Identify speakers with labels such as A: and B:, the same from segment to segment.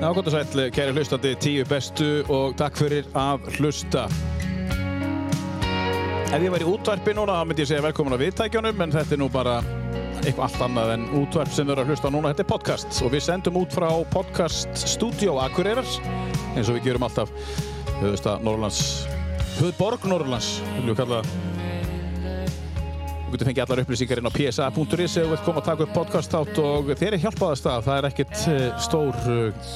A: Já, gott og sæl, kæri hlustandi, tíu bestu og takk fyrir að hlusta. Ef ég væri í útvarpi núna, þá myndi ég segja velkomin að viðtækjunum, en þetta er nú bara eitthvað allt annað en útvarp sem við erum að hlusta á núna. Þetta er podcast og við sendum út frá podcast Studio Akureyrar, eins og við gerum alltaf höfðustad Norrlands, höfðborg Norrlands, viljum við kalla það. Þú getur fengið allar upplýsingar inn á psa.is ef þú vilt koma að taka upp podcast átt og þér er hjálpaðast að það er ekkert eh, stór eh,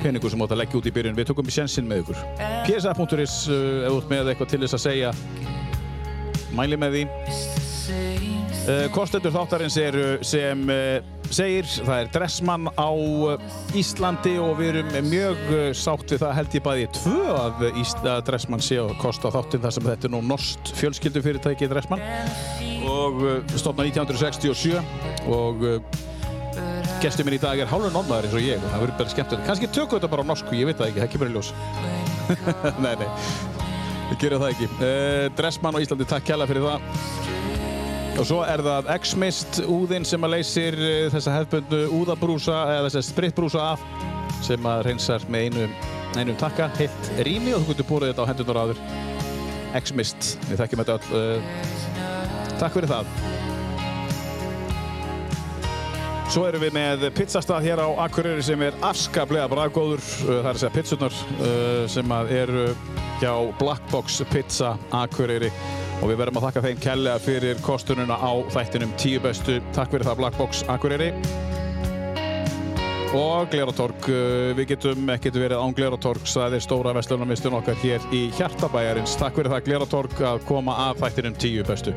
A: peningur sem þú átt að leggja út í byrjun. Við tökum í sjensin með ykkur. psa.is eh, ef þú ert með eitthvað til þess að segja mæli með því. Eh, Kostendur þáttarins eru sem eh, segir, það er Dressmann á eh, Íslandi og við erum mjög eh, sátt við það held ég bæði tvö að, eh, Ís- að Dressmann sé að kosta þáttinn þar sem þetta er nú norst fjölskyldufyrirtæki Dressmann og uh, stofna 1967 og uh, gestur minn í dag er hálfur nonnaður eins og ég það verður bara skemmtilegt, kannski tökum við þetta bara á norsku ég veit það ekki, það kemur í ljós nei, nei, við gerum það ekki uh, Dressmann á Íslandi, takk kjalla fyrir það og svo er það X-Mist úðinn sem að leysir uh, þessa hefbundu úðabrúsa eða þessa spritbrúsa af sem að reynsar með einum, einum takka heilt rými og þú getur búið þetta á hendunar áður X-Mist, við þekkjum þetta öll uh, Takk fyrir það. Svo erum við með pizzastað hér á Akureyri sem er afskaplega braðgóður. Uh, Það er að segja pizzurnar uh, sem að eru hjá Black Box Pizza Akureyri og við verðum að þakka þeim kellega fyrir kostununa á þættinum 10 bestu. Takk fyrir það Black Box Akureyri. Og Gleratorg, uh, við getum ekkert verið án Gleratorg, það er stóra vestlunarmistun okkar hér í Hjartabæjarins. Takk fyrir það Gleratorg að koma að þættinum 10 bestu.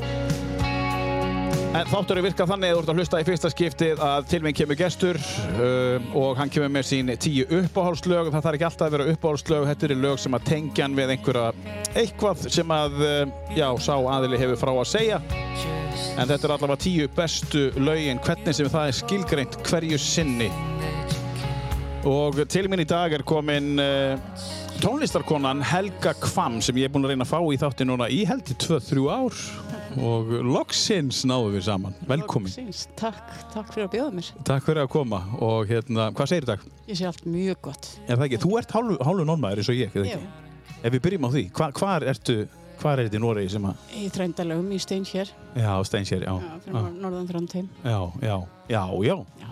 A: En þáttur er virkað þannig að þú ert að hlusta í fyrsta skiptið að til minn kemur gestur uh, og hann kemur með sín tíu uppáhaldslög. Það þarf ekki alltaf að vera uppáhaldslög, þetta eru lög sem að tengja hann við einhverja eitthvað sem að, uh, já, sá aðili hefur frá að segja. En þetta er allavega tíu bestu lögin, hvernig sem það er skilgreint hverju sinni. Og til minn í dag er komin uh, tónlistarkonan Helga Kvam sem ég er búin að reyna að fá í þátti núna í heldi 2-3 ár og loksins náðum við saman. Velkomin.
B: Loksins, Takk, takk fyrir að bjóða mér.
A: Takk fyrir að koma og hérna, hvað segir dag?
B: Ég sé allt mjög gott.
A: Er það ekki? Þú ert hálfu, hálfu nonmaður eins og ég, eða
B: Jú,
A: ekki? Ef við byrjum á því, hva, hvar ertu, hvar er þetta í Noregi sem að,
B: ég þrænda lögum í stein hér,
A: já, Steinsjæri, já,
B: já, fyrir ah. norðan þröndheim.
A: já, já, já, já.
B: Já.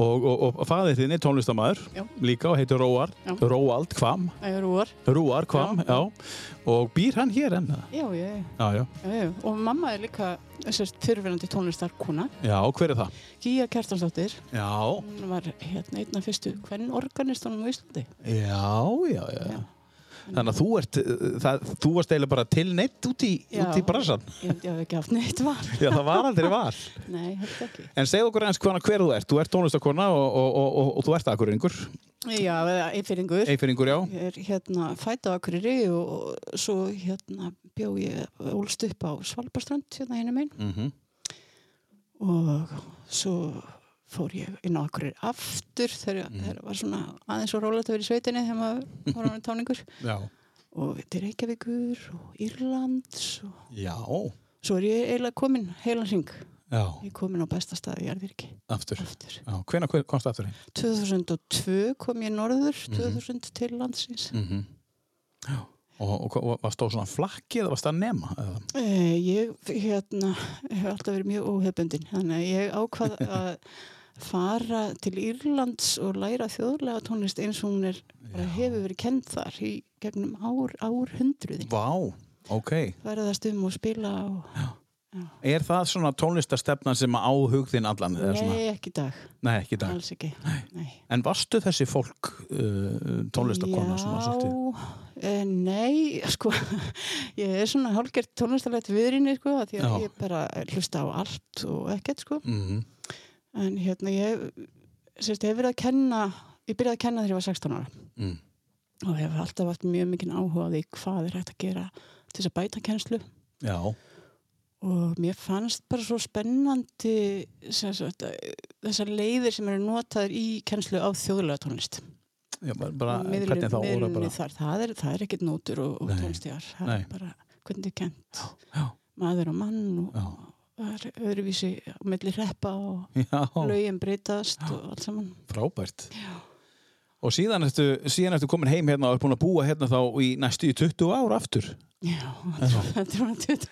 A: Og, og, og fæðið þinn er tónlistamæður
B: Já.
A: líka og heitir Róar,
B: Já.
A: Róald Kvam,
B: Það eru úr.
A: Rúar Kvam, já, og býr hann hér enn það?
B: Já, já, já,
A: Já, já.
B: já. Og mamma er líka þessast fyrirverandi tónlistarkuna.
A: Já, hver er það?
B: Gíja Kjartansdóttir,
A: Já,
B: hún var hérna einna fyrstu hvern organistunum á Íslandi.
A: já, já, já.
B: Já.
A: Þannig að þú ert, uh, það, þú varst eiginlega bara tilneitt út í,
B: Já.
A: út í bransan.
B: Ég held ég hafði ekki haft neitt var.
A: Já, það var aldrei val.
B: Nei, held ekki.
A: En segð okkur eins hvaðan hver þú ert. Þú ert tónlistakona og, og, og, og, og þú ert akkuringur.
B: Já, einfyrringur.
A: Eiferingur, já.
B: Ég er hérna fætt á Akureyri og, og svo hérna bjó ég ólst upp á Svalbarstrand hérna henni minn
A: Mm
B: og svo fór ég inn á Akureyri aftur þegar mm. það var svona aðeins og rólegt að vera í sveitinni þegar maður var hann táningur
A: Já.
B: og til Reykjavíkur og Írlands og
A: Já.
B: svo er ég eiginlega komin heilan hring
A: Já,
B: ég er komin á besta staði í Arvirki
A: aftur.
B: aftur.
A: Já, hvenær hver- komst það aftur heim?
B: 2002 kom ég norður 2000 til landsins
A: Mm -hmm. Og, og, og varst það svona flakki eða varst það nema? Eða?
B: Eh, Ég hérna, hef alltaf verið mjög óhefbundin þannig að ég ákvað að fara til Írlands og læra þjóðlega tónlist eins og hún er bara hefur verið kend þar í gegnum ár, árhundruðin
A: Vá, ok.
B: færaðast um og spila og...
A: Er það svona tónlistastefnan sem á hugðin allan? eða Svona?
B: Nei, ekki í dag,
A: Nei, ekki í dag.
B: alls ekki Nei. Nei.
A: En varstu þessi fólk uh, tónlistakona svona svolítið?
B: Já, eh, nei, sko, ég er svona hálgert tónlistalegt viðrinni, sko, að því að
A: Já.
B: ég bara hlusta á allt og ekkert, sko.
A: Mm -hmm.
B: En hérna ég sérst, hef verið að kenna, ég byrjaði að kenna þegar ég var 16 ára
A: Mm.
B: og hef alltaf haft mjög mikinn áhuga á því hvað er hægt að gera til þess að bæta kennslu
A: Já,
B: og mér fannst bara svo spennandi sem sagt, eh, þessar leiðir sem eru notaðir í kennslu á þjóðlega tónlist.
A: já bara, bara
B: Miðlun-
A: hvernig þá orða
B: miðluninni
A: bara.
B: Þar, það, er, það er ekkit nótur og, og
A: Nei.
B: tónlistjar, það
A: Nei.
B: er bara hvernig er kent
A: Já,
B: maður og mann og
A: já,
B: það er öðruvísi á milli reppa og
A: já,
B: lögin breytast og allt saman.
A: frábært. Og síðan ertu, síðan ertu komin heim hérna og er búin að búa hérna þá í næstu í 20 ár aftur.
B: Já, þetta er svona 20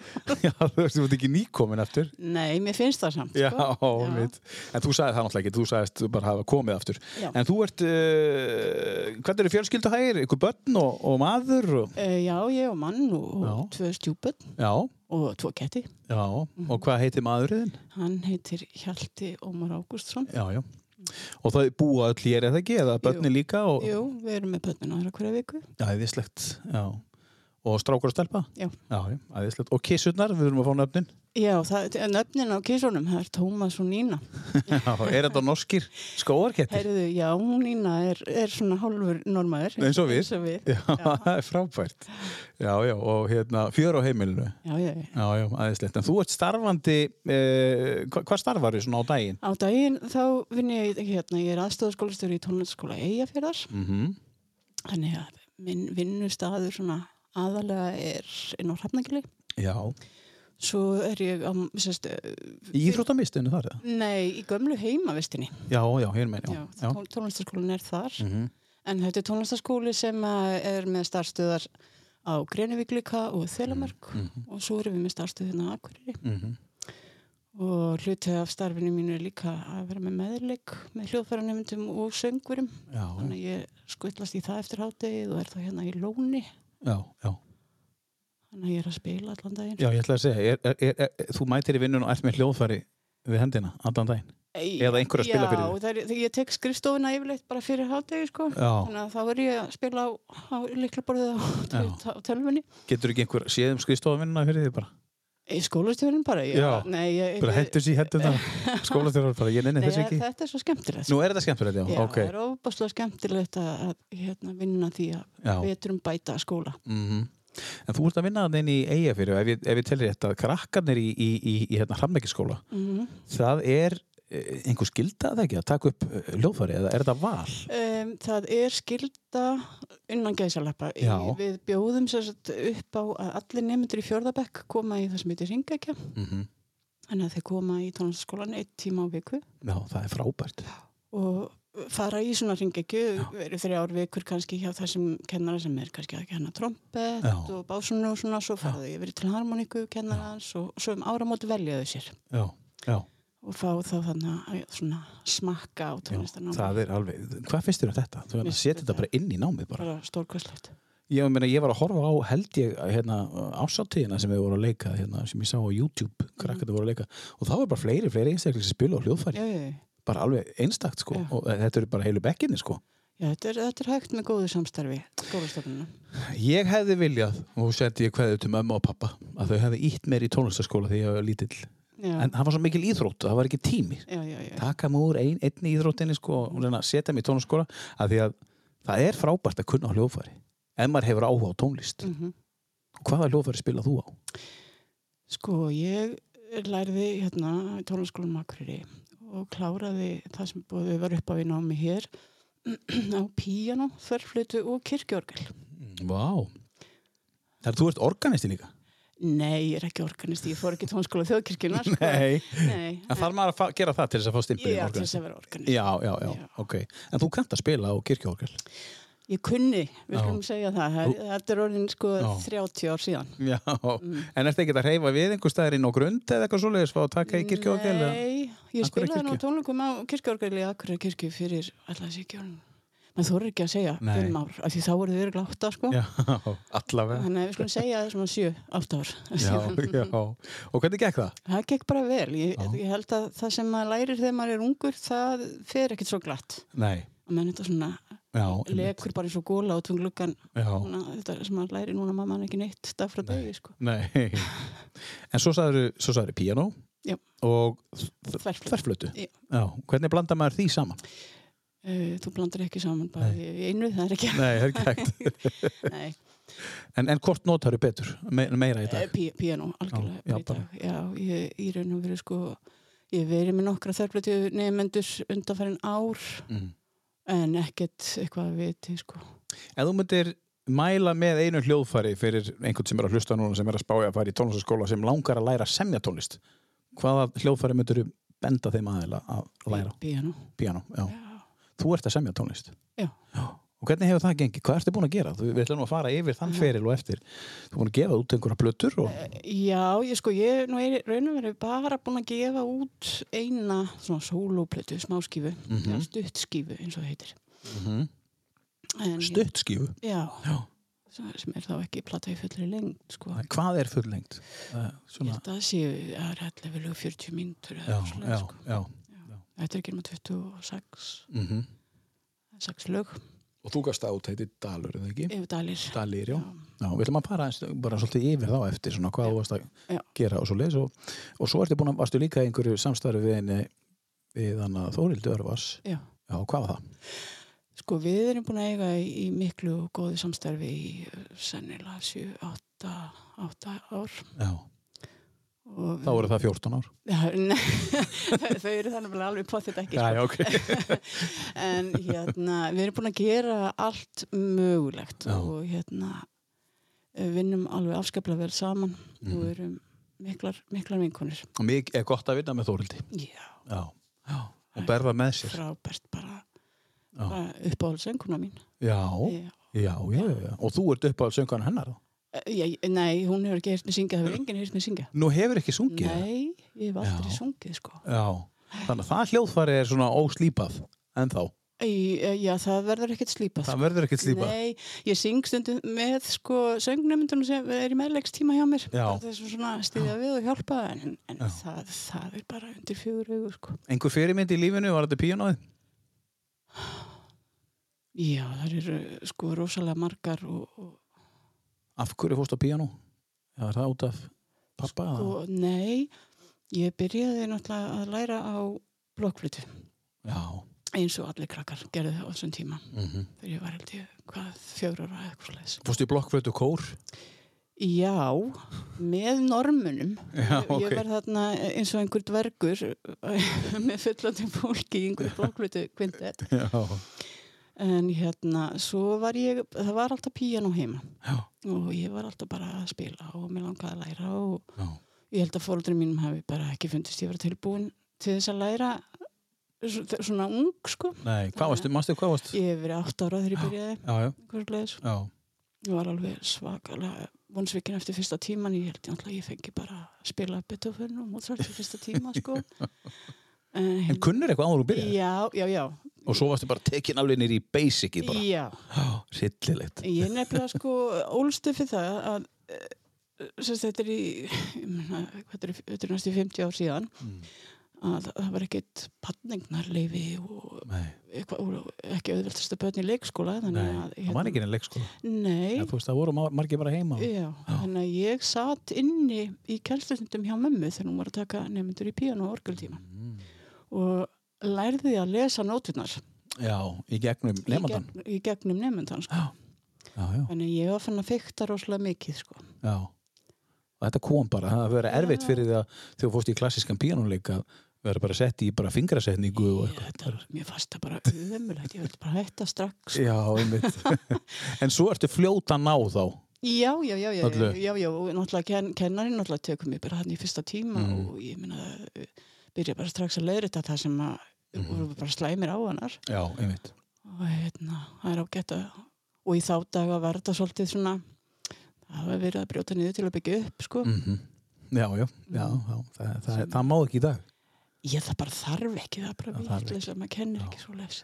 A: Já, þú veist, þú ert ekki nýkomin aftur.
B: Nei, mér finnst það samt,
A: Já,
B: sko.
A: mitt. En þú sagði það náttúrulega ekki, þú sagðist bara hafa komið aftur.
B: Já.
A: En þú ert, uh, hvernig eru fjölskylduhægir, ykkur börn og, og maður? Og...
B: Eh, Já, ég og mann og, og
A: Já.
B: tvö stjúpöld
A: Já,
B: og tvo ketti.
A: já, Mhm. og hvað heitir maðurinn?
B: Hann heitir Hjalti Ómar Ágústsson.
A: Já, já. Og það búa öll hér eða ekki, eða börni líka og
B: Jú, við erum með börnin aðra hverja viku.
A: æðislegt, já. Og strákur að stelpa?
B: Já.
A: Já, já, æðislegt. Og kissurnar, við erum að fá nöfnin.
B: Já, það, nöfnin á kísunum, það er Tómas og Nína.
A: Já, er þetta norskir skóarkettir?
B: Heyrðu, já, Nína er, er svona hálfur normaður.
A: Eins og við.
B: Eins og við.
A: Já, það er frábært. Já, já, og hérna, fjör á heimilinu.
B: Já, já, já.
A: Já, já, aðeinslegt. En þú ert starfandi, eh, hva, hvað starfar þú svona á daginn?
B: Á daginn þá vinn ég hérna, ég er aðstofaskólastjóri í tónlistaskóla Eyjafjörðar.
A: Mm
B: Þannig að minn vinnustadur svona aðalega er inn á Hrafnagili.
A: Já.
B: Svo er ég á, sérst,
A: Í Íþróttamistinu þar? eða?
B: nei, í gömlu heimavistinni.
A: Já, já, hér meina, já.
B: Já,
A: já.
B: tón- tónlistaskólinn er þar.
A: Mm
B: En þetta er tónlistaskóli sem að er með starfstöðar á Grenivík líka og Þelamörk
A: Mm, mhm.
B: og svo erum við með starfstöðina á Akureyri. Og hluti af starfinu mínu er líka að vera með meðleik með hljóðfæranemndum og söngurum.
A: Já,
B: Þannig að ég skutlast í það eftir háttegið og er þá hérna í lóni.
A: já, já.
B: Þannig að ég er að spila allan daginn.
A: Já, ég ætla að segja, er, er, er, er, þú mætir í vinnun og ert með hljóðfæri við hendina allan daginn. Eða einhver að spila fyrir
B: Já, það er, þegar ég tek skrifstofuna yfirleitt bara fyrir háttegið sko.
A: Já.
B: Þannig að þá er ég að spila á, á líklaborðið á,
A: Já.
B: á tölvunni.
A: Getur ekki einhver séðum skristofavinnuna fyrir þig bara?
B: Í skólastjóðunum bara. Ég,
A: Já.
B: Nei, ég,
A: Bara hendur sér, hendur það. Skólastjórar bara, ég nenni
B: Nei,
A: þess ekki.
B: þetta er svo skemmtilegt. sko.
A: Nú er þetta skemmtilegt, já.
B: Já,
A: ok.
B: það er óbáslega skemmtilegt að, að hérna, vinna því að
A: Já.
B: veturum bæta skóla.
A: Mhm. En þú ert að vinna þannig í eiga fyrir ef ég, ef ég tellir þetta, krakkarnir í, í, í, í hérna hramleikiskóla
B: Mm
A: það er eh, einhver skilda það ekki að taka upp eh, hljóðfæri eða er þetta val?
B: um, það er skilda innan gæsalappa. Í-
A: Já.
B: Við bjóðum sem sagt, upp á að allir nefndur í fjörðabekk koma í það sem heitir syngækja.
A: Mhm.
B: Þannig að þeir koma í tónlistaskólan eitt tíma á viku
A: Já, það er frábært
B: og fara í svona syngækju, verið þrjár vikur kannski hjá þessum kennara sem er kannski að kenna trompet
A: Já.
B: og básunni og svona, svo fara þau yfir til harmoníku kennarans og svo um áramót velja þau sér.
A: Já, já,
B: og fá þá þannig að svona smakka á
A: já
B: tónlistan
A: það er alveg, hvað finnst þér um þetta? Þú verður að
B: Mér
A: setja
B: finnst
A: þetta bara inn í námið bara.
B: bara stórkvæslegt
A: Ég, meina, ég var að horfa á held ég hérna, ásáttíðina sem við voru að leika hérna, sem ég sá á YouTube, krakkarnir voru að leika og það var bara fleiri, fleiri einstaklega sem spila á hljóðfæri
B: já, já, já.
A: bara alveg einstakt sko
B: Já.
A: og eh, þetta eru bara heilu bekkinni sko
B: já þetta, er, þetta er hægt með góðu samstarfi skólastofnunum
A: Ég hefði viljað, og sendi ég kveðið til mömmu og pappa, að þau hefði ítt mér í tónlistaskóla þegar ég var lítill.
B: já,
A: En það var svo mikil íþrótt, það var ekki tími.
B: já, já, já.
A: Taka mig úr ein, einni íþróttinni sko, og reyna að setja mig í tónlistaskóla, að því að það er frábært að kunna á hljóðfæri. En maður hefur áhuga á tónlist.
B: Mm
A: Hvaða hljóðfæri spilað þú á?
B: sko ég lærði hérna í tónlistaskólanum Akureyri og kláraði það sem búið var upp á í námi hér á píjano, þverflötu og kirkjorgel
A: Vá. Það er, þú ert organisti líka.
B: nei, ég er ekki organist, ég fór ekki í tónlistaskóla þjóðkirkjunar sko. nei
A: En þarf maður að fa- gera það til þess að fá stimpilinn
B: ég átti
A: organisti?
B: þess að vera organist
A: Já, já, já,
B: Já.
A: ok. En þú kannt að spila á kirkjuorgel?
B: Ég kunni, við
A: Já.
B: skulum segja það. það er- Þetta er orðin sko
A: Já.
B: 30 ár síðan.
A: Já,
B: Mm.
A: en ertu ekki að reyfa við einhver staðar inn á grund eða eitthvað svoleiðis fá að taka í kirkjóðgjál?
B: Nei, ég
A: Akureyri
B: spilaði nú
A: kirkju?
B: tónleikum á kirkjórgæli í Akureyri kirkju fyrir allas í kjórnum. Maður þorir ekki að segja
A: Nei.
B: fimm ár, af því þá voru þau örugglega átta sko.
A: Já, allavega.
B: Þannig að við skulum segja það svona 7, 8 ár.
A: Já, já. Og hvernig gekk það?
B: Það gekk bara vel. Ég,
A: Já.
B: ég held að það sem maður lærir þegar maður er ungur, það fer ekkit svo glatt.
A: Nei,
B: Að menn þetta svona
A: já, einmitt.
B: lekur bara eins og góla á tungluggan.
A: já,
B: Svona, þetta sem maður lærir núna maður ekki neitt dag frá degi sko.
A: nei. En svo sagður, svo sagður piano
B: Já.
A: og
B: Þverflötu.
A: þverflötu.
B: Já.
A: Já, hvernig blanda maður því saman?
B: Uh, þú blandar ekki saman bara í einu, það er ekki
A: Nei, það er ekki hægt.
B: Nei, eh,
A: En, en hvort notaru betur, Me, meira í dag?
B: pí, píanó, algjörlega
A: Já, já,
B: já, já, já, ég í raun og veru sko ég hef verið með nokkra þörflötu nefnendur undanfærin ár
A: Mm.
B: en ekkert eitthvað að viti sko
A: Ef þú myndir mæla með einu hljóðfæri fyrir einhvern sem er að hlusta núna sem er að spája að fara í tónlistaskóla sem langar að læra að semja tónlist hvaða hljóðfæri myndir benda þeim aðeila að læra
B: Píanó,
A: piano, já,
B: já,
A: þú ert að semja tónlist
B: Já.
A: og hvernig hefur það gengið, hvað ertu búin að gera þú, við ætlum nú að fara yfir þann feril og eftir þú er búin að gefa út einhverja plötur og...
B: Eh, Já, ég sko, ég nú er raunum verið bara búin að gefa út eina svona sólóplötu, smáskífu, mm
A: Mhm.
B: stuttskífu eins og það heitir.
A: mm -hmm.
B: En,
A: stuttskífu
B: Já,
A: Já.
B: sem er þá ekki plata í fullri lengd, sko.
A: hvað er fullengt uh,
B: Ég
A: svona...
B: held að það séu, það er allir vilju 40 mínútur eða
A: já,
B: eitthvað
A: já,
B: svoleiðis, sko.
A: já.
B: Þetta er ekki um 26,
A: Mm
B: 6 lög
A: og þú gafst át heiti Dalur eða ekki
B: yfir dalir. Um,
A: Dalir, já. Já, við ætlum að fara aðeins, bara svolítið yfir þá eftir svona hvað
B: Já.
A: þú varst að
B: Já.
A: gera og svo leis og, og svo ertu búin að, varstu líka í einhverju samstarfi við henni við hann að Þórildi Örvars
B: Já.
A: Já, hvað var það?
B: Sko, við erum búin að eiga í, í miklu og góðu samstarfi í eh, sennilega 7, 8, 8 ár.
A: Já,
B: Og
A: þá voru það 14 ár
B: Já, nei, þau eru þannig að alveg potið ekki. sko.
A: já, ok
B: En hérna, við erum búin að gera allt mögulegt
A: Já.
B: og hérna, eh, vinnum alveg afskaplega vel saman og
A: Mhm.
B: erum miklar, miklar vinkunir.
A: Og mér er gott að vinna með Þórildi
B: Já,
A: Já, já og berða með sér
B: frábært bara,
A: Já.
B: bara uppáhaldsönguna mín.
A: Já,
B: Já.
A: já, já, já Og þú ert upp að söngan hennar þá?
B: Ég, nei, hún hefur ekki heyrt mig syngja, það hefur enginn heyrt mig syngja.
A: Nú hefur ekki sungið það?
B: Nei, ég hef aldrei
A: Já.
B: sungið sko.
A: Já, þannig að það hljóðfari er svona óslípað En þá,
B: Í, eh, Já, það verður ekkert slípað.
A: það verður ekkert slípað
B: Nei, ég syng stundum með sko söngnemyndunum sem er í meðleikstíma hjá mér
A: Já.
B: Bara þessum svona stiðja við og hjálpa en, en
A: Já.
B: það, það er bara undir fjögur augur sko.
A: Einhver fyrirmynd í lífinu, var þetta píanóið?
B: Já, það eru sko rosalega margar og, og,
A: Af hverju fórst á píanó? Já, er það út af pappa? Sko,
B: og nei, ég byrjaði náttúrulega að læra á blokkflutu
A: já.
B: eins og allir krakkar gerðu það á þessum tíma
A: Mm
B: þegar ég var held ég hvað fjögur ára eða eitthvað slags.
A: Fórstu í blokkflötu kór?
B: Já, með normunum.
A: Já,
B: Ég- Ég var þarna eins og einhver dvergur með fullandi fólki í einhverju blokkvötu kvindett.
A: Já,
B: En hérna, svo var ég, það var alltaf píjan heima
A: já,
B: og ég var alltaf bara að spila og mér langaði að læra og
A: já.
B: ég held að fóröldurinn mínum hafi bara ekki fundist ég var tilbúin til þess að læra svo- svona ung, sko.
A: Nei, hvað varstu, mannstu hvað varstu?
B: Ég hef verið átt ára þegar ég byrjaði,
A: Já, já,
B: einhvers leis.
A: já.
B: Ég var alveg svakalega vonsvikin eftir fyrsta tíman. Ég held ég alltaf að ég fengi bara að spila Beethoven og Mozart í fyrsta tíma, sko. En,
A: En kunnur eitthvað áður og byrjaði?
B: Já, já, já.
A: Og svo varstu bara tekin alveg nýri í basicið bara.
B: Já,
A: Já, sillilegt.
B: ég nefnilega sko ólstu fyrir það að eh, sérst, þetta er í, ég meina, hvað er, þetta er næstu 50 ár síðan,
A: Mm.
B: að það var ekkit patningnarleifi og,
A: Nei,
B: eitthvað, og ekki auðveldast að börn í leikskóla. þannig
A: nei,
B: að, hérna,
A: það var ekki inn í leikskóla.
B: Nei,
A: Já, þú veist, það voru ma- margir bara heima.
B: Já, þannig að ég satt inni í kjælstundum hjá mömmu þegar hún var að taka nefndur í píano og orgultíma
A: Mm.
B: og lærði að lesa nótunar
A: Já, í gegnum nefndan.
B: í, gegn, í gegnum nefndan sko.
A: Já, já,
B: þannig að ég var fann að fykta rosalega mikið sko.
A: já. Og þetta kom bara, það verið erfitt
B: Já.
A: fyrir því að þú fórst í klassískan píanóleik að vera bara sett í bara fingrasetningu og
B: ég,
A: eitthvað.
B: þetta, var- mér fannst það bara ömulegt ég vildi bara hætta strax
A: Já, einmitt. en svo ertu fljóta ná þá.
B: Já, já, já, já, já,
A: Öllu.
B: já, já og náttúrulega ken, kennarinn náttúrulega tekur mig bara hann í fyrsta tíma
A: Mm.
B: og ég meina eh, byrja bara strax að leiðrita það sem að
A: Mm-hmm.
B: voru bara slæmir á hannar
A: Já, einmitt.
B: og hérna, það er ágætt að og í þá daga var þetta svolítið svona það var verið að brjóta niður til að byggja upp sko.
A: Mm Já, já, já, já það, það, það má ekki í dag.
B: ég það bara þarf ekki það er bara
A: Það þarf ekki.
B: vitleis að maður kennir
A: Já.
B: ekki svo les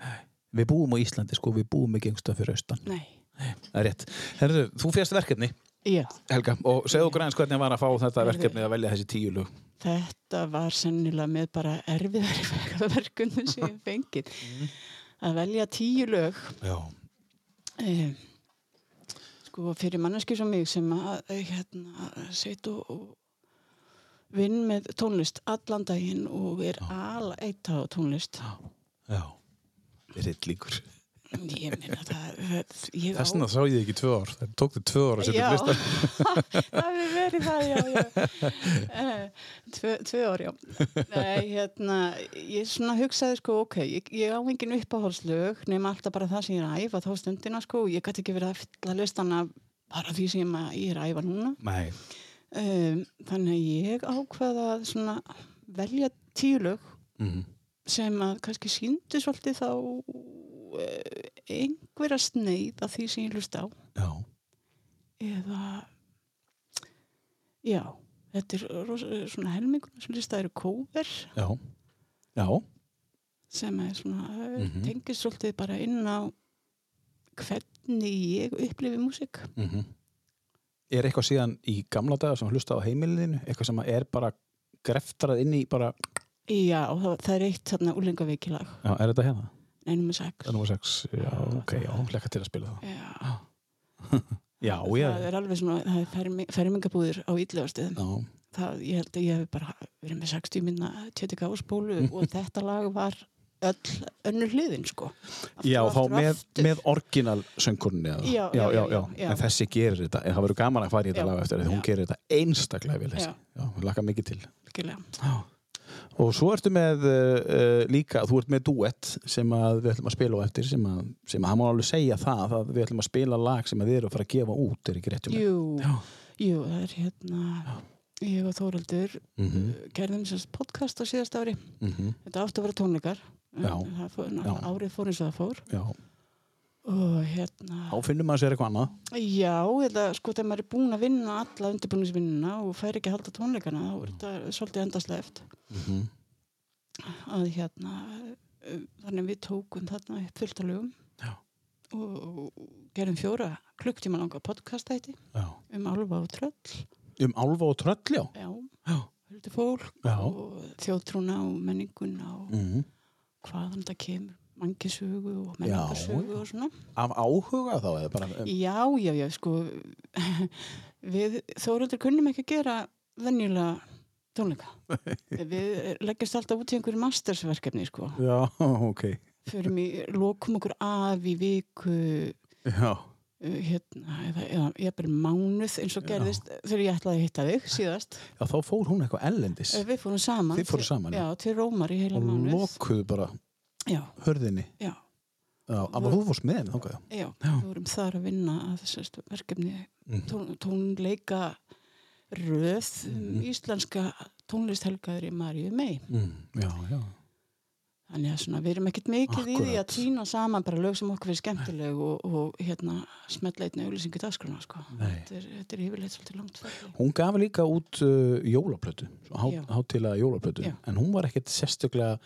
A: Við búum á Íslandi, sko, við búum ekki einhverstað fyrir austan.
B: nei,
A: Það er rétt. Herðu, þú férst verkefni,
B: já,
A: Helga, og segðu okkur aðeins hvernig var að fá þetta
B: Heyrðu.
A: verkefni að velja þessi tíu lög.
B: þetta var sennilega með bara erfiðari verkunum sem ég hef fengið
A: Mhm.
B: að velja tíu lög
A: Já.
B: eh, sko fyrir manneski sem mig sem að eh, hérna, set og, og vinn með tónlist allan daginn og er ala eitt á tónlist
A: Já. Ritt líkur.
B: Ég meina það, það ég
A: Þess vegna sá ég ekki tvö ár. Það tók þið tvö ár að setja upp listan.
B: Já, það hefur verið það, já, já. Eh, Tvö, tvö ár, já. Nei, hérna, ég svona hugsaði sko, ok, ég, ég á engin uppáhaldslög, nema alltaf bara það sem ég er að æfa þá stundina sko, og ég gæti ekki verið að fylla listana bara því sem að ég er að æfa núna.
A: Nei.
B: Um, þannig að ég ákvaða svona velja tíu lög
A: Mm.
B: sem að kannski síndu svolítið þá eh, einhverja sneið af því sem ég hlust á
A: Já.
B: eða já, þetta er rosa, svona helmingun sem lista eru kóver
A: Já. Já.
B: sem er svona mm
A: Mhm.
B: tengist svolítið bara inn á hvernig ég upplifi músík
A: Mm Er eitthvað síðan í gamla daga sem hlusta á heimilinu, eitthvað sem er bara greftrað inn í bara,
B: já, og það, það er eitt þarna úlengavikilag
A: já, er þetta hérna?
B: einum með sex
A: Það er nú 6, já, ok, já, hlekka til að spila það.
B: já,
A: Já, já.
B: það er alveg svona það er fermi, fermingabúðir á ídlegastuðum
A: Já,
B: það, ég held að ég hef bara verið með 60 minna 20 áspólu og þetta lag var öll önnur hliðin sko aftur,
A: já
B: og
A: þá
B: aftur og
A: með,
B: aftur.
A: með orginal söngkunni eða-
B: Já, já, já, já.
A: En þessi gerir þetta, en það verður gaman að fara í þetta
B: Já,
A: lag eftir því hún
B: já.
A: gerir þetta einstaklega vel þessi.
B: Já.
A: Já, hún laka mikið til.
B: Algjörlega.
A: Og svo ertu með uh, uh, líka, þú ert með duett sem að við ætlum að spila á eftir, sem að, sem að hann má alveg segja það, að við ætlum að spila lag sem að þið eru að fara að gefa út, er ekki rétt um
B: Jú,
A: Já.
B: jú, það er hérna ég og Þóraldur
A: Mm
B: gerðum sérst podcast á síðast ári
A: -hmm.
B: þetta áttu að vera tónleikar en
A: Já.
B: það fór,
A: Já.
B: árið fór eins og það fór
A: Já,
B: og hérna
A: þá finnum maður sér eitthvað annað.
B: já, þetta sko þegar maður er búin að vinna alla undirbúningsvinnuna og fær ekki að halda tónleikana þá er þetta svolítið endaslegt
A: Mm -hmm.
B: að hérna eh, þannig við tókum þarna upp fullt að lögum
A: Já.
B: og gerðum fjóra klukktíma langa podcastæti
A: Já.
B: um álfa og tröll
A: Um álfa og tröll, já.
B: já,
A: Já.
B: huldu fólk
A: Já.
B: og þjóðtrúna og menninguna og
A: Mm
B: hvaðan þetta kemur mangisögu og menningarsögu og svona
A: Af áhuga þá, eða bara... Um,
B: já, já, já, sko við þóruldur kunnum ekki að gera venjulega tónleika við leggjast alltaf út í einhverju mastersverkefni sko,
A: já, ok.
B: förum í lokum okkur af í viku
A: Já.
B: uh, hérna, eða, eða ég bara mánuð eins og gerðist þegar ég ætlaði að hitta þig síðast
A: Já, þá fór hún eitthvað ellendis.
B: Eh, við fórum saman,
A: Þið fóruð
B: til-
A: saman,
B: já,
A: já.
B: til Rómar í heila
A: og
B: mánuð
A: lokuðu bara
B: já,
A: hörðinni.
B: já
A: Já, að þú fórst með henni þangað.
B: Já,
A: Já. Mhm.
B: við vorum þar að vinna að þessast verkefni tón, tónleika röð
A: Mhm.
B: um íslenska tónlisthelgaður í Maríu mei.
A: Mm. Já, já.
B: Þannig að svona, við erum ekkert mikið í því
A: Akkúrat.
B: að týna saman bara lög sem okkur við skemmtileg og, og hérna smetla einni auðlýsingu dagskrona sko.
A: Nei.
B: Þetta er, þetta er yfirleitt svolítið langt ferli.
A: Hún gaf líka út uh, jólaplötu, svo
B: Já.
A: há, hátilega jólaplötu,
B: Já.
A: en hún var ekkert sérstöklega,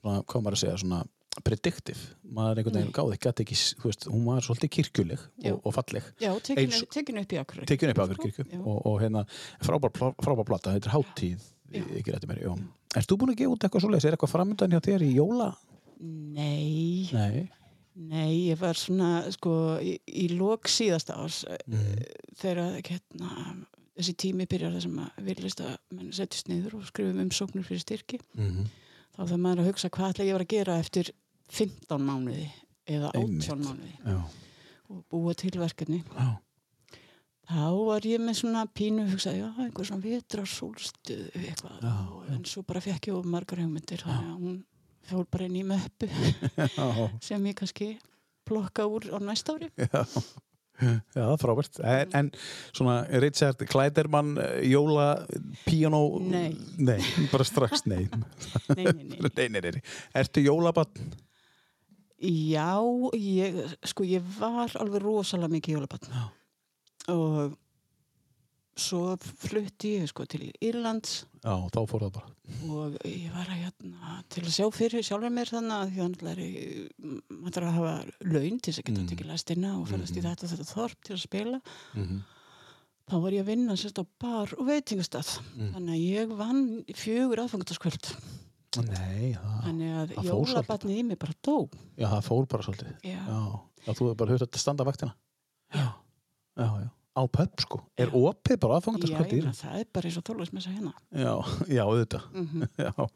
A: svona, hvað á maður að segja, svona predictive, maður einhvern veginn
B: Nei.
A: gáði, gæti ekki, s- þú veist, hún var svolítið kirkjuleg
B: Já.
A: og, og falleg,
B: Já, tekin,
A: Eins-
B: tekin upp í akkur.
A: tekjun upp af fyrir kirkju
B: Sko, Já.
A: og, og hérna, frábær, pl- frábær plata, þetta er hátíð,
B: Já.
A: ekki rétti mér, já. Erst þú búin að gefa út eitthvað svoleiðis, er eitthvað framöndan hjá þér í jóla?
B: Nei,
A: Nei.
B: nei, ég var svona sko í, í lok síðasta árs Eh,
A: Mm.
B: þegar að, hérna, þessi tími byrjar þar sem að viljast að menn settist niður og skrifum umsóknir fyrir styrki
A: Mm.
B: þá þarf maður að hugsa hvað ætla ég var að gera eftir 15 mánuði eða 18
A: Einmitt.
B: mánuði
A: Já.
B: og búa til verkefni
A: Já.
B: þá var ég með svona pínu hugsa, já, einhver svona vetrar sólstuð eitthvað,
A: Já,
B: Og- en svo bara fekk ég of margar hugmyndir, þannig að hún fór bara inn í möppu
A: Já.
B: sem ég kannski plokka úr á næsta ári
A: Já, já það er frábært. En, en svona Richard Kleiderman, eh, Jóla, Piano...
B: Nei.
A: Nei, bara strax nei.
B: nei, nei, nei, nei.
A: nei, nei, nei. Ertu jólabann?
B: Já, ég, sko, ég var alveg rosalega mikið jólabatn
A: Já.
B: og svo flutti ég sko til Írlands
A: Já, þá fór það bara.
B: og ég var að hérna til að sjá fyrir sjálfur mér þannig að því að náttúrulega er í- maður þarf að hafa laun til þess að geta
A: Mm.
B: tekið lestina og ferðast í
A: Mhm.
B: þetta og þetta þorp til að spila.
A: Mm -hmm.
B: Þá var ég að vinna sérst á bar og veitingastað.
A: Mm.
B: Þannig að ég vann fjögur aðfangandaskvöld.
A: Nei, það,
B: Þannig að
A: það fór svolítið.
B: jólabatnið í mig bara dó.
A: já, það fór bara svolítið.
B: Já.
A: Já, já þú hefur bara höfð að standa vaktina. Já. Já, já. Á pöpp, sko. Er opið bara aðfangat að
B: Já,
A: skoða
B: ég meina,
A: dýra?
B: það er bara eins og þólusmessa hérna.
A: Já, já, auðvitað.
B: Mm
A: Já,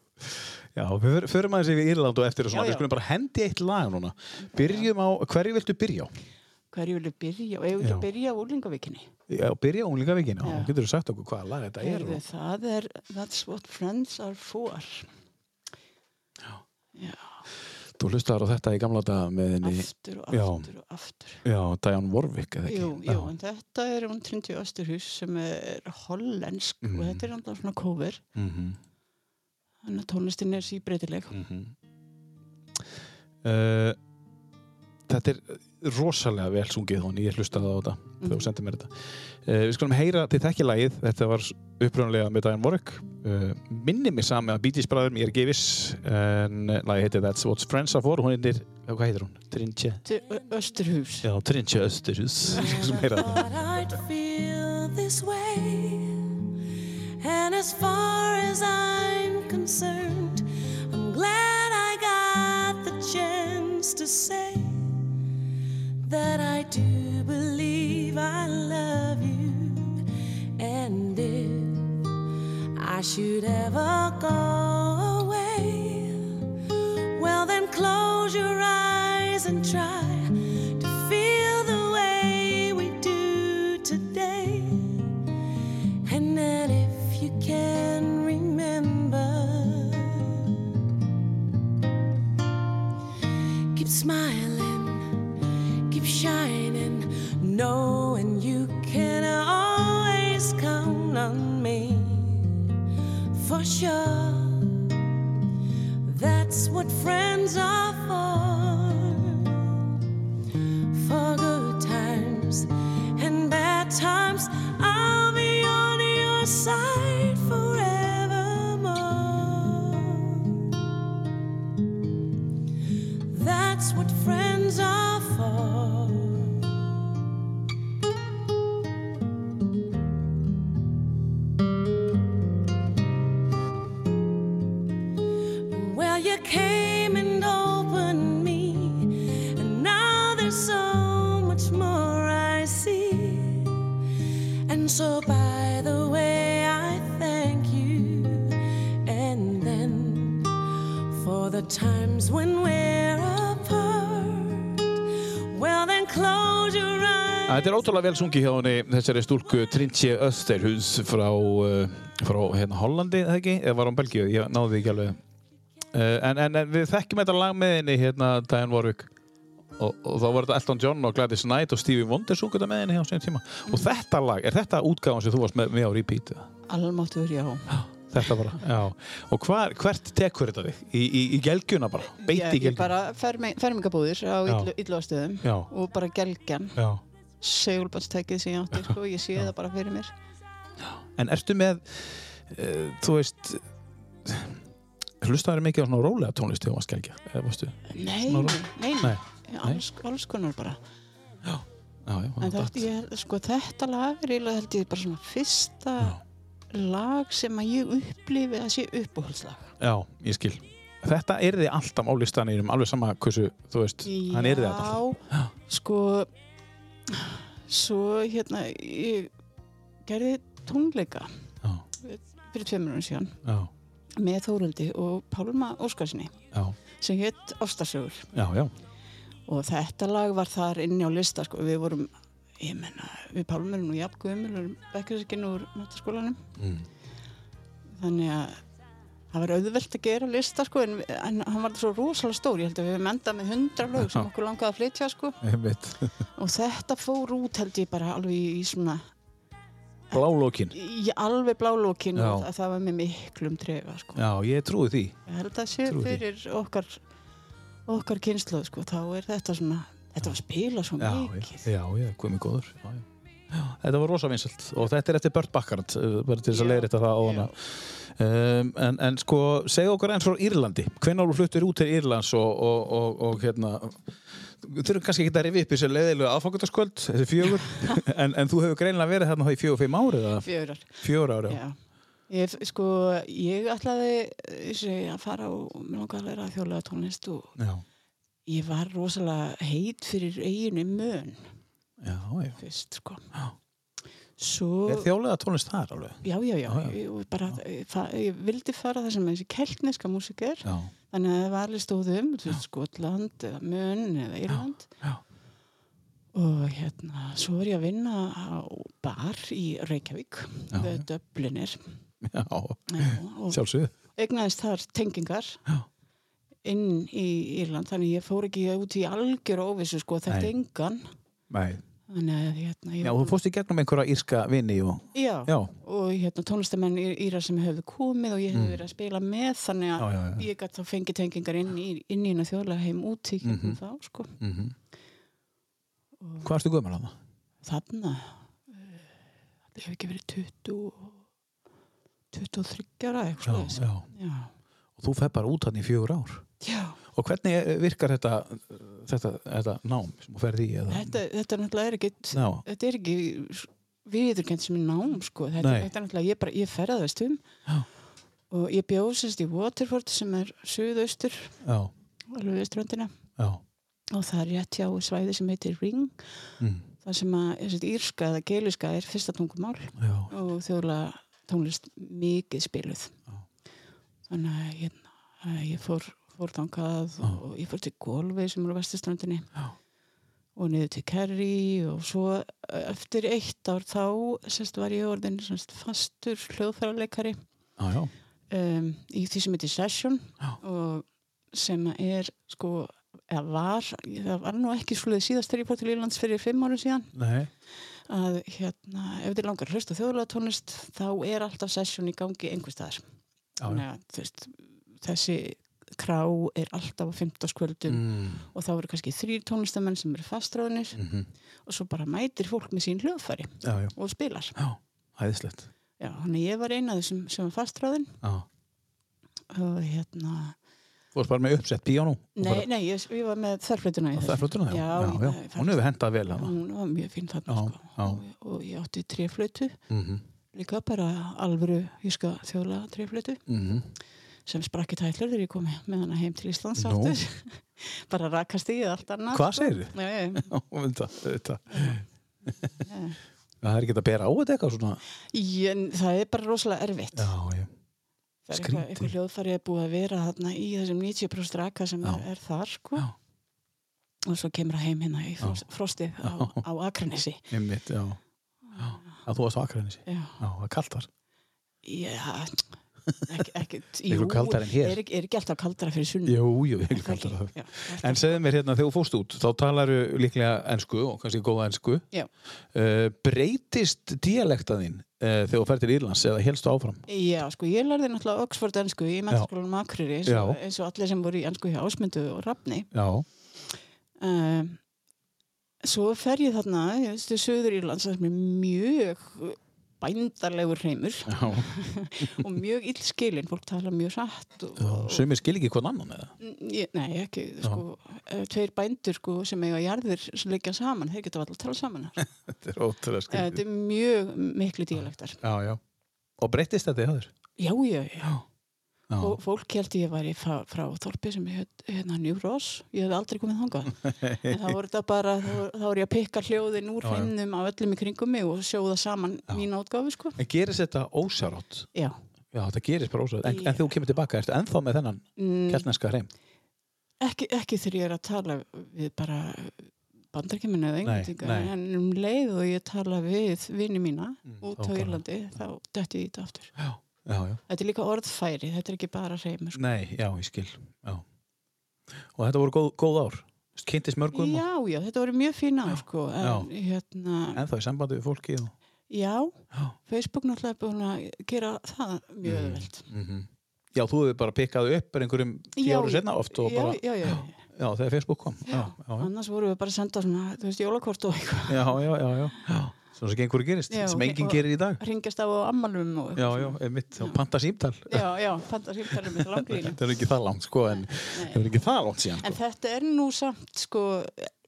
A: já við för- förum aðeins yfir Írland og eftir og svona.
B: Já, já.
A: Við skulum bara hendi eitt lag núna. Byrjum á, hverju viltu byrja á?
B: hverju vilja byrja og ég
A: Já.
B: vilja byrja á úlingavikinni
A: Já, byrja unglingavíkinn, já.
B: Já.
A: Getur þú sagt okkur hvaða lag þetta er?
B: Heyrðu,
A: og-
B: það er That's What Friends Are For
A: Þú hlustar á þetta í gamla daga með henni,
B: aftur og
A: Já.
B: aftur og aftur
A: já, Diane Warwick, eða ekki?
B: jú, jú, en þetta er hún Trindi Östurhus sem er hollensk
A: Mhm.
B: og þetta er alltaf svona cover
A: Mm -hmm.
B: Þannig að tónlistin er síbreytileg.
A: mm uh, Þetta er rosalega vel sungið hún, ég hlustaði á þetta þegar þú sendið mér þetta uh, Við skulum heyra til þekkilagið, þetta var uppröðanlega með Diane Warwick uh, Minni mig sami að Bee Gees bræðum, ég er gefis en eh, lagið heitir That's What Friends Are For hún heitir, já, hvað heitir hún? Trinche
B: Þetta er Östurhús.
A: Já, Trinche Östurhus Við skulum heyra þetta
C: thought I'd feel this way. And as far as I'm concerned, I'm glad I got the chance to say that I do believe I love you. And if I should ever go away, well, then close your eyes and try to feel the way we do today. And then, if you can remember, keep smiling, keep shining, knowing you can always count on me for sure. That's what friends are for. For good times and bad times, I'll be on your side forevermore. That's what friends are for. Well, you came and opened me, and now there's so much more I see. And so, by the way, I thank you. And then, for the times when we're apart, well, then close your eyes.
A: Þetta er ótrúlega vel sungið hjá henni þessari stúlku Trintje Österhus frá, uh, frá hérna, Hollandi, eða ekki? Eða var hún Belgíu? Ég náði því ekki alveg. Uh, en, en, en við þekkjum þetta lag með henni hérna Diane Warwick og, og þá var þetta Elton John og Gladys Knight og Stevie Wonder sungu þetta með henni hjá sinni tíma. Og þetta lag, er þetta útgáðan sem þú varst með, með á repeat? eða?
B: Almáttur, já.
A: Þetta bara, já. Og hvar, hvert tekur þetta þig? Í, í, í gelgjuna bara? Beiti í
B: Ég, ég
A: gelgjuna?
B: bara fermi- fermingabúðir á
A: Já.
B: yllastöðum
A: Já.
B: og bara gelgjan,
A: Já.
B: segulbannstækið sem ég átti, sko, ég sé það bara fyrir mér.
A: En ertu með, uh, þú veist, hlustaður mikið á svona rólega tónlist þegar þú varst gælgja, eða varstu?
B: Nei,
A: Svona-
B: nei,
A: Nei.
B: nei, alls, alls konar bara.
A: Já, já,
B: En
A: datt.
B: þetta, ég, sko, þetta lag er eiginlega held ég bara svona fyrsta lag sem að ég upplifi að sé uppáhaldslag.
A: já, ég skil. Þetta er þið alltaf á listanýrum, alveg sama hversu, þú veist, hann er þið alltaf.
B: Já, sko, svo hérna, ég gerði tónleika
A: Já,
B: fyrir tveimur hún síðan
A: já,
B: með Þóraldi og Pálma Óskarsinni
A: já,
B: sem hétt Ástarsögur
A: já, já,
B: og þetta lag var þar inni á lista sko. við vorum, ég menna, við Pálma erum nú jafngumil, við erum bekkarsakinn úr mataskólanum
A: mm.
B: þannig að það var auðvelt að gera lista sko, en, en hann var svo rosalega stór ég held að við höfum endað með hundra lög sem
A: Já.
B: okkur langaði að flytja sko.
A: einmitt.
B: og þetta fór út held ég bara alveg í, í svona
A: Blálókin.
B: í alveg blálókin
A: Já.
B: og það, það var með miklum trefa sko.
A: Já, ég trúi því.
B: ég held að sé
A: Trúi því.
B: fyrir okkar okkar kynsluð sko, þá er þetta svona þetta var að spila svo
A: Já,
B: mikið
A: já, já, komið góður. Já, já. Já, þetta var rosa vinsalt og þetta er eftir Bört Bakkart, eh, bara til þess að
B: Já,
A: leiðrita það á hana. Um, en, en sko, segja okkur eins frá Írlandi. Hvenær þú fluttir út til Írlands og, og, og, og hérna, þurfum kannski ekki að rifi upp þessi leiðilega aðfangutaskvöld, þessi fjögur, en, en þú hefur greinilega verið þarna þá í fjögur og fimm árið, eða
B: fjörar
A: fjögur árið.
B: Já. Ég, sko, ég ætlaði þessi, að fara og mér langaði að læra þjóðlega tónlist og
A: Já,
B: ég var rosalega heit fyrir eiginu mön
A: já, já.
B: fyrst sko
A: Já.
B: svo,
A: Er þjóðlega tónlist þar alveg?
B: já, já, já,
A: Já, já.
B: Ég, og bara, fa, ég vildi fara það sem þessi keltneska músik er
A: Já,
B: þannig að það var alveg stóðum um, Skotland eða Mön eða Írland
A: já.
B: og hérna, svo var ég að vinna á bar í Reykjavík
A: Já,
B: The
A: já.
B: Dublinir
A: Já,
B: og
A: sjálfsögðu.
B: egnaðist þar tengingar
A: Já.
B: inn í Írland þannig ég fór ekki út í algjör óvissu sko, þetta
A: Nei.
B: engan
A: Nei,
B: Þannig Þannig að hérna, ég,
A: Já, þú fórst í gegnum einhverja írska vini og...
B: já,
A: Já,
B: og hérna tónlistamenn í- íra sem höfðu komið og ég hefði verið að spila með þannig að
A: Mm. Já, já, já.
B: ég gætt þá fengið tengingar inn í, inn í hérna þjóðlega heim úti mm
A: Mhm.
B: þá sko
A: mm hvað erstu gömur að það?
B: þarna eh, það hefur ekki verið 20 og- 23 ára
A: Já,
B: eitthvað
A: já.
B: já,
A: Og þú fer bara út hann í fjögur ár.
B: já.
A: Og hvernig eh, virkar þetta, þetta, þetta nám sem þú ferð í? Eða...
B: Þetta, þetta náttúrulega er ekkit
A: Já,
B: þetta er ekki viðurkend sem er nám sko. þetta,
A: Nei.
B: þetta er náttúrulega, ég, bara, ég ferðaðist um
A: Já.
B: og ég bjóð sérst í Waterford sem er suðaustur
A: já,
B: alveg við ströndina
A: já.
B: og það er rétt hjá svæði sem heitir Ring
A: Mm,
B: það sem að er sérst írska eða geliska er fyrsta tungumál
A: já.
B: og þjóðlega tónlist mikið spiluð
A: Já.
B: þannig að ég, að ég fór, fór þangað
A: Já.
B: og ég fór til Golfi sem er á vestuströndinni
A: Já.
B: og niður til Kerry og svo e, eftir eitt ár þá sérst var ég orðin sérst, fastur hljóðfærarleikari
A: Já, já,
B: um, í því sem heitir Session
A: Já.
B: og sem er sko eða var, það var nú ekki svolítið síðast þegar ég fór til Írlands fyrir fimm árum síðan
A: nei,
B: að hérna, ef þið langar að hlusta þjóðlega tónlist þá er alltaf sesjón í gangi einhver staðar
A: já, já.
B: Þannig að, þú veist, þessi krá er alltaf á 15 skvöldum
A: Mm,
B: og þá eru kannski þrýr tónlistamenn sem eru fastráðinir
A: mm
B: og svo bara mætir fólk með sín hljóðfæri
A: já, já,
B: og spilar
A: já, æðislegt.
B: Já, hann ég var eina af þessum sem var fastráðin
A: Já.
B: og hérna
A: Þú varst bara með uppsett píanó. og
B: Nei,
A: bara-
B: nei, ég, ég var með þærflutuna í
A: Það er flottur það,
B: já,
A: já, já,
B: ég-
A: Hún hefur hendað vel hana.
B: Hún var mjög fín þarna
A: Já,
B: sko.
A: já.
B: og, og ég átti tréflötu
A: Mhm,
B: líka bara alvöru, ég skal þjóðlega tréflötu
A: mhm.
B: sem sprakk í tætlur þegar ég kom með hana heim til Íslands
A: Nú.
B: aftur. Bara rakast í allt annað.
A: Hvað segirðu?
B: Já, já,
A: Já, þetta, þetta.
B: já.
A: Það er ekki að bera á þetta eitthvað svona.
B: Ég, það er bara rosalega erfitt.
A: Já, já.
B: það er
A: skrýtið.
B: eitthvað, eitthvað hljóðfæri er búið að vera þarna í þessum 90% raka sem
A: Já.
B: er, er þar, sko.
A: Já.
B: Og svo kemur það heim hérna í fros- frostið á,
A: Já.
B: á Akranesi.
A: Einmitt, já. já. Að þú varst á Akranesi.
B: Já,
A: Já, það er kalt þar.
B: já. Ekki, ekki,
A: Miklu kaldara en hér.
B: Er, ekki- er ekki alltaf kaldara fyrir sunnum.
A: Jú, jú, ég vil kalt þar.
B: Já,
A: En segðu mér hérna, þegar þú fórst út, þá talaru líklega ensku og kannski góða ensku.
B: Já.
A: Uh, breytist dialekta þín uh, þegar þú fer til Írlands eða helstu áfram?
B: Já, sko, ég lærði náttúrulega Oxford ennsku í mentaskólanum Akureyri eins og,
A: Já.
B: eins og allir sem voru í ennsku hjá Ásmundu og Rafni.
A: Já.
B: Um, svo fer ég þarna, ég veist, til Suður Írlands sem er mjög bændarlegur hreimur
A: Já.
B: og mjög illskilin, fólk tala mjög rætt og, og
A: Sumir skil ekki hvern annan eða?
B: ég, nei, ekki, sko, eh, tveir bændur sko, sem eiga jarðir sem leggja saman, þeir geta alltaf að tala saman. Eh,
A: Eh, Þetta er ótrúlega
B: Þetta er mjög miklu dialektar.
A: Já, já. Og breytist þetta í aður?
B: Já, já, já.
A: Já.
B: Fó- Fólk held ég væri frá, frá Þorpi sem ég hét hérna New Ross, ég hef aldrei komið þangað en þá voru þetta bara, þá, voru- þá voru ég að pikka hljóðin úr
A: Já, já.
B: hennum á öllum í kringum mig og sjóða saman
A: Já.
B: mín átgáfi sko
A: En gerist þetta ósárátt?
B: Já,
A: Já, þetta gerist bara ósárátt. En,
B: Ég-
A: en þegar þú kemur tilbaka, ertu ennþá með þennan
B: mm,
A: keltneska hreim?
B: ekki, ekki þegar ég er að tala við bara bandarkemina eða
A: Nei,
B: engatinga
A: nei.
B: en um leið og ég tala við vini mína
A: Mm,
B: út
A: þá
B: á
A: bara-
B: Írlandi þá dætti ég í þetta aftur
A: Já, já, já.
B: Þetta er líka orðfæri, þetta er ekki bara reymur sko.
A: Nei, já, ég skil. Já. Og þetta voru góð, góð ár. Kynntist mörgum og
B: Já, já, þetta voru mjög fína
A: Já,
B: sko en, hérna,
A: ennþá í sambandi við fólki. Og...
B: já,
A: Já.
B: Facebook náttúrulega er búin að gera það mjög
A: Mm.
B: öðvöld
A: Já, þú hefur bara pikkað upp bara einhverjum tíu
B: Já,
A: áru senna oft og
B: já,
A: bara,
B: já, já, já.
A: já, þegar Facebook kom. Já, já,
B: annars voru við bara að senda svona, þú veist, jólakort og eitthvað
A: já, já, já, já. já. Svona sem gengur gerist,
B: Já,
A: sem
B: ok,
A: enginn
B: og-
A: gerir í dag.
B: ringjast af á ammalum og
A: Já, já, mitt, þá panta símtal.
B: já, já, fanta símtæri með langlínu
A: Þetta er ekki það langt, sko, en þetta er ekki það langt síðan, sko.
B: en þetta er nú samt sko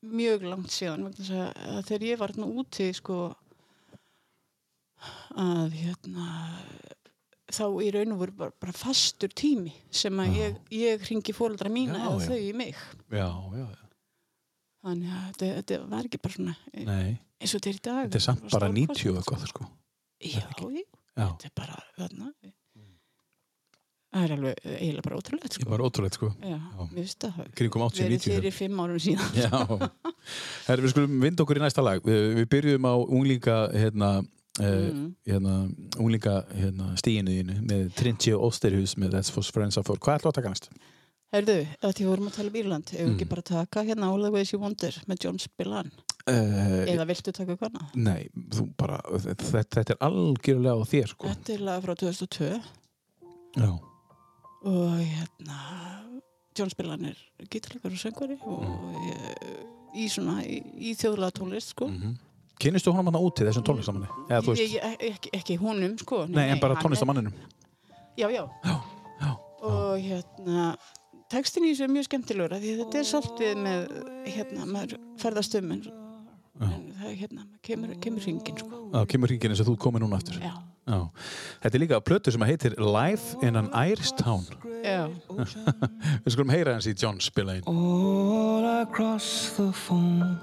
B: mjög langt síðan vegna þess að- að þegar ég var hérna úti sko að hérna þá í raun og voru bara, bara fastur tími sem að ég, ég ringi fóreldra mína
A: Já,
B: eða
A: já.
B: þau í mig
A: Já, já, já.
B: þannig að þetta, þetta var ekki bara svona eh,
A: Nei,
B: eins og þetta er í dag
A: þetta er samt bara 90 og
B: stórkostlegt.
A: eitthvað, sko.
B: Já, já,
A: Já,
B: þetta er bara þarna það er alveg eiginlega bara ótrúlegt
A: ég
B: sko.
A: var ótrúlegt, sko.
B: já, mér finnst það hafa
A: Kringum 80,
B: verið
A: 90.
B: fyrir fimm árum síðan
A: Já. Herri, við skulum vinda okkur í næsta lag. Við, við byrjum á unglinga, hérna, mm.
B: Mm.
A: hérna unglinga hérna, stíinu þínu með Trinity og Osterhus með That's for Friends of Four. Hvað ætlaðu að taka næst?
B: Herðu, að því vorum að tala um Írland hefur ekki bara að taka hérna All the Ways You Wonder með John Spillan
A: uh,
B: Eða viltu taka hvona?
A: Nei, þú bara þetta, þetta er algjörlega á þér sko
B: Þetta er laga frá 2002
A: Já,
B: og hérna John Spillan er gítarleikar og söngvari og ég, í svona í, í þjóðlega tónlist sko
A: Mm. kynistu honum hann úti þessum tónlistamanni? Eða þú
B: ég,
A: veist,
B: ég, ekki, ekki honum sko
A: nei en bara
B: hann er-
A: tónlistamanninum
B: Já, já
A: Já, já
B: og hérna textin í þessu er mjög skemmtilegur af því að þetta er saltið með hérna, maður ferðast um en, en það er hérna, maður kemur, kemur hringin sko
A: Já, kemur hringin eins og þú komið núna aftur
B: Já,
A: Já. Þetta er líka plötu sem heitir Life in an Irish Town
B: já,
A: Við skulum heyra hans í John Spillane
D: All across the foam,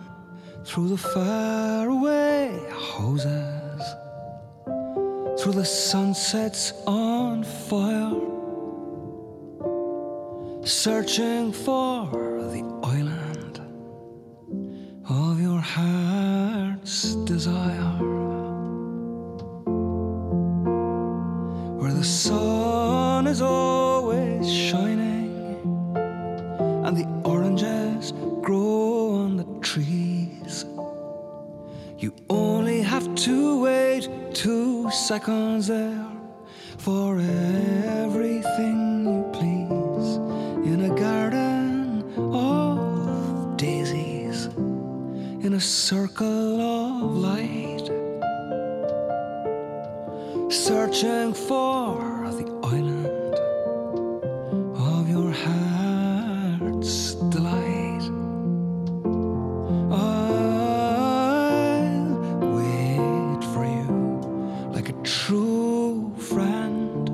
D: through the faraway hoses, through the sunsets on fire, searching for the island of your heart's desire, where the sun is always shining and the oranges grow on the trees. You only have to wait two seconds there for everything you please in a garden of daisies, in a circle of light, searching for the island of your heart's delight. I'll wait for you like a true friend.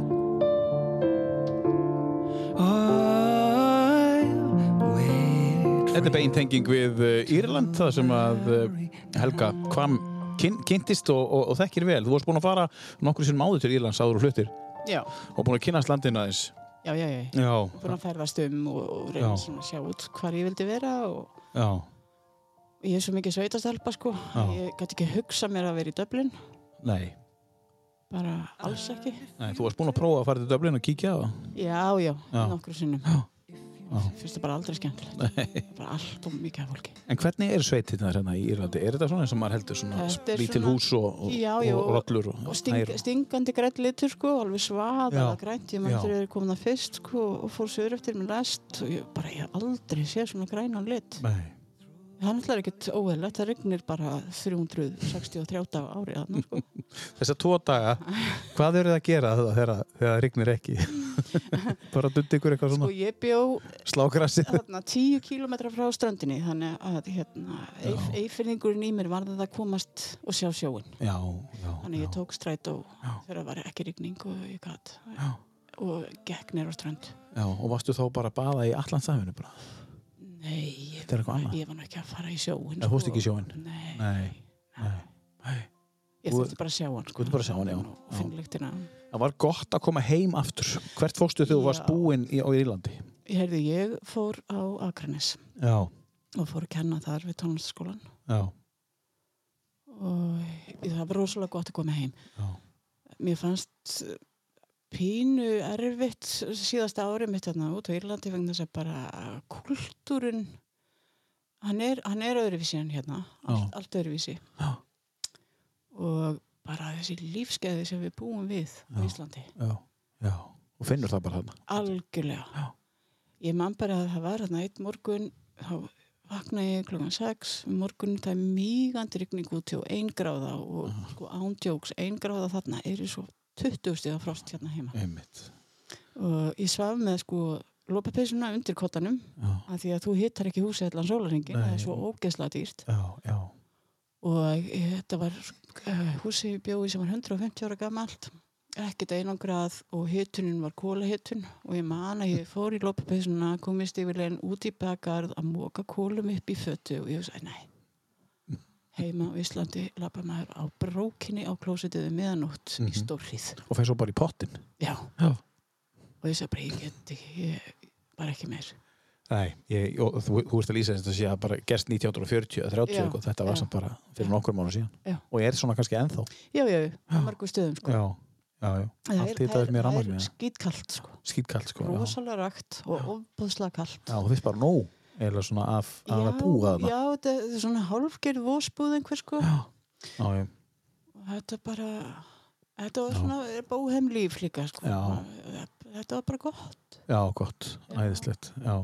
D: I'll wait for
A: Þetta er beintenging við uh, Írland það sem að uh, Helga Hvam kyn, kynntist og, og, og þekkir vel. Þú varst búin að fara nokkur sinnum áður til Írlands áður og fluttir
B: já,
A: og búin að kynast landin aðeins.
B: já, já, já.
A: Já,
B: búin að ferðast um og, og reyna
A: Já.
B: svona að sjá út hvar ég vildi vera og
A: já,
B: ég er svo mikið sveitastelpa sko
A: Já.
B: ég gæti ekki hugsa mér að vera í Dublin
A: nei.
B: bara alls ekki
A: nei. Þú varst búin að prófa að fara til Dublin og kíkja á það.
B: já, já,
A: Já.
B: nokkru sinnum
A: Já.
B: finnst það bara aldrei skemmtilegt bara allt og mikið af fólki
A: En hvernig eru sveitirnar hérna í Írlandi? Er þetta svona eins og maður heldur svona
B: Þetta er
A: lítil
B: svona-
A: hús og, og,
B: Já, já,
A: og
B: og-
A: rollur og,
B: og sting,
A: nær-
B: stingandi grænt litur sko, alveg svaða
A: Já.
B: grænt, ég maður
A: Já.
B: þegar ég er komin að fyrst sko, og fór sögur eftir minn lest og ég bara, ég hef aldrei séð svona grænan lit
A: Nei,
B: það er náttúrulega ekkert óeðlegt, það regnir bara 363 daga á ári þarna, sko.
A: þessa tvo daga, hvað eru það að gera það þegar þegar það rignir ekki? Bara dundi ykkur eitthvað
B: sko
A: svona
B: ég bjó
A: slágrassið?
B: þarna, tíu kílometra frá strandinni þannig að hérna, eif, eifirningurinn í mér varði að komast og sjá sjóin
A: Já, já,
B: þannig ég tók strætó þegar það var ekki rigning og ég gat já. og gekk nýr á strand
A: Já, og varstu þá bara að baða í Allandsafinu bara?
B: nei, ég,
A: Þetta er eitthvað annað.
B: ég var nú ekki að fara í sjóin
A: Nei, þú fórst ekki í sjóinn?
B: nei,
A: Nei, nei, nei.
B: ég
A: þú-
B: þurfti bara að sjá hann sko.
A: þurfti bara að sjá hann, já.
B: og finn lyktina
A: Það var gott að koma heim aftur. Hvert fórstu þegar þú varst
B: Já.
A: búinn í, á Írlandi?
B: ég, heyrðu, ég fór á Akranes
A: Já,
B: og fór að kenna þar við tónlistaskólan
A: já,
B: og ég- það var rosalega gott að koma heim
A: já.
B: mér fannst uh, pínu erfitt síðasta árið mitt þarna út á Írlandi vegna þess að bara kultúrun hann er, hann er öðruvísi en hérna allt, allt öðruvísi
A: Já.
B: og bara þessi lífskeiði sem við búum við á Íslandi
A: Já, já. Og finnur það bara þarna.
B: algjörlega
A: Já.
B: ég man bara að það var hérna eitt morgun þá vaknaði ég um klokkan 6 morgun það er mýgandi rigning út og ein gráða og sko ándjóks ein gráða þarna er svo 20 stiga frost hérna heima
A: Einmitt.
B: og ég svaf með sko lópapeysuna undir kottanum
A: Já,
B: af því að þú hittar ekki húsið allan sólaringin
A: Nei.
B: það er svo ógeðslega dýrt
A: já, já.
B: og ég- þetta var uh, húsið ég bjóði sem var 150 ára gamalt ekkert einangrað og hitunin var kólahetun og ég man að ég fór í lópapeysuna komist yfirlegin út í bakarð að móka kólum upp í fötu og ég sagði nei heima á Íslandi lappa maður á brókinni á klósitiðu miðanótt
A: Mhm.
B: í stórrið
A: Og fær svo bara í pottin.
B: já
A: Já.
B: og ég sagði bara ég get ekki ég, bara ekki meir
A: Nei, ég, og þú, þú ert að lýsa þess að sé að bara gerst 1940 eða 30
B: Já,
A: eitthvað, þetta var
B: já.
A: samt bara fyrir nokkur mánu síðan.
B: Já.
A: Og er svona kannski ennþá.
B: já, já, á margum stöðum sko.
A: Já, já, já. Allt þetta er mér
B: það
A: rannmagni.
B: er skýtkalt sko.
A: Skýtkalt, sko. já.
B: rosalega rakt og ofbúðslega kalt
A: Já, þú veist bara nóg. eða svona af, af að búa þarna.
B: já, þetta þetta er svona hálfgerð vósbúð einhver sko
A: Já, já.
B: og þetta bara þetta var svona bóhem líf líka sko.
A: Já.
B: þetta var bara gott
A: já, gott, æðislegt, já.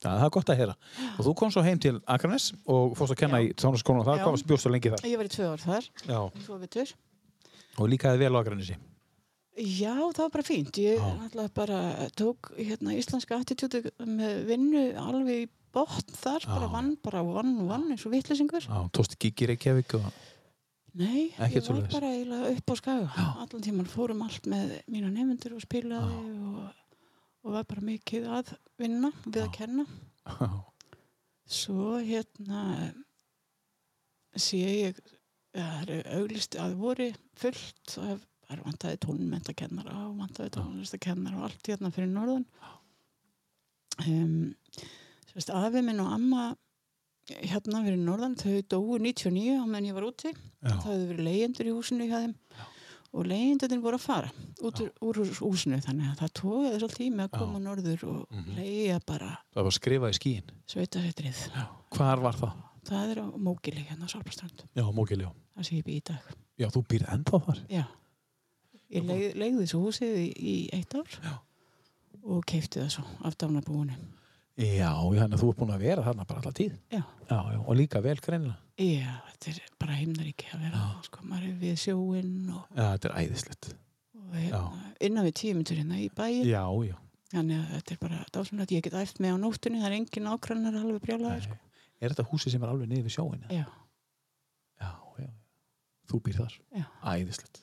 A: Já, það er gott að heyra. Og þú komst svo heim til Akranes og fórst að kenna í tónlistaskólan og það
B: Já.
A: komst bjóst svo lengi þar.
B: ég var í tvö ár þar,
A: Já,
B: svo vitur
A: og líkaði vel á Akranesi.
B: já, það var bara fínt ég
A: Já.
B: alltaf bara tók hérna, íslenska attitúti með vinnu alveg í botn þar, bara
A: Já.
B: vann bara one one eins og vittlisingur
A: Já, tósti gig í Reykjavík og
B: Nei,
A: Ekkert
B: ég var
A: svoleiðis.
B: bara eiginlega upp á skaga allan tíman fórum allt með mína nefndur og spilaði og, og var bara mikið að vinna við að kenna svo hérna sé ég það eru auglist að voru fullt af það vantaði tónmyndakennara og vantaði tónlistakennara og allt hérna fyrir norðan um, sérst, afi minn og amma hérna fyrir norðan þau dóu 99 á meðan ég var úti
A: Já.
B: það hefðu verið leyendur í húsinu hjá þeim og leyendurinn voru að fara út úr, úr hús- húsinu þannig að það tóði þess að tími að koma norður og mm leya bara
A: það var skrifað í skíin.
B: sveitasettrið
A: Já. Hvar var það?
B: Það er á Mógili hérna á Sálpastrand.
A: Já, Mókil, já.
B: Það sé ég býð í dag.
A: Já, þú býrði ennþá þar.
B: Já. Ég leið, leiði þessu húsið í, í eitt ár
A: Já.
B: og keipti það svo af dánabúinu.
A: Já, þannig að þú ert búin að vera þarna bara alla tíð.
B: Já.
A: Já, já, og líka vel greinilega.
B: Já, þetta er bara himnaríki að vera. Já. Sko, maður er við sjóinn og,
A: Já, þetta er æðislegt.
B: og hérna, innan við tímyndur hérna í bæin.
A: Já, já.
B: Þannig að þetta er bara dásunlega. Ég get æft með á nóttunni, það er engin ákrannar alveg brjálaði. Sko.
A: Er þetta húsi sem er alveg niður við sjóinu?
B: Já.
A: Já, já. Þú býr þar.
B: Já.
A: Æðislegt.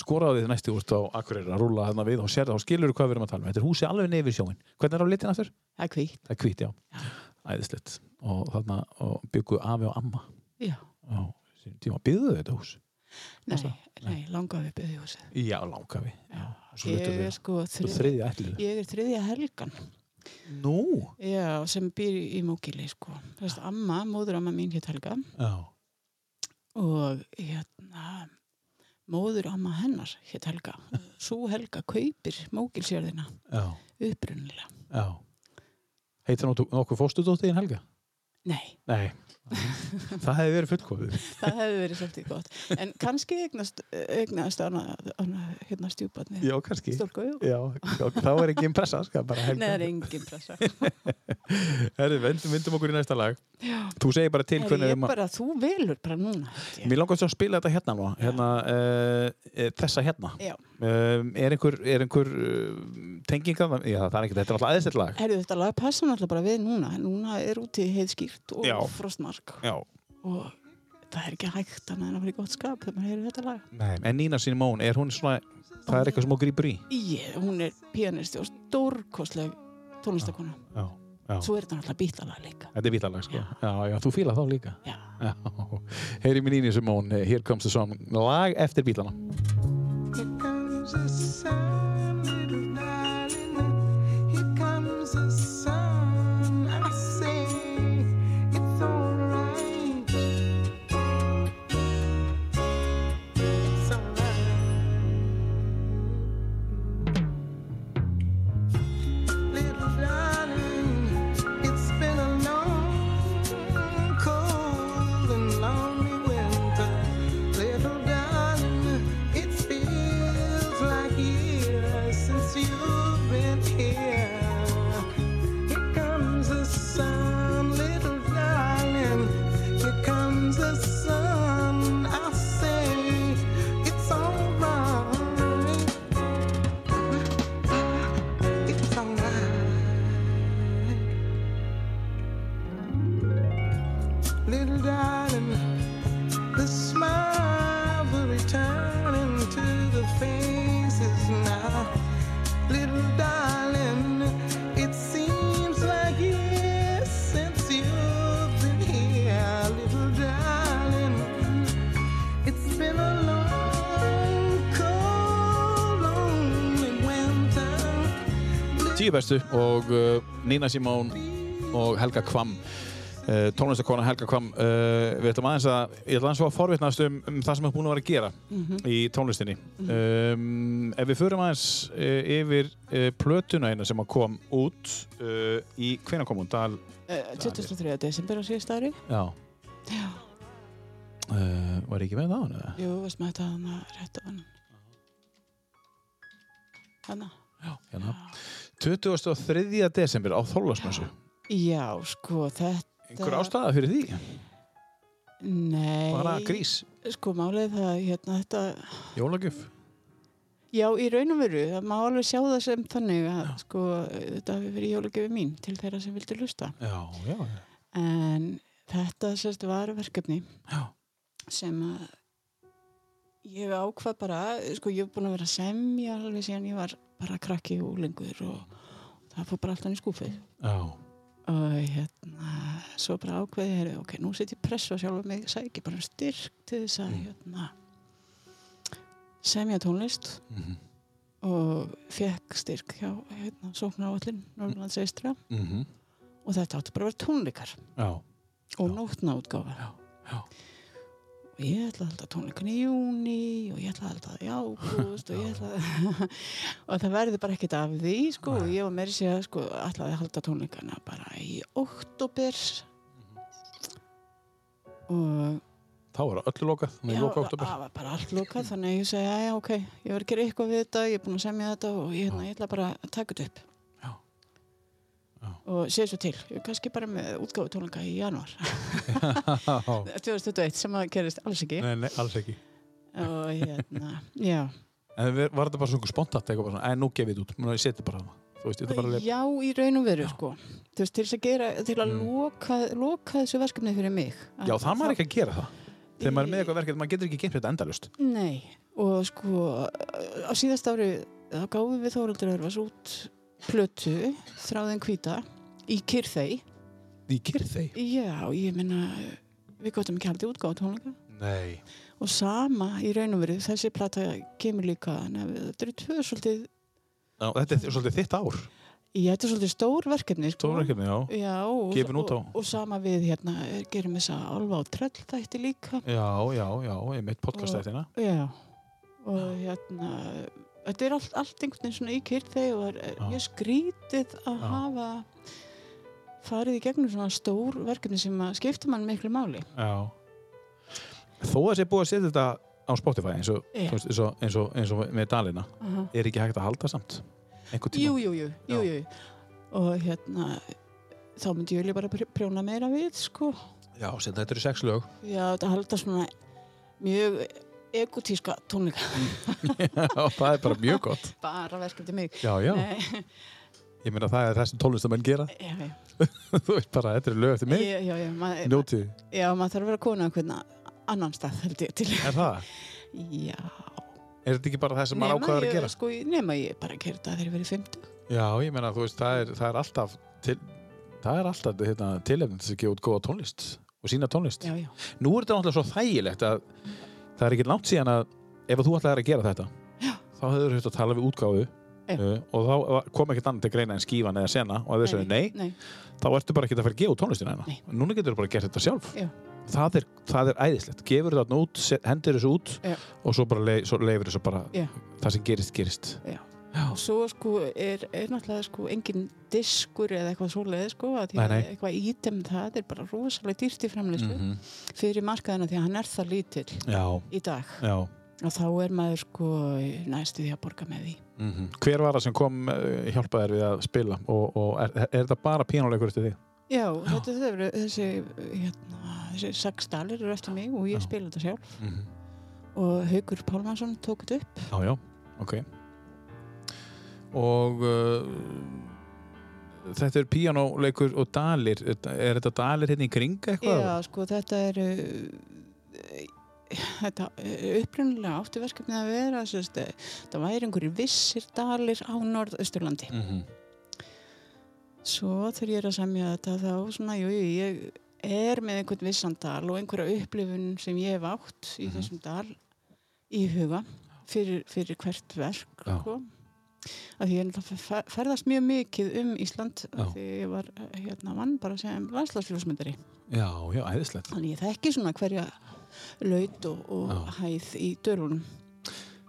A: Skoraðu þið næstu úrst á Akureyri að rúla þarna við og sér það og skilur hvað við erum að tala um. Þetta er húsi alveg niður við sjóin. Hvernig er á litin aftur?
B: Það er hvítt.
A: Það er hvít, já.
B: Já.
A: Æðislegt. Og þarna og byggu afi og amma.
B: Já.
A: Já, sínum tíma byggðu þau þetta hús.
B: Nei,
A: Varstu
B: nei, langaði við byggði húsið.
A: Já, langafi. Já. Og svo
B: Ég
A: lutur
B: er
A: þau.
B: sko
A: Þú
B: þrið,
A: þriðja ætlið.
B: ég er þriðja helgan.
A: Nú?
B: Já, sem býr í Mókili sko. Það veist, amma, móðuramma mín hétt Helga
A: Já.
B: og hérna móðuramma hennar hétt Helga. Sú Helga kaupir Mókilsjörðina
A: Já.
B: upprunnilega.
A: Já. Heitir nokkuð- nokkuð fóstudóttiðin Helga?
B: Nei,
A: Nei. það hefði verið fullkomið.
B: það hefði verið svolítið gott. En kannski eignast, eignast hana, hana hérna stjúparnið.
A: Já, kannski.
B: Stólku, jú.
A: Já, já, þá er ekki impressa, skal bara
B: Nei, það er
A: helga.
B: engin pressa.
A: Herri, vendum, vendum okkur í næsta lag. Já. Þú segir bara til
B: Er
A: hvernig
B: ég
A: um að...
B: bara, þú velur bara núna. held ég.
A: Mér langar svo að spila þetta hérna nú, hérna, uh, þessa hérna.
B: Já.
A: Um, er einhver, er einhver uh, tenging að það? Já, það er ekkert, þetta er alltaf aðeins eitt lag.
B: Herðu, þetta lag passa náttúrulega bara við núna. Núna er úti heiðskýrt og
A: Já.
B: frostmark.
A: Já.
B: og það er ekki hægt annað en að vera í gott skap þegar maður heyrði þetta lag
A: Nei, en Nína Simón, er hún svona, það er eitthvað sem hún grýpur í?
B: ég, hún er pianisti og stórkostleg tónlistakona
A: Já, já.
B: svo er þetta náttúrulega bítlalag líka
A: Þetta er vítalag, sko. Já, já, þú fílar þá líka.
B: já.
A: Já. Heyri minn Nína eh, Simón, hér komst þessum lag eftir bílana.
D: Here comes the sun, little darling. Here comes the sun. I say it's alright. It's alright. Little darling, it's been a long, cold and lonely winter. Little darling, it feels like years since you've been here. Here comes the sun, little darling. Here comes the sun. I say it's alright. It's alright. Little darling, the smiles are returning to the faces now. Little darling, it seems like years since you've been here. Little darling, it's been a long, cold, lonely winter.
A: eh, tíu bestu og uh, Nína Simón og Helga Kvam uh, tónlistakona Helga Kvam uh, við ætlum aðeins að, ég ætlum aðeins að forvitnast um, um það sem er búin að vera að gera í tónlistinni um, ef við förum aðeins uh, yfir uh, plötuna hérna sem að kom út uh, í hvenær kom hún? Dal,
B: Uh, 23. desember á síðast ári.
A: já,
B: Já,
A: uh, var ég ekki með það á hann eða?
B: jú, varst með þetta hann að rétta hann. Hanna?
A: Hérna. 23. desember á Þorlásmessu
B: Já, sko, þetta...
A: einhver ástæða fyrir því?
B: Nei.
A: bara grís,
B: Sko, málið er það, hérna, þetta...
A: jólagjöf
B: Já, í raun og veru, það má alveg sjá það sem þannig að sko, þetta hafi verið jólagjöfi mín til þeirra sem vildi hlusta.
A: já, já,
B: En þetta sérst var verkefni
A: já
B: sem að ég ákvað bara, sko ég hef búin að vera að semja alveg síðan ég var bara krakki og úlingur og það fór bara alltaf í skúfið.
A: já,
B: Og hérna, svo bara ákveði hér, ok, nú set ég pressa á sjálfa mig, sæki bara um styrk til þess
A: Mm.
B: að hérna, semja tónlist
A: mhm,
B: og fekk styrk hjá hérna, sóknaráallin Norrlands eistra
A: mhm,
B: og þetta átti bara að vera tónleikar
A: já
B: og nótnaútgáfa
A: Já, já.
B: og ég ætla að halda tónleikan í júni og ég ætla að halda það í ágúst og ég ætla að og það verði bara ekkert af því sko og ég var meiri sér sko ætlaði að halda tónleikana bara í oktober
A: Mhm.
B: og
A: þá er öllu lokað, hún
B: Já,
A: er
B: það
A: lokað oktober
B: var bara allt lokað þannig að ég segi, já, ok, ég var að gera eitthvað við þetta ég er búin að semja þetta og ég, hérna, ég ætla bara að taka þetta upp
A: Já. Já.
B: og sé svo til, ég er kannski bara með útgáfu tónleika í janúar
A: Já.
B: ah. 2021 sem að gerist alls ekki
A: Nei, nei, alls ekki.
B: og hérna, já
A: En við- var þetta bara svona spontant eitthvað bara svona, en nú gefið þetta út, núna ég seti bara það. Þú veist, þetta er bara leið.
B: já, í raun og veru, sko Þú veist, til þess að gera, til að
A: Mm.
B: loka, loka þessu verkefni fyrir mig
A: Já, það maður ekki að gera það. Þegar maður er með
B: Í-
A: eitthvað verkefni, maður getur ekki geimt þetta endalust.
B: Nei, og sko á síðast ári þá gáfum við Þóraldur Örvas út plötu, þráðin hvíta í kyrþei.
A: Í kyrþei?
B: Já, ég meina við gotum ekki haldið útgáð tónleika
A: Nei.
B: og sama í raun og veru, þessi plata kemur líka, nefnir, þetta eru tvö svolítið,
A: Ná, þetta er svolítið þitt ár.
B: já, þetta er svolítið stór verkefni, sko.
A: Stóra verkefni, já.
B: Já, og,
A: Gefin út á.
B: og, og sama við hérna, gerum þessa alva og tröll þætti líka.
A: Já, já, já, ég mitt podcastættina.
B: Já, og hérna, þetta er allt, allt einhvern veginn svona í kyrþegi og er
A: Já.
B: mjög skrítið að
A: Já.
B: hafa farið í gegnum svona stór verkefni sem að skipta mann miklu máli.
A: Já. Þó að sé búið að setja þetta á Spotify eins og,
B: Já.
A: þú veist, eins og, eins og, eins og með Dalina,
B: Aha.
A: er ekki hægt að halda samt. Einhvern tíma.
B: Jú, jú, jú, jú, jú. Og hérna, þá myndi Júli bara pr- prjóna meira við, sko.
A: Já, setja þetta eru sex lög.
B: Já, þetta halda svona mjög egotíska tónleika.
A: Já, það er bara mjög gott.
B: Bara verkefni um mig.
A: Já, já.
B: Nei,
A: Ég meina það er það sem tónlistamenn gera.
B: já, já,
A: Þú veist bara, þetta eru lög eftir mig.
B: já, já, já, maður,
A: Njótið.
B: já, maður þarf að vera kona einhvern annan stað, held ég, til.
A: Er það?
B: Já,
A: Er þetta ekki bara það sem maður
B: Nema
A: ákvaður
B: ég-
A: að gera?
B: Sko, nema ég bara gerði þetta þegar ég verið 50.
A: Já, ég meina, þú veist, það er, það er alltaf til, það er alltaf hérna, tilefnið til að gefa út góða tónlist og sína tónlist.
B: Já, já.
A: Nú er þetta náttúrulega svo þægilegt að það er ekki langt síðan að ef þú ætlaðir að gera þetta, Já. þá hefur þetta að tala við útgáfu
B: Já.
A: uh, og þá var- kom ekkert annað til greina en skífan eða sena og ef þau sagði nei,
B: Nei,
A: þá ertu bara ekki að fara að gefa út tónlistina hérna.
B: Nei.
A: Núna getur þú bara að gera þetta sjálf.
B: Já.
A: Það er, það er æðislegt. Gefur þetta út, se- hendir þessu út
B: Já.
A: og svo bara leif, svo leifir þessu bara
B: Já.
A: það sem gerist, gerist.
B: og svo sko er, er náttúrulega sko engin diskur eða eitthvað svoleið sko að því
A: Nei,
B: að
A: nei.
B: eitthvað ítem það er bara rosalega dýrt í framleyslu
A: -hmm.
B: fyrir markaðina því að hann er það lítill
A: Já,
B: í dag
A: já.
B: og þá er maður sko næstu því að borga með því.
A: Hver var það sem kom eh, hjálpa þér við að spila og, og er, er þetta bara pínuleikur eftir þig?
B: Já, þetta þau eru þessi, hérna, þessi sex dalir eru eftir mig og ég
A: Já.
B: spila þetta sjálf
A: Mm -hmm.
B: og Haugur Pálmansson tók þetta upp.
A: Já, já, ok. Og uh, þetta er pínuleikur og dalir. Er þetta dalir hérna í kring eitthvað?
B: Já, sko, þetta er uh, þetta uh, upprunalega átti verkefnið að vera sérst, það væri einhverjir vissir dalir á norðausturlandi
A: Mm
B: svo þegar ég er að semja þetta þá svona, jú, jú, ég er með einhvern vissan dal og einhverja upplifun sem ég hef átt í
A: Mhm.
B: þessum dal í huga fyrir, fyrir hvert verk
A: Já.
B: sko. af því ég náttúrulega fer- ferðast mjög mikið um Ísland
A: Já.
B: af því ég var hérna vann bara sem landslagsfjósmyndari
A: Já, já, æðislegt.
B: þannig ég þekki svona hverja laut og, og hæð í dörunum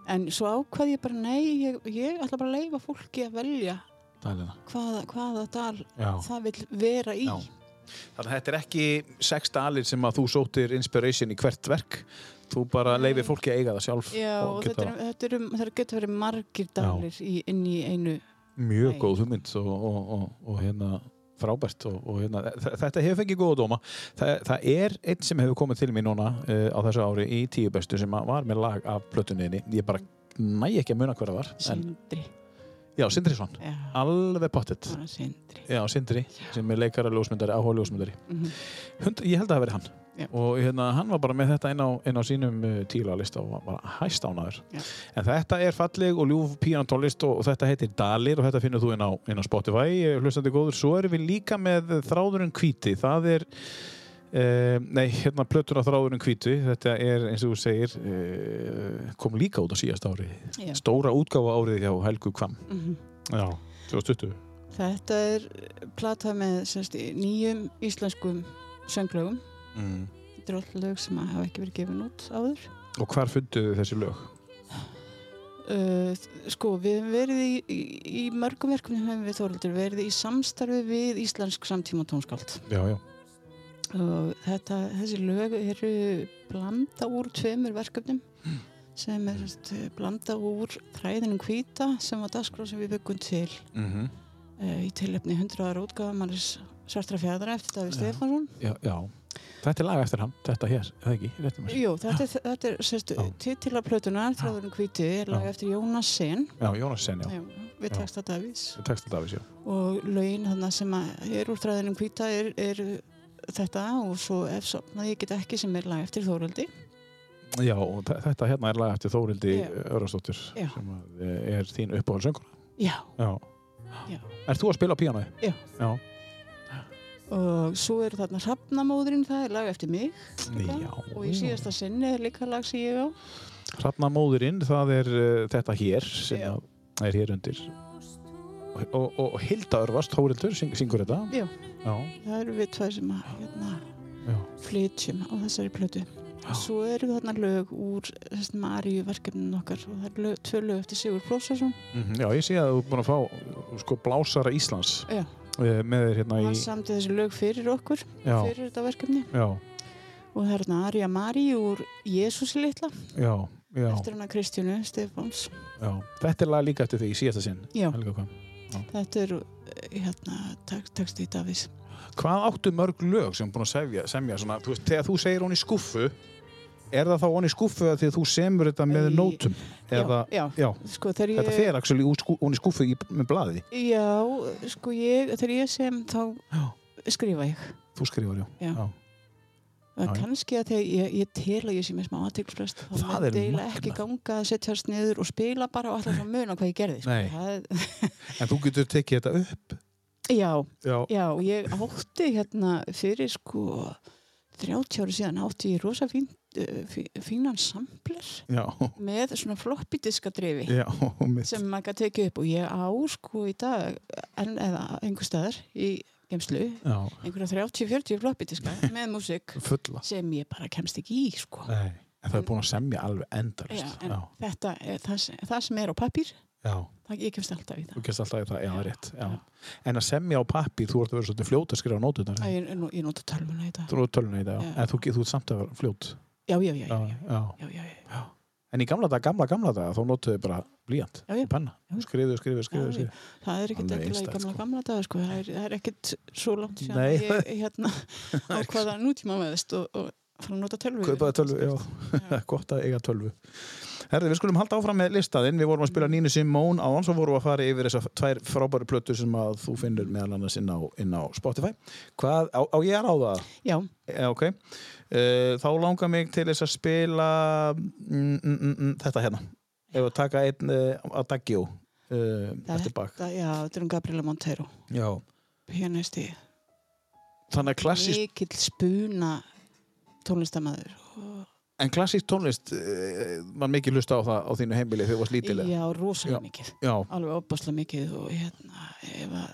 B: en svo ákvað ég bara nei, ég, ég ætla bara að leifa fólki að velja
A: Dælina.
B: hvaða, hvaða dal
A: Já.
B: það vil vera í
A: Já. Þannig að þetta er ekki sex dalir sem að þú sótir inspiration í hvert verk. Þú bara leifir fólki að eiga það sjálf.
B: Mm. Já, og þetta, er, um, þetta, er, þetta getur verið margir dalir í, inn í einu
A: mjög
B: Nei.
A: góð hugmynd og, og, og, og hérna frábært og, og hérna, þe- þetta hefur fengið góða dóma Þa, það er einn sem hefur komið til mér núna uh, á þessu ári í tíu bestu sem að var með lag af plötuninni ég bara næ ekki að muna hver það var en,
B: sindri
A: já, Sindri Svon,
B: Já,
A: alveg pottitt
B: bara sindri
A: já, Sindri, sem er leikara ljósmyndari áhuga ljósmyndari
B: Mhm.
A: Hund, ég held að það hafi verið hann
B: Já.
A: og hérna, hann var bara með þetta inn á, inn á sínum eh, tílalista og var bara hæst ánaður
B: Já.
A: en þetta er falleg og ljúf píanatólist og, og þetta heitir Dalir og þetta finnur þú inn á, inn á Spotify, eh, hlustandi góður svo erum við líka með þráðurinn hvíti það er Uh, nei, hérna plötur að þráðurinn hvítu þetta er eins og þú segir uh, kom líka út á síðast ári
B: Já.
A: stóra útgáfa árið hjá Helgu Kvam
B: Mhm.
A: Já, 2020
B: Þetta er plata með semst, nýjum íslenskum sönglögum.
A: mm.
B: Þetta eru alltaf lög sem hafa ekki verið gefin út áður.
A: Og hvar funduðu þessi lög?
B: Uh, sko, við höfum verið í, í, í mörgum verkefni höfum við Þoraldur verið í samstarfi við íslensk samtíma tónskáld.
A: Já, já
B: Og þetta, þessi lög eru blanda úr tveimur verkefnum
A: Hmm.
B: sem er semst, blanda úr þræðinum hvíta sem var dagskrá sem við byggum til
A: mm
B: uh, í tilöfni 100 ára útgáfa manns svartra fjæðra eftir Davíð Stefánsson
A: já, já, þetta er lag eftir hann Þetta hér, eða ekki, réttum mér
B: Jú, þetta er, þetta er sérst,
A: Já.
B: titila plötunar, Þráðurinn hvíti, er lag
A: Já.
B: eftir Jónas Sen,
A: Já, Jónas Sen, já,
B: já, við
A: Já.
B: texta Davís
A: textil Davís, já
B: og lögin þarna sem að er úr Þráðurinn hvíta er, er þetta og svo ef sopnað ég get ekki sem er lag eftir Þóraldi.
A: Já, og þe- þetta hérna er lag eftir Þórildi
B: Já.
A: Örastóttur
B: Já.
A: sem að, eh, er þín uppáhaldsönguna
B: Já,
A: Já
B: Já.
A: Ert þú að spila á píanói?
B: Já.
A: Já,
B: og svo er þarna Hrafnamóðurinn, það er lag eftir mig
A: já
B: og í síðasta sinni er líka lag sem ég á.
A: Hrafnamóðurinn, það er uh, þetta hér sem
B: Já.
A: að er hér undir Og, og, og, og Hilda Örvast, Þórildur, syng, syngur þetta
B: Já.
A: Já,
B: Það eru við tvær sem að hérna,
A: já,
B: flytjum á þessari plötu. Svo eru þarna lög úr Maríu verkefninu okkar og það eru lög, tvö lög eftir Sigur Prósarsson
A: Mhm, já ég sé að þú er búin að fá sko blásara Íslands
B: Já.
A: eh, með þér hérna í
B: hann samti þessi lög fyrir okkur
A: Já,
B: fyrir þetta verkefni
A: já,
B: og það er þarna Arja Mari úr Jésusi litla
A: já, já.
B: eftir hana Kristjánu Stefáns
A: Já, þetta er lag líka eftir því í síðasta sinn
B: Já.
A: Helga Kvam.
B: þetta er hérna tek, texti í Davís
A: Hvað áttu mörg lög sem búin að semja, semja svona, þú veist, þegar þú segir hún í skúffu er það þá hún í skúffu að því að þú semur þetta með
B: Í-
A: nótum eða,
B: já,
A: já,
B: sko þegar ég
A: þetta fer actually út skú, hún í skúffu í, með blaði,
B: já, sko ég, þegar ég sem þá
A: Já.
B: skrifa ég
A: þú skrifar já,
B: Já.
A: Já,
B: Já,
A: já.
B: kannski að þegar ég, ég tel að ég sé með smá aðtilsprest þá
A: Það
B: myndi
A: er
B: eiginlega ekki
A: magnað.
B: ganga að setjast niður og spila bara og alltaf að muna hvað ég gerði sko.
A: Nei.
B: það,
A: en þú getur tekið þetta upp
B: já,
A: já,
B: já, ég átti hérna fyrir sko 30 ári síðan átti ég rosa fín, eh, fí- fínan sampler
A: já,
B: með svona floppy diska dreifi
A: já, mitt
B: sem maður kann tekið upp og ég á sko í dag en, eða einhver staðar í gemslu
A: já,
B: einhverja 30-40 floppy diska með músík
A: fulla
B: sem ég bara kemst ekki í sko
A: Nei. en það er búin að semja alveg
B: Já,
A: endalist
B: en
A: já,
B: þetta er það, sem- það sem er á pappir,
A: já,
B: það ég kemst alltaf í það.
A: þú gerst alltaf í það, já, það er rétt
B: Já.
A: já. en að semja á pappi, þú ert að vera svolítið fljót að skrifa nótunar
B: Æ, ég, nú- ég nota tölvuna í þetta.
A: Þú eru tölunni í dag, já.
B: Já.
A: en þú, þú ert samt að vera fljót.
B: Já, já, já, já, já,
A: já.
B: já, já, já.
A: En í gamla dag, gamla, gamla dag, þá notuðu bara blíjant
B: Já, já.
A: og penna.
B: Já.
A: Skriðu, skriðu, skriðu.
B: Já,
A: skriðu.
B: Það er ekkert
A: Alveg
B: ekki í
A: einstakt,
B: gamla,
A: sko.
B: gamla daga, sko. Það er, það er ekkert svo langt sem
A: Nei.
B: ég hérna ákvaða nútíma með þess og, og fara að nota tölvu.
A: Kaupaði tölvu, já. Gott að eiga tölvu. Herði, við skulum halda áfram með listaðinn. Við vorum að spila Nínu Simón á hans og vorum að fara yfir þessar tvær frábæru plötur sem að þú finnur meðal annars inn á, inn á Spotify. Hvað, á, á ég að ráða það?
B: Já,
A: Já, ok. Uh, þá langar mig til þess að spila mm, mm, mm, mm, þetta hérna. Ef að taka einn uh, að dagjó uh, eftir bak.
B: þetta, já, þetta er um Gabriela Montero.
A: Já.
B: Pianisti,
A: Þannig að klassísk
B: mikill spuna tónlistamæður og
A: En klassísk tónlist eh, var mikið hlusta á það á þínu heimili þegar þú varst lítilega.
B: Já, rosalega
A: Já.
B: mikið.
A: Já,
B: Alveg opaslega mikið og hérna, ef að,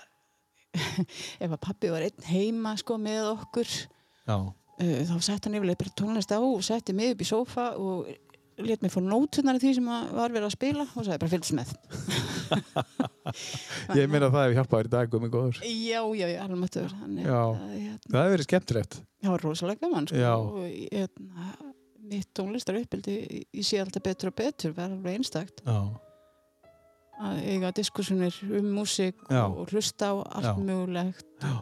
B: ef að pappi var einn heima sko með okkur,
A: já,
B: uh, þá sett hann yfirlega bara tónlist á og setti mig upp í sófa og let mig fá nótunar í því sem að var verið að spila og sagði bara fylgst með.
A: Ég meina að það hefur hjálpað þér í dag, guð minn góður.
B: Já, já, já, alveg mættur. Þannig
A: Já.
B: að hérna,
A: Það hefur verið skemmtilegt.
B: Já, rosalega gaman sko.
A: Já.
B: og hérna, mitt tónlistar uppbildi ég sé alltaf betur og betur verða alveg einstakt
A: Já,
B: að eiga diskursunir um músík
A: Já.
B: og hlusta á allt
A: Já.
B: mögulegt
A: já.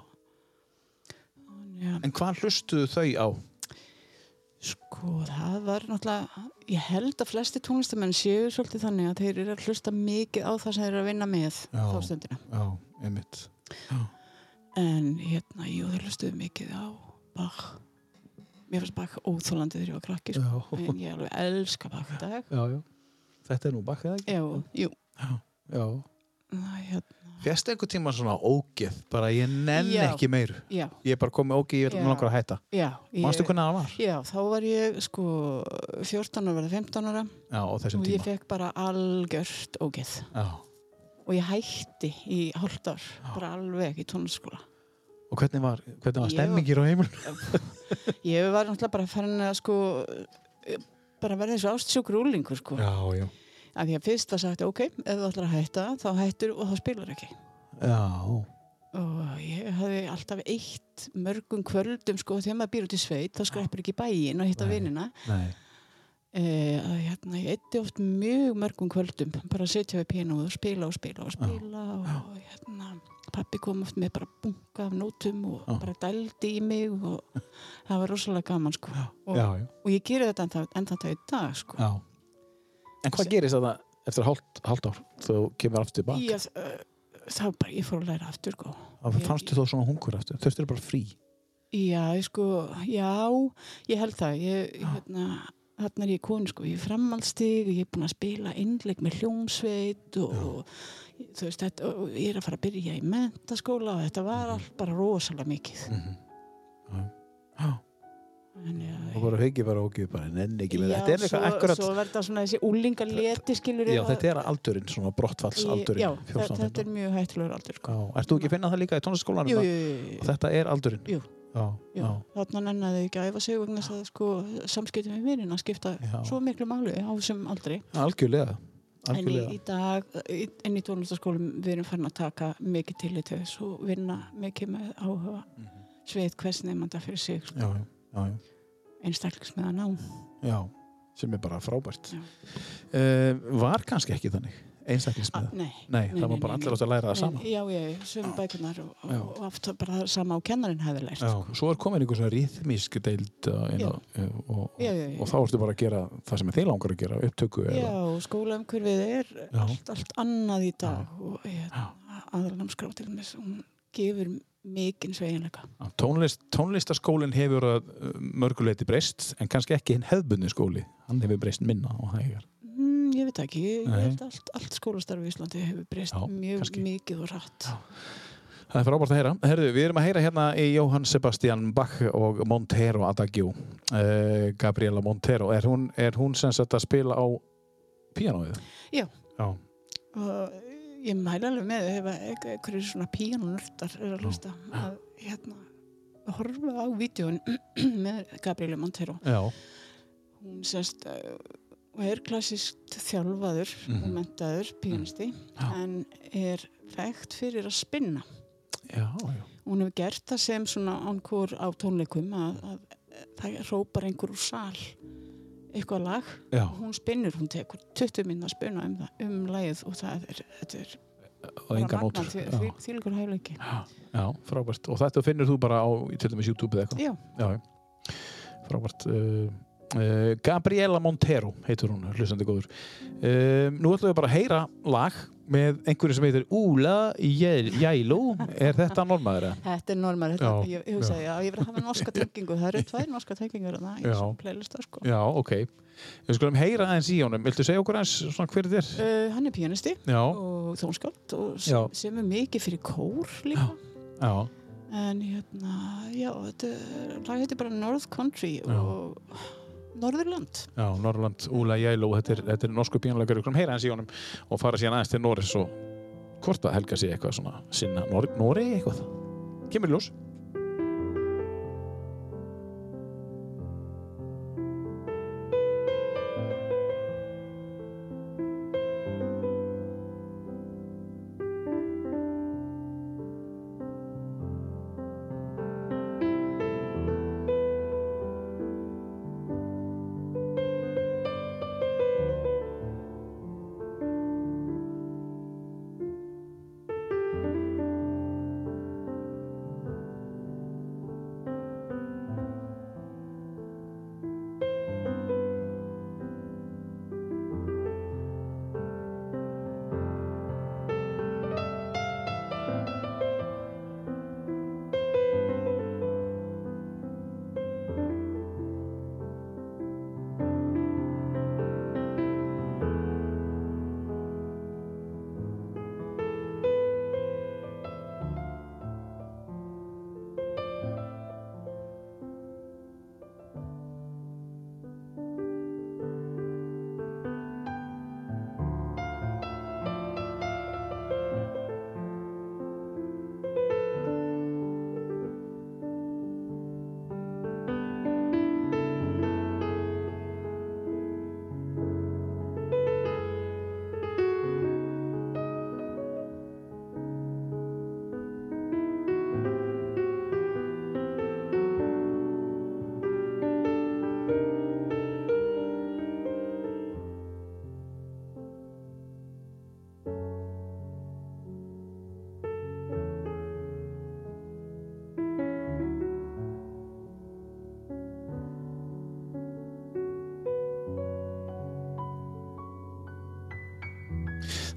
B: Já,
A: En hvað hlustuðu þau á?
B: sko, það var náttúrulega ég held að flesti tónlistamenn séu svolítið þannig að þeir eru að hlusta mikið á það sem þeir eru að vinna með
A: Já.
B: þá stundina
A: Já, einmitt.
B: en hérna, jú, þeir hlustuðu mikið á Bach mér fannst Bach óþólandi þegar ég var krakki sko.
A: Já,
B: en ég alveg elska Bach í dag
A: já, já. Þetta er nú bakkað ekki?
B: Jú, jú,
A: Já.
B: það hérna
A: Fjast einhver tíma svona ógeð, bara ég nenn
B: Já.
A: ekki meiru.
B: Já,
A: Ég er bara komið ógeð, ég vil
B: Já.
A: langar að hætta.
B: já. ég-
A: Manstu hvernig það var?
B: Já, þá var ég sko 14 ára, verða 15 ára
A: Já, á þessum
B: og ég
A: tíma.
B: fekk bara algjört ógeð
A: Já.
B: og ég hætti í hálft ár, bara alveg í tónlisskóla.
A: Og hvernig var, hvernig var
B: Ég-
A: stemmingir á heimilinu?
B: Ég var náttúrulega bara farin að sko eh, bara verða eins og ástsjókur úlingur sko.
A: Já, já.
B: Af því að fyrst var sagt, ok, ef þú ætlar að hætta þá hættur og þá spilar ekki.
A: Já,
B: Og ég hafði alltaf eitt mörgum kvöldum sko, þegar maður býr út í sveit þá skreppur ekki í bæinn og hitta
A: Nei.
B: vinnina.
A: nei.
B: Eh, að hérna, ég eitti oft mjög mörgum kvöldum bara að setja við píanóð og spila og spila og spila og hérna pappi kom oft með bara bunga af nótum og
A: Já.
B: bara dældi í mig og það var rosalega gaman sko og,
A: Já, já.
B: og ég geri þetta ennþá, ennþá þetta í dag sko
A: Já. En hvað gerist þetta eftir hálft, hálft ár þú kemur aftur tilbaka?
B: ég, uh, þá bara ég fór að læra aftur sko
A: Það fannstu þá svona hungur aftur? Þurftur bara frí?
B: já ég sko, já ég held það, ég hérna þarna er ég konu sko, ég er framhaldstig og ég er búin að spila innleik með hljómsveit og, þú veist þetta, og ég er að fara að byrja í mentaskóla og þetta var allt bara rosalega mikið
A: Já.
B: en já,
A: Og bara hugið bara ógjöf, bara nenn Mm. ekki með
B: já,
A: þetta. Þetta er eitthvað
B: svo,
A: akkurat,
B: svo verður það svona þessi úlinga leti skilur
A: já, þetta er aldurinn, svona brottfallsaldurinn.
B: já, þetta, þetta er mjög hættulegur aldur sko.
A: Já, ert þú ekki að finna það líka í tónlistaskólanum?
B: jú,
A: að-
B: jú, jú,
A: og Þetta er aldurinn?
B: Jú.
A: Já,
B: jú,
A: já.
B: jú. þarna nennaði ekki að æfa sig vegna þess að sko, samskiptum við vinina skipta
A: Já.
B: svo miklu máli á þessum aldri
A: Algjörlega.
B: En í,
A: Algjörlega.
B: í dag, í- en í tónlistaskólum við erum farin að taka mikið tillit til þess og vinna mikið með áhuga
A: Mhm.
B: mm -hmm. sveið hvers nefnda fyrir sig sko,
A: Já, já, já, já.
B: einstaklis með að ná.
A: já. Sem er bara frábært.
B: Já.
A: Uh, var kannski ekki þannig, einstaklingsmiða?
B: A, Ah, nei.
A: Nei,
B: Nei,
A: það var
B: nei,
A: bara
B: nei,
A: allir átt að læra það
B: Nei,
A: sama.
B: Já, já, já, sömu bækunar og,
A: Já.
B: og, og aftur bara það sama og kennarinn hefði lært.
A: Já,
B: sko.
A: svo er komin einhver svona rýthmísk deild uh, inn
B: Já.
A: á- uh, og, og,
B: Já, já, já.
A: og þá ertu bara að gera það sem þið langar að gera, upptöku
B: Já,
A: eða,
B: og skólaumhverfið er
A: Já.
B: allt, allt annað í dag
A: Já.
B: og hérna,
A: Já.
B: aðalnámskrá til þess, hún gefur mikinn sveiginleika.
A: tónlist, tónlistaskólinn hefur að uh, mörguleiti breyst en kannski ekki hinn hefðbunni skóli hann hefur breyst minna og hægar
B: Mm, ég veit það ekki, ég
A: Nei.
B: held að allt, allt skólastarfi í Íslandi hefur breyst
A: Já,
B: mjög
A: kannski.
B: mikið og rætt.
A: Það er frábært að heyra. Herðu, við erum að heyra hérna í Jóhann Sebastian Bach og Montero Adagio. Uh, Gabriela Montero, er hún, er hún sem sagt að spila á píanóið?
B: Já.
A: Já,
B: og ég mæla alveg með ef að eit- einhverjir svona píanunördar er að hlusta að hérna horfa á vídjón með Gabriela Montero
A: já,
B: hún semst uh, og er klassist þjálfaður
A: Mhm.
B: og mentaður píanisti
A: Já.
B: en er fægt fyrir að spinna
A: já, já.
B: hún hefur gert það sem svona ánkor á tónleikum að, að það rópar einhver úr sal eitthvað lag
A: já.
B: og hún spinnur, hún tekur 20 minna að spuna um, það, um lagið og það er, þetta er
A: Og enga nótur. Já,
B: Því líkur hæfileiki.
A: já, frábært. Og þetta finnur þú bara á, til dæmis YouTube eða eitthvað?
B: Já,
A: Já, já. Frábært. Uh, uh, Gabriela Montero heitur hún, hlustandi góður. Um, nú ætlum við bara að heyra lag með einhverju sem heitir Úla Jæló. Er þetta normaður eða?
B: þetta er normal. Þetta,
A: Já,
B: ég, ég hugsaði, já, ég verði að hafa norska tengingu. Það eru tvær norska tengingur þarna í
A: Já.
B: þessum playlista, sko.
A: Já, ok. Við skulum heyra aðeins í honum. Viltu segja okkur aðeins svona hver þetta er?
B: Uh, hann er pianisti
A: Já,
B: og þónskáld og
A: Já.
B: sem, sem er mikið fyrir kór líka.
A: já,
B: En hérna, já, þetta er- lag heitir bara North Country
A: Já.
B: og Norðurland
A: Já, Norrland, Úla Jælu og þetta er, þetta er norsku pínulegur, við skulum heyra hans í honum og fara síðan aðeins til Norris og hvort að helga sig eitthvað svona sinna Nor Nóri eitthvað Kemur í ljós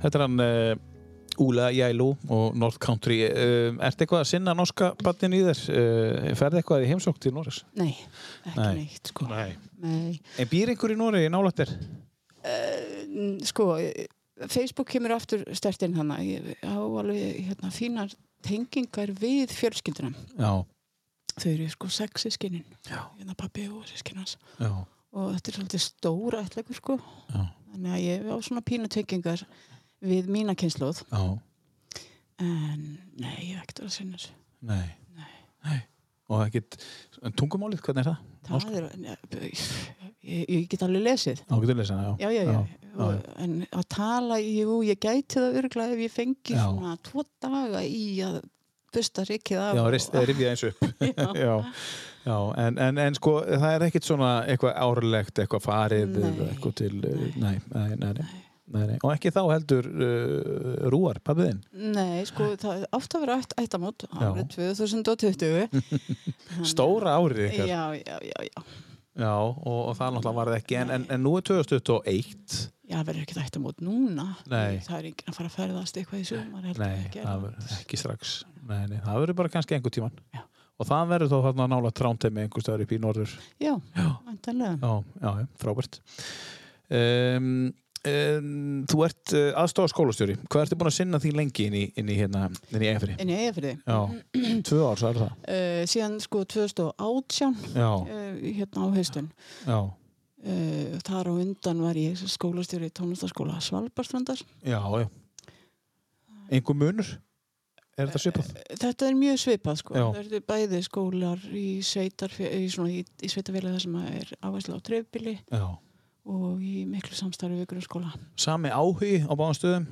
A: Þetta er hann uh, Úla Jælu og North Country uh, Ertu eitthvað að sinna norska batnin í þér? Uh, ferði eitthvað í heimsókn til Norris?
B: Nei, ekki
A: Nei.
B: neitt sko.
A: Nei
B: Nei.
A: En býr einhver í Nóri í nálættir?
B: Mm, sko, eh, Facebook kemur aftur stertinn hana ég á alveg hérna, fínar tengingar við fjölskyldunum
A: Já,
B: þau eru sko sex sískinin
A: Já.
B: hérna pappi og sískin hans
A: já,
B: og þetta er svolítið stóra ætlegur sko
A: já,
B: þannig að ég á svona pínu tengingar við mína kynnslóð
A: já
B: en nei, ég hef ekkert verið að sinna þessu
A: Nei Nei Og ekkit, en tungumálið, hvernig er það?
B: það er, ne, ég, ég get alveg lesið
A: Á, getur lesa, já
B: já, já,
A: já,
B: já, Og, en að tala, jú, ég gæti það örgulega ef ég fengi
A: Já.
B: svona tvo daga í að busta rikið af
A: Já,
B: og-
A: rist- rifja eins upp já, já, en, en, en sko það er ekkit svona eitthvað árlegt eitthvað farið
B: Nei.
A: eða eitthvað til nei, nei, nei, nei, nei. Nei, nei. og ekki þá heldur uh, Rúar, pappiðinn
B: Nei, sko, það átt að vera ætt, ættamót
A: Já.
B: árið 2020
A: stóra árið
B: Já,
A: ykkar já.
B: já, já, já
A: og, og það náttúrulega var það ekki en, en, en nú er 2021
B: Já, það verður ekkert ættamót núna
A: Nei.
B: Það er enginn að fara að ferðast eitthvað í sumar heldur
A: nei,
B: ekki,
A: það verður ekki strax nei, nei, það verður bara kannski einhver tíman
B: Já.
A: og það verður þá þarna nála trántemi einhver stöður upp í norður
B: Já,
A: já,
B: vantanlega
A: já, já, já frábært um, um, Þú ert uh, aðstofa skólastjóri hvað ertu búin að sinna því lengi inn í, inn í, hérna, inn í EFRI?
B: En ég er fyrir
A: Já, tvö ár, svo er það
B: uh, Síðan sko 2018 uh,
A: Já,
B: hérna á haustun
A: já,
B: uh, Þar á undan var ég skólastjóri tónlistaskóla Svalbarstrandar
A: já, já einhver munur? Er þetta svipað?
B: Þetta er mjög svipað sko
A: Já.
B: Það eru bæði skólar í, sveitarfé- í, svona í, í sveitarfélagi þar sem að er áherslu á dreifbili
A: Eh, Já,
B: og í miklu samstarfi við grunnskóla
A: sami áhugi á báðum stöðum?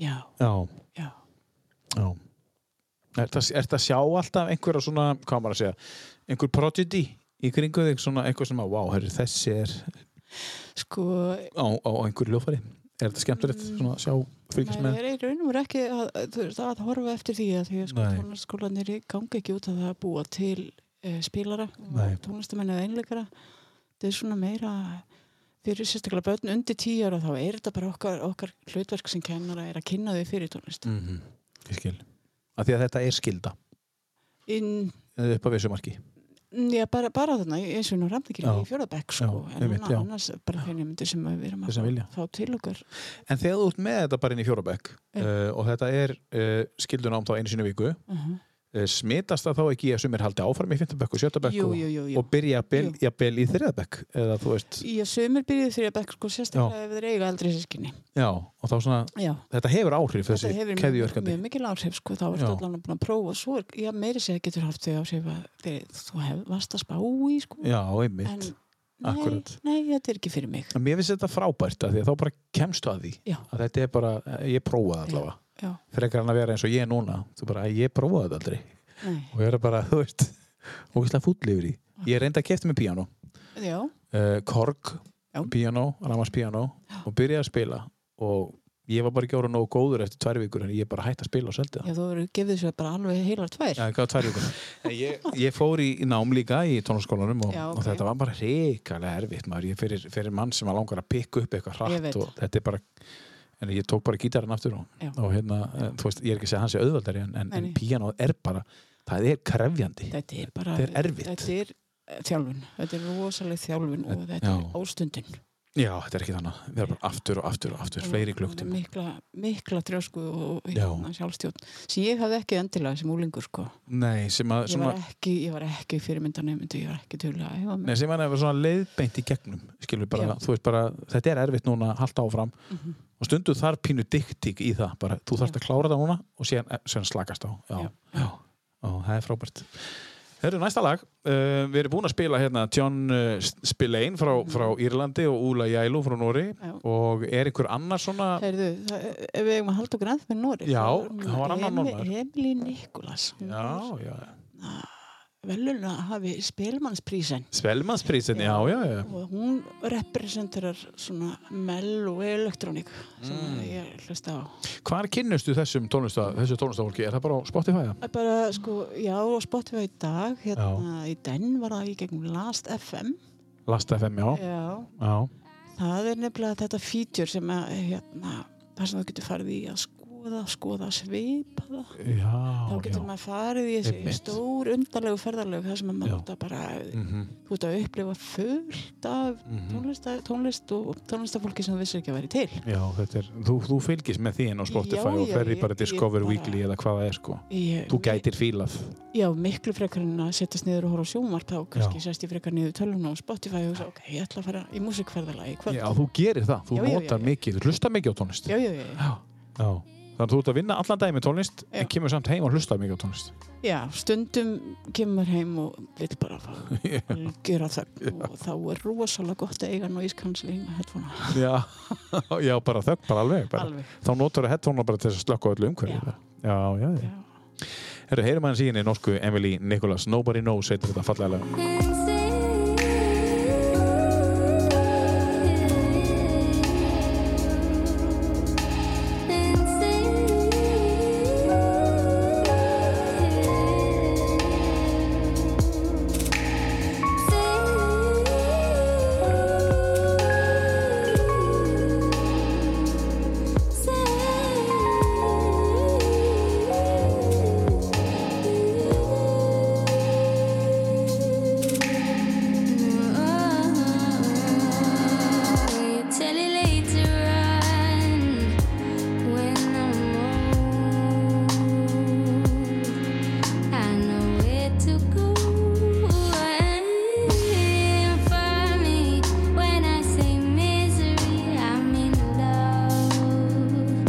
B: Já,
A: Já,
B: já
A: Já. Er þetta að sjá alltaf einhverja svona, hvað á maður að segja, einhver prodigy í kringu þig, svona einhver sem að, wow, herri, þessi er
B: Sko,
A: á, á einhverju ljófari. Er þetta skemmtilegt svona að sjá, fylgjast
B: maður
A: með?
B: er í raun og veru ekki að, að, þú veist, að horfa eftir því að því að sko,
A: Nei.
B: tónlistskólanir gangi ekki út að það að búa til e, spílara
A: Nei.
B: og tónlistamenn eða einleikara þetta er svona meira fyrir sérstaklega börn undir tíu ára þá er þetta bara okkar, okkar hlutverk sem kennara er að kynna þau fyrir tónlist
A: Mm Ég skil. Af því að þetta er skilda
B: inn,
A: eh, upp að vissu marki.
B: já, bara, bara þarna eins og nú ramdekil
A: Já.
B: í fjóðabæk sko,
A: Já,
B: en
A: einmitt,
B: annars,
A: já.
B: annars bara þeirnir myndir sem við erum
A: Þeir sem
B: að
A: vilja.
B: fá til okkar
A: En þegar þú ert með eh, þetta bara inn í fjórabæk
B: Já.
A: uh, og þetta er uh, skildunám þá einu sinni í viku,
B: uh
A: eh, Eh, smitast það þá ekki í að sumir haldi áfram í 5. bekk og 7. bekk
B: Jú,
A: og,
B: jú, jú, jú.
A: og byrja bel,
B: Jú.
A: jafnvel í 3. bekk eða þú veist,
B: Ég sömur byrjuði þrjá bekk sko sérstaklega ef þeir eiga aldrei sískinni.
A: já, og þá svona
B: Já.
A: þetta hefur áhrif
B: Þetta
A: þessi
B: hefur mjög,
A: keðjörkandi
B: mjög mikil áhrif sko, þá
A: Já.
B: ertu allan að búin að prófa og svo er, já, meiri sér getur haft þau áhrif að þeir, þú hef, varst að spá í sko,
A: já,
B: en
A: einmitt,
B: nei,
A: akkurat
B: nei, þetta er ekki fyrir mig.
A: en mér finnst þetta frábært að því að þá bara kemstu að því
B: Já.
A: að þetta er bara, eh, ég prófaði allavega
B: Já,
A: frekar hann að vera eins og ég núna þú bara, ég prófaði þetta aldrei
B: nei,
A: og ég er bara, þú veist, ógeðslega fúll yfir því ég reyndi að kefti með píanó
B: já,
A: uh, Korg,
B: Já.
A: píanó, ramaspíanó og byrjaði að spila og ég var bara ekki ára nógu góður eftir tvær vikur en ég bara hætti að spila og seldi það
B: já, þú verður gefið sér bara alveg heilar tvær.
A: Já, ég gaf tvær vikur. En ég, ég fór í, í nám líka í tónarskólanum og,
B: Já,
A: og
B: ok.
A: þetta var bara reikalega erfitt maður. Ég fyrir, fyrir mann sem að langar að pikka upp eitthvað
B: Ég veit.
A: hratt og þetta er bara en ég tók bara gítarinn aftur og,
B: Já.
A: og hérna, eh, þú veist, ég er ekki að segja að hans er auðvaldari en, en,
B: Nei,
A: en
B: nei.
A: píanóð er bara það er krefjandi
B: Þetta er bara,
A: Þetta er erfitt.
B: Þetta er eh, þjálfun, þetta er rosaleg þjálfun og þetta
A: Já.
B: er ástundun.
A: Já, þetta er ekki þannig. Við erum bara aftur og aftur og aftur, fleiri klukktum.
B: Mikla, mikla trjósku og
A: Já.
B: hérna, sjálfstjórn, sem ég hafði ekki endilega sem úlingur sko.
A: Nei, sem að
B: Ég
A: svona,
B: var ekki, ég var ekki fyrirmyndanemyndu, ég var ekki tölulega, ég var
A: Nei, sem hann hefur svona leiðbeint í gegnum skilur bara,
B: Já.
A: þú veist bara, þetta er erfitt núna að halda áfram
B: Mhm.
A: og stundu þar pínu diktík í það, bara þú þarft að klára það núna og síðan, eh, síðan slakast á já, já.
B: Já.
A: og það er frábært Herru, næsta lag, uh, við erum búin að spila hérna John uh, Spillane frá, frá Írlandi og Úla Jælu frá Nóri
B: Mhm. Já.
A: og er einhver annar svona
B: Heyrðu, það, ef við eigum að halda okkur aðeins með Nóri
A: Já, það var annar Normaður.
B: Emily Nikolas
A: Já, já,
B: velun að hafi spilmannsprísen
A: Svelmansprísin, já, já, já
B: og hún representerar svona mell og elektrónik sem
A: Mm.
B: ég hlusta á
A: Hvar kynnustu þessum tónlista, þessu tónlistafólki? Er það bara á Spotify? eða?
B: bara sko, já, og Spotify í dag hérna í den var það í gegnum Last FM
A: Last FM, já,
B: já,
A: já.
B: það er nefnilega þetta feature sem að hérna, það sem þú getur farið í að skoða skoða svipaða
A: Já,
B: þá getur
A: já.
B: maður farið í þessi
A: Einmitt.
B: stór undarlegu ferðarlegu þar sem að maður
A: Já.
B: út að bara
A: Mhm.
B: þú ert að upplifa fullt af tónlist, tónlist og tónlistafólki sem þú vissir ekki að væri til
A: Já, þetta er, þú, þú fylgist með því inn á Spotify
B: Já,
A: og
B: já,
A: ferði
B: ég-
A: bara
B: ég
A: Discover
B: bara-
A: Weekly eða hvað það er sko.
B: ég,
A: Þú gætir fílað.
B: já, miklu frekar en að setjast niður og horfa á sjónvarp þá kannski sest ég frekar niður tölvuna og Spotify og svo, ok, ég ætla að fara í músikferðarlagi kvöld
A: Já, þú gerir það. Þú
B: Já, já, já,
A: notar
B: já.
A: mikið, þú hlustar mikið á tónlist.
B: já, já, já, já.
A: Já. Þannig að þú ert að vinna allan dag með tónlist
B: Já.
A: en kemur samt heim og hlustar mikið á tónlist.
B: já stundum kemur heim og vill bara fá gera þögn og þá er rosalega gott að eiga noise cancelling headphone
A: Já, já bara þögn, bara alveg. Bara.
B: Alveg.
A: Þá notar þú headphone bara til þess að slökka á öllu umhverju. Já, já, já.
B: Já.
A: Herru, heyrum aðeins í henni norsku Emily Nicholas. Nobody knows heitir þetta fallega. lag.
C: Tell it later on when I'm old. I know where to go for me. When I say misery, I'm in love.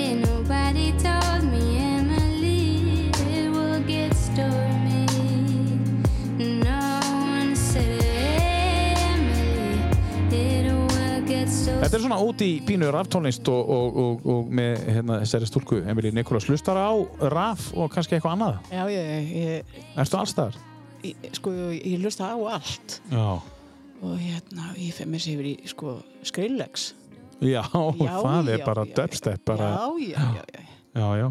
C: Ain't nobody told me Emily it will get stormy. No one said Emily it will get so.
A: Þetta er svona út í pínu raftónlist og, og, og, og með hérna, þessari stúlku Emily Nicholas. Hlustar á raf og kannski eitthvað annað?
B: já, já, já, ég,
A: Erstu allstaðar?
B: ég, sko, ég hlusta á allt
A: Já.
B: og hérna, ég fyrir mér sér yfir í sko, skrillex
A: Já, það er bara
B: já,
A: dubstep bara,
B: já, já, já, já.
A: já, já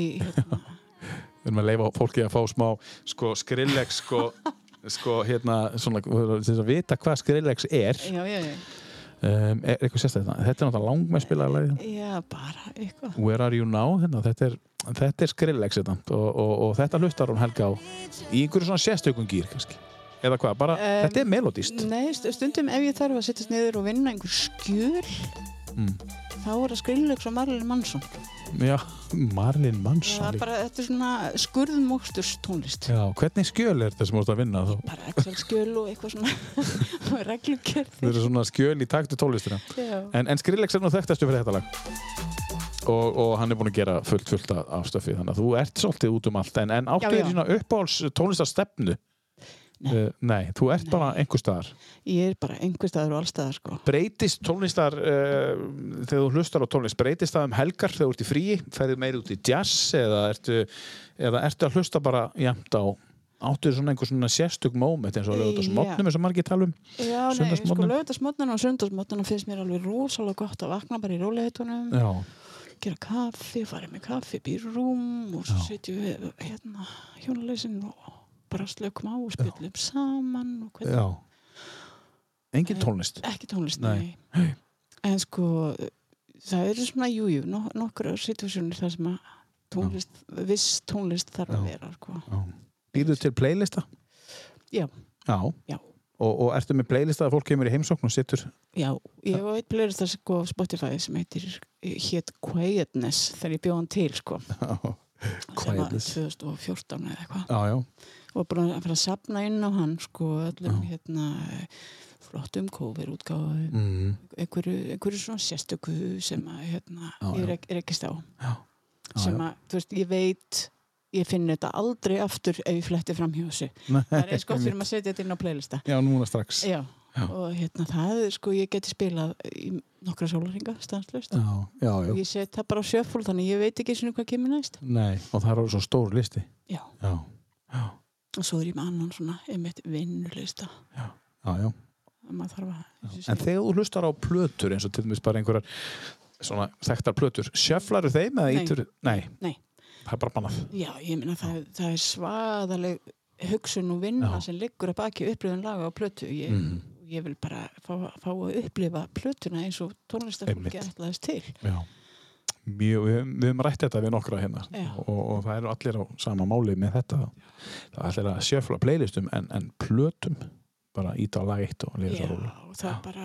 B: Í, hérna,
A: Við erum að leifa fólki að fá smá sko skrillex sko, sko hérna, svona, til þess að vita hvað skrillex er
B: já, já, já,
A: um, er eitthvað sérstæðna, þetta er náttúrulega langmest spilaði lagið.
B: já, bara eitthvað
A: Where are you now, hérna, þetta er þetta er skrillex þetta og, og, og þetta hlustar hún helga á í einhverju svona sérstökum gýr kannski, eða hvað, bara
B: Um,
A: þetta er melodist Mm.
B: Nei, st- stundum ef ég þarf að sittast niður og vinna einhver skjöl þá er það skrýnlöks og Marlin Mansson
A: Já, Marlin
B: það
A: Mansson
B: er bara, þetta er svona skurðmóksturs tónlist
A: Já, hvernig skjöl er þetta sem þú ert að vinna þá?
B: bara Excel-skjöl og eitthvað svona reglugjörð
A: Þetta er svona skjöl í taktu tólistina En, en Skrillex er nú þekktastu fyrir þetta lag og, og hann er búinn að gera fullt fullt af- af stöfi þannig að þú ert svolítið út um allt en, en áttu
B: Já, já.
A: þér svona uppáhalds tónlistastefnu
B: Nei.
A: Uh, nei, þú ert bara einhver staðar
B: ég er bara einhver staðar og allstaðar sko
A: breytist tónlistar uh, þegar þú hlustar á tónlist, breytist það um helgar þegar þú ert í fríi, ferðu meir út í jazz eða ertu, eða ertu að hlusta bara jæmt á, áttu þér svona einhver svona sérstök moment eins og lögut á
B: Já.
A: smotnum eins og margir tala um
B: Já, nei, sko
A: Sunnudagsmorgnar?
B: lögutasmotnana og sundagsmotnana finnst mér alveg rosalega gott að vakna bara í róleitunum,
A: Já,
B: gera kaffi, fara með kaffi, upp í rúm og svo
A: Já.
B: setjum við hérna hjónaleysin og bara slökum á og spjöllum saman og hvernig,
A: Engin tónlist
B: ekki tónlist,
A: Nei.
B: nei. En sko, það eru svona, jú, jú, no, nokkra situasjónir þar sem að tónlist, viss tónlist þarf að
A: Já.
B: vera, sko.
A: Býrðu til playlista?
B: Já.
A: Já,
B: Já.
A: Og, og ertu með playlista að fólk kemur í heimsókn og sittur
B: Já, ég var eitt playlist að sko á Spotify sem heitir, hétt Quietness þegar ég bjóð hann til, sko. sem var
A: Quietness.
B: 2014 eða eitthvað
A: Já, já,
B: og bara að fara að sapna inn á hann sko öllum hérna eh, flottum kóver útgáðu
A: mm.
B: einhverju, einhverju svona sérstöku sem að hérna
A: Já,
B: ég
A: já.
B: rek, rekist á
A: Já. Já,
B: sem að þú veist ég veit ég finn þetta aldrei aftur ef ég fletti fram hjá þessu það er eins gott fyrir maður að setja þetta inn á playlista
A: já núna strax
B: já. og hérna það er, sko ég geti spilað í nokkra sólaringa stanslust
A: já, já, já.
B: og ég set það bara á sjöfól þannig ég veit ekki svona hvað kemur næst
A: Nei, og það er alveg svo stór listi
B: já
A: Já,
B: og svo er ég með annan svona einmitt vinnulista
A: já, já
B: að maður þarf að eins og
A: En
B: segja.
A: þegar þú hlustar á plötur eins og til dæmis bara einhverjar svona þekktar plötur, sjöflaru þeim eða
B: Nei.
A: ítur? Nei.
B: Nei.
A: Það er bara bannað.
B: já, ég meina það, það er svaðaleg hugsun og vinna
A: Já.
B: sem liggur að baki upplifun laga á plötu ég,
A: Mhm.
B: ég vil bara fá, fá að upplifa plötuna eins og tónlistafólki
A: Einmitt.
B: ætlaðist til
A: Já. Mjög, við, höfum- við höfum rætt þetta við nokkra hérna
B: Já.
A: og, og það eru allir á sama máli með þetta. Það er allir að sjöfla playlistum en, en plötum bara íta á lag eitt og liða
B: já,
A: það rúla.
B: og það er bara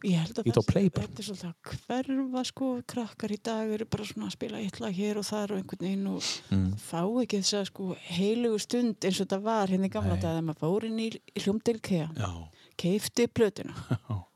B: og ég held að
A: Ít á
B: það sé-
A: play bara.
B: þetta er svolítið að hverfa sko krakkar í dag eru bara svona að spila eitthvað hér og þar og einhvern veginn og
A: Mm.
B: fá ekki þess að sko heilugu stund eins og þetta var hérna í gamla
A: Nei.
B: dag þegar maður fór inn í hljómdilkea
A: Já.
B: keifti plötuna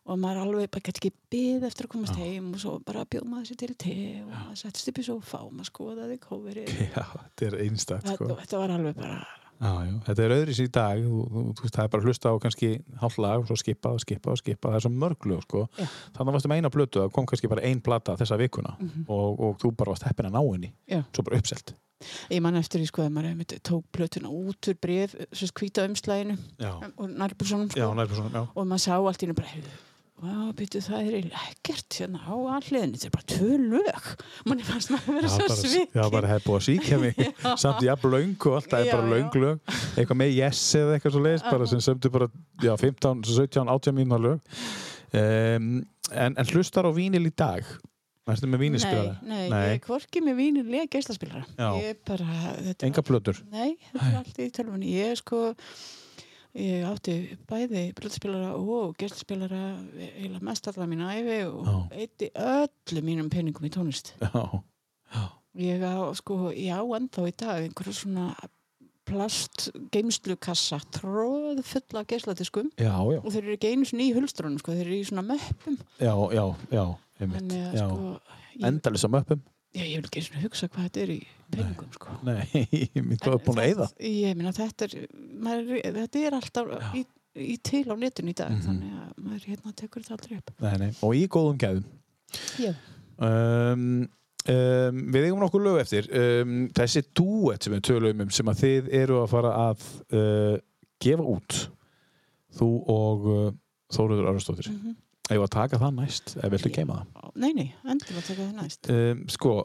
B: og maður alveg bara gæti ekki byð eftir að komast heim og svo bara bjóð maður sér til te og maður settist upp í sófa og maður skoðaði kóverið
A: Já, þetta er einstakt
B: þetta,
A: sko.
B: og þetta var alveg bara
A: Já, já, þetta er öðris í dag þú, þú, þú veist, það er bara að hlusta á kannski hálf lag og svo skipa og skipa og skipa það er svo mörglu, sko,
B: Já.
A: þannig að varstu með eina blötu það kom kannski bara ein plata þessa vikuna og, og þú bara varst heppin að ná henni
B: Mhm. Já.
A: svo bara uppselt
B: ég man eftir því sko að maður einmitt tók plötuna út úr bref svo skvíta umslæginu
A: Já,
B: og nærbúrsunum
A: já,
B: sko
A: nærpersónum, já
B: og maður sá allt í hennu bara "Heyrðu, Vá, býtu, það er eiginlega ekkert hérna á alliðinu, þetta er bara tvö lög manni fannst maður að vera
A: Já,
B: svo
A: bara,
B: svik
A: já, bara hefði búið að síkja mig samt jafn löng og allt, það er
B: Já,
A: bara
B: já.
A: löng lög eitthvað með yes eða eitthvað svo leiðist bara sem sömdu bara, já, 15, 17, 18 mínúna lög um, en, en hlustar á vínil í dag Erstu með vínispjara?
B: nei, nei,
A: Nei.
B: ég er hvorki með vínir lega geislaspilara
A: Já.
B: ég bara, þetta
A: Enga plötur?
B: Nei, þetta er allt í tölvunni. Ég sko, ég átti bæði blöðspilara og gestspilara eiginlega mest allar mín æfi og eitti öllum mínum peningum í tónlist.
A: Já,
B: Ég á, sko, já, ennþá í dag einhverja svona plast geimslukassa, tróð fulla af geislatiskum
A: já, já
B: og þeir eru ekki einu sinni í hulstrónum, sko, þeir eru í svona möppum.
A: já, já, já, einmitt
B: Þannig að,
A: já.
B: sko, ég,
A: endalisa möppum
B: já, ég vil ekki svona hugsa hvað þetta er í peningum, sko.
A: nei, mér þú er búin að eyða
B: ég meina þetta er, maður, er- þetta er alltaf í, í til á netinu í dag
A: Mhm.
B: þannig að maður hérna tekur þetta aldrei upp
A: nei, nei. og í góðum gæðum
B: já,
A: um, um, við eigum nokkur lög eftir um, þessi duet sem við tölum um sem að þið eru að fara að uh, gefa út þú og uh, Þóruður Arnstóttir mm
B: Mhm.
A: ef að taka það næst, ef viltu geima það
B: nei, nei, endur að taka það næst
A: um, sko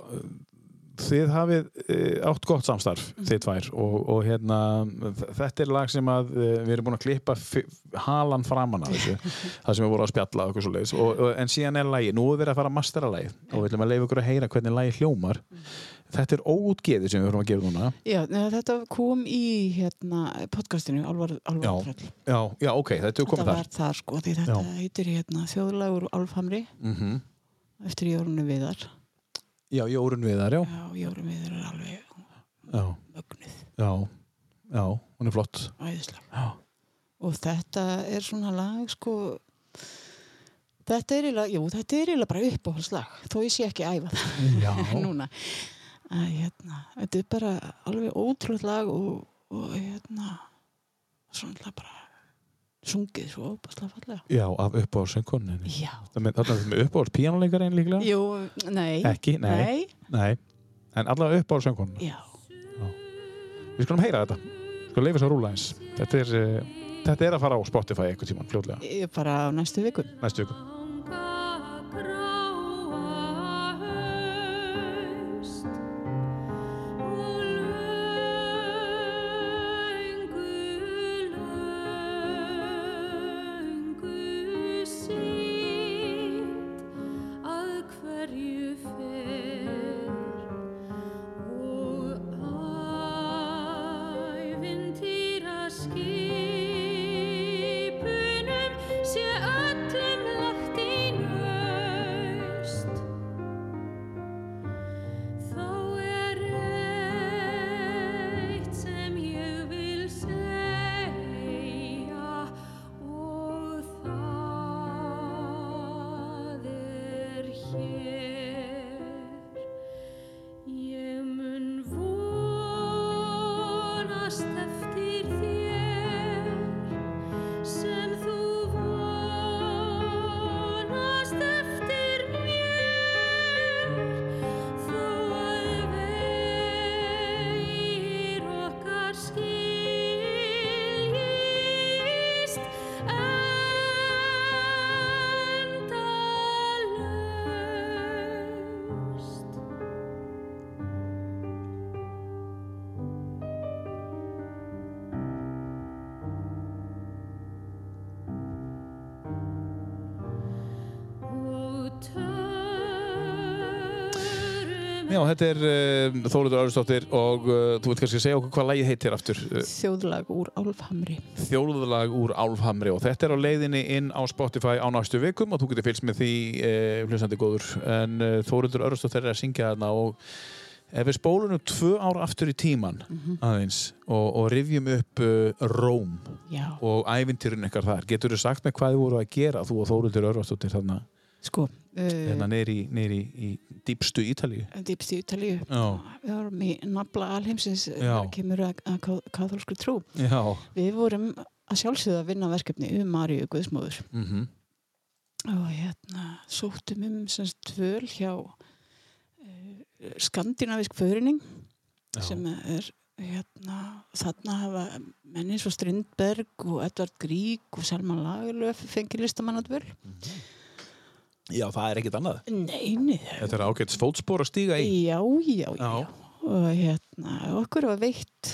A: þið hafið uh, átt gott samstarf
B: Mhm.
A: þið tvær og, og hérna þ- þetta er lag sem að uh, við erum búin að klippa fi- halan framan af þessu það sem við vorum að spjalla og, eitthvað svoleiðis. og, og, en síðan er lagi, nú er verið að fara að mastera lagið og við ætlum að leifa ykkur að heyra hvernig lagi hljómar
B: Mhm.
A: þetta er óútgeði sem við vorum að gera núna
B: já, neða, þetta kom í hérna podcastinu, alvar,
A: Já,
B: alvar tröll
A: já, já ok, þetta er
B: þetta
A: komið
B: var
A: þar
B: þar sko, því þetta heitir hérna þjóðlagur og alfhamri
A: mm -hmm.
B: eftir Jórunni Viðar.
A: Já, Jórun Viðar, já.
B: Já, Jórunni Viðar er alveg
A: Já,
B: mögnuð,
A: já, já, hún er flott.
B: æðislega.
A: Já.
B: Og þetta er svona lag, sko, þetta er eiginlega, jú, þetta er eiginlega bara uppáhaldslag, þó ég sé ekki að æfa það
A: Já,
B: núna. Að, hérna, þetta er bara alveg ótrúlega lag og, og hérna, svona bara sungið svo óbáslega fallega.
A: já af uppáhald söngkoninni.
B: Já.
A: Þannig að þetta með uppáhald píjánuleikar einn líklega?
B: Jú, nei.
A: Ekki, nei,
B: Nei,
A: nei. En allavega uppáhald söngkoninni.
B: já.
A: Við skulum heyra þetta. Við skulum leifa þess að rúla eins. Þetta er, eh, þetta er að fara á Spotify einhvern tímann, fljótlega,
B: Ég er bara á næstu vikum.
A: næstu viku.
C: Langa gráa haust og löngu, löngu sínt að hverju fer og ævintýra skipunum sé öllum lagt í nöst. Þá er eitt sem ég vil segja og það er hér. Ég mun vonast eftir þér sem þú vonast eftir mér þó að veir okkar skiljist endalaust.
A: Já, þetta er uh, Þólutur Áristóttir og uh, þú veit kannski að segja okkur hvað lagið heitir aftur. Uh,
B: Þjóðlag úr Álfhamri.
A: Þjóðlag úr Álfhamri og þetta er á leiðinni inn á Spotify á næstu vikum og þú getur fylgst með því uh, hljóðsandi góður. En uh, Þólutur Áristóttir er að syngja þarna og ef við spólunum tvö ár aftur í tíman aðeins og, og rifjum upp uh, Róm
B: Já,
A: og ævintýrin ykkar þar, getur þú sagt með hvað þið voru að gera þú og Þólutur Áristóttir þarna,
B: sko.
A: þarna
B: Uh,
A: neyri, neyri í, í dýpstu Ítalíu?
B: dýpst í Ítalíu.
A: Já,
B: Við vorum í nafla alheimsins eh,
A: Já.
B: þegar kemur að, að kath- kaþólsku trú.
A: já,
B: Við vorum að sjálfsögða að vinna verkefni um Maríu Guðsmóður
A: mhm.
B: og hérna sóttum um semst tvöl hjá uh, skandinavisk förinning
A: Já.
B: sem er hérna þarna hafa menni svo Strindberg og Edvard Grieg og Selma Lagerlöf fengið listamannatvel.
A: Já, það er ekkert annað.
B: Nei, niður.
A: Þetta er ágætt fótspor að stíga í.
B: já, já, já.
A: Já.
B: Og hérna, okkur var veitt,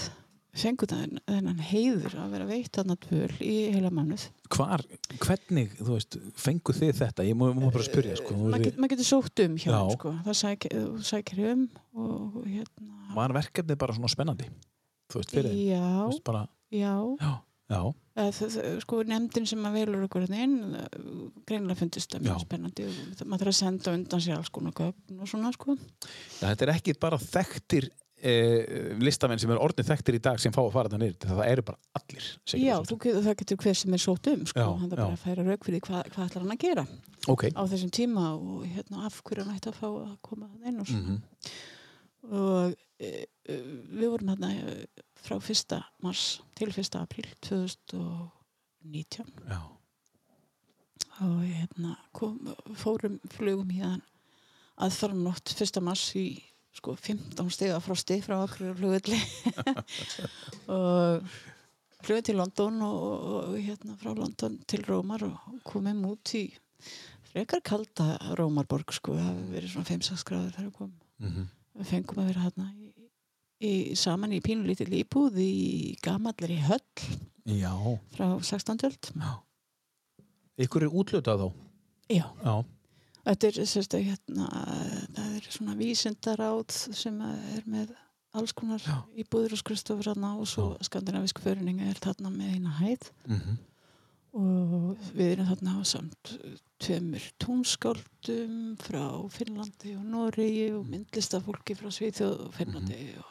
B: fengur þennan, þennan heiður að vera veitt þarna tvöl í heila mánuð.
A: Hvar, hvernig, þú veist, fenguð þið þetta? Ég má, má bara spyrja, sko. Þú
B: Maður
A: veist,
B: get, maður getur sótt um hjá
A: Já.
B: hann, sko. Það sækir, þú sækir um og hérna...
A: Var verkefnið bara svona spennandi? Þú veist, fyrir þeim. Þú
B: Já,
A: veist, bara,
B: já.
A: já, já,
B: Eða, það- það- sko, nefndin sem að velur okkur þarna inn, eh, greinilega fundist það mjög
A: Já.
B: spennandi og það- maður þarf að senda á undan sér alls konar gögn og svona, sko.
A: já. Þetta er ekki bara þekktir eh, listamenn sem er orðnið þekktir í dag sem fá að fara þetta niður. Það eru bara allir. segir
B: Já,
A: þú
B: þú getur, það getur hver sem er sótt um, sko.
A: Já,
B: hann þarf
A: já.
B: bara að færa rauk fyrir því hvað, hvað ætlar hann að gera.
A: svolítið. Ok.
B: á þessum tíma og hérna af hverju hann ætti að fá að koma hann inn og,
A: Mm
B: mm. og e, e, við vorum hérna eh, frá 1. mars til 1. april 2019
A: Já,
B: og hérna kom, fórum flugum hérna að fara nótt 1. mars í sko 15 stiga frosti frá okkur flugulli og flugum til London og, og, og hérna frá London til Rómar og komum út í frekar kalda Rómarborg sko, það hafi verið svona 5-6 gráður þegar við komum
A: mm
B: við fengum að vera hérna í, í, saman í pínulítið líbúð í gamallri höll
A: já.
B: frá 16. öld
A: Ykkur er útlötað þá.
B: Já
A: Já,
B: Þetta er, sérstu, hérna, það er svona vísindaráð sem er með alls konar
A: Já.
B: íbúður og skristofur hérna og svo skandinavísk föruninga er þarna með eina hæð
A: mhm.
B: og við erum þarna samt tveimur tónskáldum frá Finnlandi og Noregi og myndlistafólki frá Svíþjóð og Finnlandi og,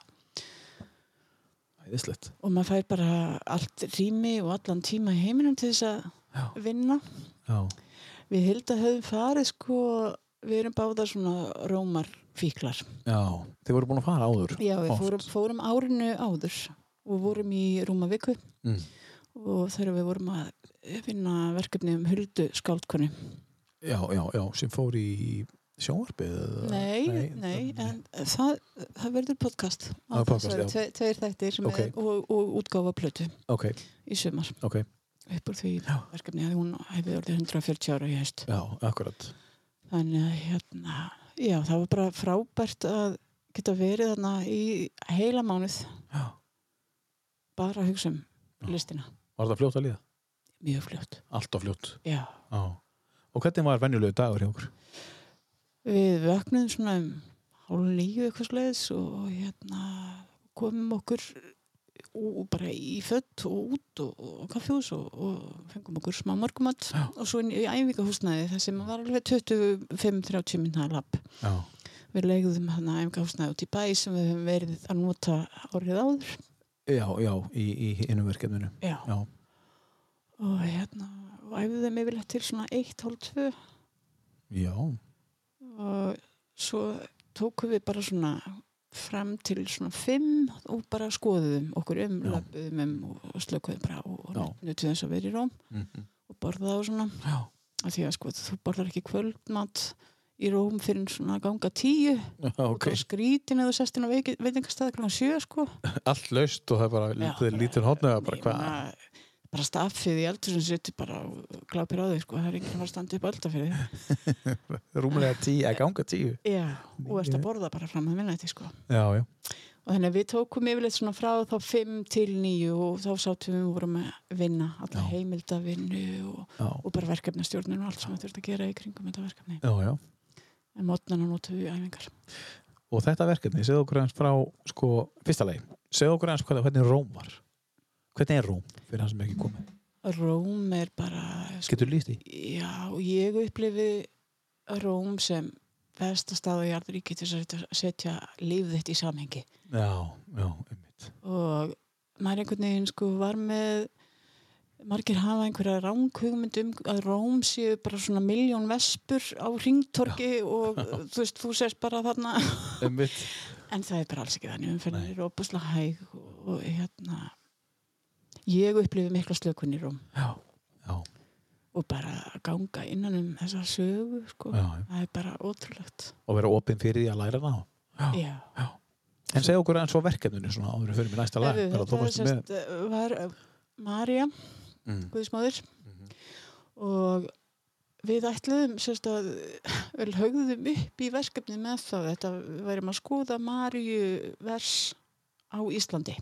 A: Æðislegt.
B: og maður fær bara allt rými og allan tíma í heiminum til þess að vinna
A: Já.
B: við held að höfum farið sko við erum báðar svona rómar fíklar
A: Já. Þið voru búin að fara áður.
B: Já, við
A: oft.
B: fórum, fórum árinu áður og vorum í rúma viku
A: Mm.
B: og þegar við vorum að finna verkefni um huldu skáldkonu
A: Já, já, já, sem fór í sjónvarpið. eða-
B: Nei, nei, en það, það verður podcast
A: Það er podcast, já.
B: tve, Tveir þættir sem
A: Ok.
B: er, og, og útgáfa plötu
A: Ok,
B: í sumar
A: ok.
B: upp úr því verkefni að hún hefði orðið 140 ára í hest
A: Já, akkurat.
B: Þannig að hérna, já, það var bara frábært að geta verið þarna í heila mánuð
A: Já.
B: bara að hugsa um listina
A: Var það fljótt að liða?
B: mjög fljótt,
A: Allt á fljótt.
B: já
A: Já. Og hvernig var venjulegu dagur hjá okkur?
B: Við vöknum svona um hálf nýju eitthvað sleiðis og hérna komum okkur ú- bara í fött og út og, og kaffjús og, og fengum okkur smá morgumat
A: Já.
B: og svo inn í æfingahúsnaði þar sem var alveg 25-30 minna lapp.
A: Já.
B: Við legðum hann að æfingahúsnaði út í bæ sem við höfum verið að nota árið áður.
A: Já, já, í, í innum verkefninu.
B: Já.
A: Já.
B: Og hérna og æfðum yfirleitt til svona 1-2
A: Já.
B: og svo tókum við bara svona fram til svona fimm og bara skoðum okkur um,
A: Já.
B: löpum um og- og slökuðum bara á og
A: Já.
B: nutum þess að vera í róm
A: Mm
B: og borða og svona
A: Já.
B: af því að sko þú borðar ekki kvöldmat í róm fyrir svona ganga tíu
A: Ok,
B: og skrítin eða sestin á veiki- veitingastað klokkan sjö sko
A: allt laust og það er bara lítið, lítið hóttnið að bara
B: Ég
A: hvað.
B: meina, bara staffið í eldur sem setur bara og glápir á þau sko það er ekki að fara að standa upp alltaf fyrir þau
A: Rúmlega tíu, að ganga tíu.
B: Já, og erst að borða bara fram að minnætti sko
A: Já, já.
B: og þannig að við tókum yfirleitt svona frá þá 5 til 9 og þá sátum við vorum að vinna alla
A: Já.
B: heimildavinnu og,
A: Já,
B: og bara verkefnastjórnun og allt sem við þurfum að gera í kringum þetta verkefni
A: já, já.
B: en mótnana notum við í æfingar
A: Og þetta verkefni, segðu okkur aðeins frá, sko, fyrsta leið, segðu okkur aðeins hvað, hvernig Róm var. Hvernig er Róm fyrir hann sem ekki komið?
B: Róm er bara sko,
A: Getur líst í?
B: já, og ég upplifi Róm sem besta stað á jarðríki til þess að setja líf þitt í samhengi
A: Já, já, einmitt.
B: og maður einhvern veginn sko var með margir hafa einhverja ránkugmynd um að Róm séu bara svona miljón vespur á ringtorki og þú veist, þú sérst bara þarna
A: Einmitt.
B: en það er bara alls ekki þannig umferðin er opaslega hæg og, og hérna ég upplifi mikla slökun í Róm
A: Já, já,
B: og bara að ganga innan um þessa sögu sko,
A: já, já.
B: það er bara ótrúlegt
A: Og vera opinn fyrir því að læra það. Já.
B: Já.
A: En segðu okkur aðeins frá verkefninu svona áður en við fyrir mér næsta lag.
B: Herðu,
A: bara þú
B: Þetta var,
A: varst með-
B: sérst, eh, var Marja
A: Mm.
B: Guðismóður og við ætluðum sérst að vel högðum upp í verkefni með það þetta værum að skoða Marju vers á Íslandi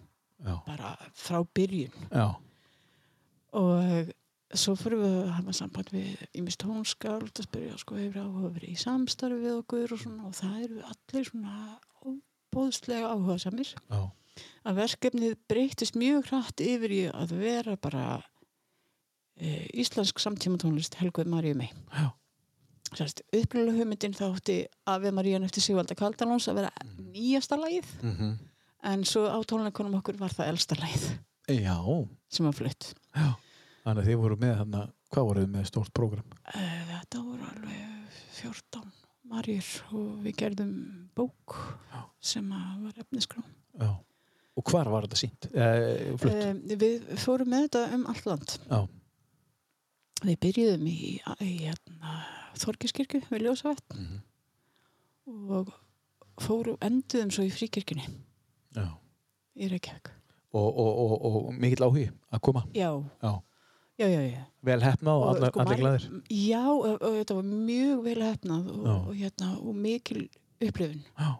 A: Já,
B: bara frá byrjun
A: já,
B: og svo fyrir við að hafa samband við ímist tónskáld að spyrja sko hefur áhuga verið í samstarfi við okkur og svona og það eru allir svona bóðslega áhuga samir
A: já,
B: að verkefnið breytist mjög hratt yfir í að vera bara e, íslensk samtímatónlist Helguð Maríu mei.
A: já,
B: Sérst, upplölu hugmyndin þá átti Ave Marían eftir Sigvalda Kaldalóns að vera nýjasta lagið
A: Mhm.
B: en svo á tónleikunum okkur var það elsta lagið
A: já,
B: sem var flutt.
A: já. Þannig að þið voru með þarna, hvað voruð þið með stórt prógram?
B: E, þetta voru alveg 14 Maríur og við gerðum bók sem að var efniskrá.
A: Já. Og hvar var þetta sínt? Eh, flutt?
B: E, við fórum með þetta um allt land.
A: já,
B: Við byrjuðum í, í hérna, Þorgiskirkju við Ljósavett
A: Mhm.
B: og fóru, enduðum svo í fríkirkjunni
A: já.
B: í Reykjavík.
A: Og, og, og, og mikill áhugi að koma?
B: Já,
A: Já.
B: já, já. já.
A: vel hefna og allar, allir glæðir
B: Já, og, og þetta var mjög vel hefnað og,
A: Já.
B: og, hérna, og mikil upplifun.
A: já,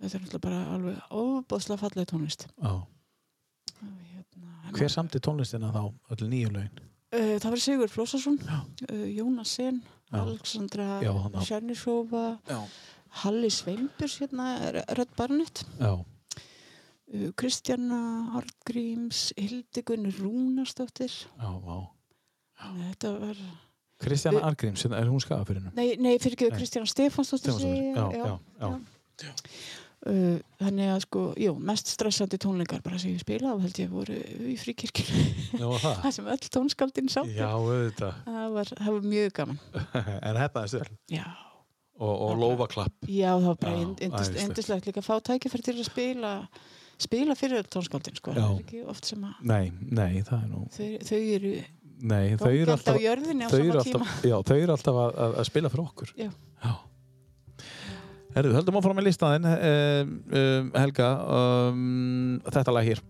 B: Þetta er alltaf bara alveg óbáslega fallega tónlist.
A: já.
B: Og, hérna,
A: hver samti tónlistina þá öll nýju lögin
B: Uh, það var Sigur Flósason,
A: Já.
B: uh, Jónas Sen,
A: Já.
B: Alexandra
A: Já, hann á-
B: Sjarnisófa,
A: já,
B: Halli Sveimbjörns, hérna, Rödd Barnett.
A: já,
B: Uh, Kristjana Hartgríms, Hildikun Rúnarsdóttir
A: já, já.
B: Þetta var...
A: Kristjana
B: Við-
A: Argríms, hérna, er hún skafafyrinu?
B: Nei, nei fyrir ekki
A: Nei.
B: Kristján Stefánsdóttir segi ég,
A: Já, já, já.
B: Uh, Þannig að sko, jú, mest stressandi tónleikar bara sem ég spilaði held ég voru í fríkirkjunni.
A: Já, það.
B: það sem öll tónskaldin sátt.
A: Já, auðvitað.
B: Það var, það var mjög gaman.
A: en hefnaðist vel.
B: Já,
A: Og, og lófaklapp.
B: já það var bara
A: Já,
B: ynd- yndist-
A: æðislegt.
B: yndislegt líka að fá tækifæri til að spila, spila fyrir tónskaldin sko.
A: Já.
B: Það er ekki oft sem að
A: Nei, nei, það er nú...
B: þau, þau eru
A: Nei, þau eru
B: gangjald á
A: alltaf...
B: jörðinni á
A: Þau eru
B: sama tíma.
A: alltaf, já, þau eru alltaf að, að, að spila fyrir okkur.
B: Já.
A: já. Herðu, höldum áfram með listaðinn, um, um, Helga, um, þetta lag hér.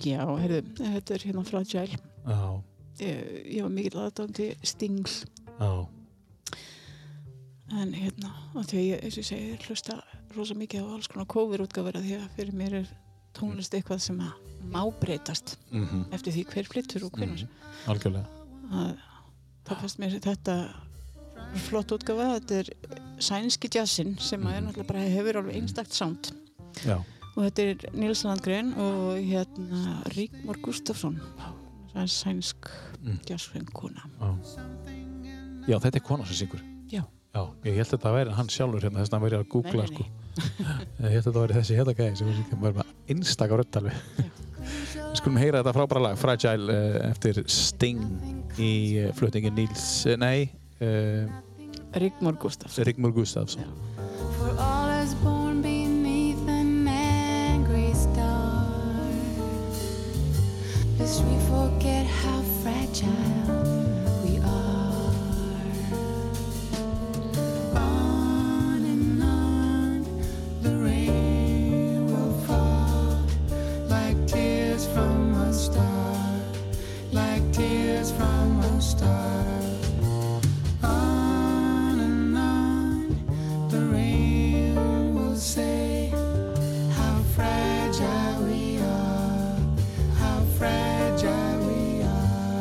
B: Já, heyrðu, þetta er hérna fragile.
A: Já,
B: Ég, ég var mikill aðdándi Stings
A: já,
B: en hérna, af því að ég, eins og ég segi, ég hlusta rosa mikið á alls konar coverútgáfur af því að fyrir mér er tónlist eitthvað sem að má breytast
A: mm
B: eftir því hver flyttur og hvernig
A: Mhm. algjörlega.
B: að það fannst mér þetta flott útgáfa, þetta er sænski jazzin sem að er
A: Mhm.
B: náttúrulega bara hefur alveg einstakt sound
A: Já,
B: og þetta er Nils Landgren og hérna Ríkmar Gustafsson það er sænsk
A: Mm.
B: jazzfenguna
A: já, þetta er kona sem syngur.
B: Já.
A: Já, ég held að þetta væri hann sjálfur hérna, þess að hann væri að googla,
B: Nei, nei,
A: sko. Ég held að þetta væri þessi hérna gæði sem var líka bara einstakar rödd alveg. Við skulum heyra þetta frábæra lag, Fragile, eh, eftir Sting í eh, flutningin Níls, eh, nei, uh,
B: Ríkmar Gustafsson
A: Rigmur Gustafsson.
C: For all is born beneath an angry star. Lest we forget how fragile we are. On and on the rain will fall like tears from a star, like tears from a star. On and on the rain will say how fragile we are, how fragile we are.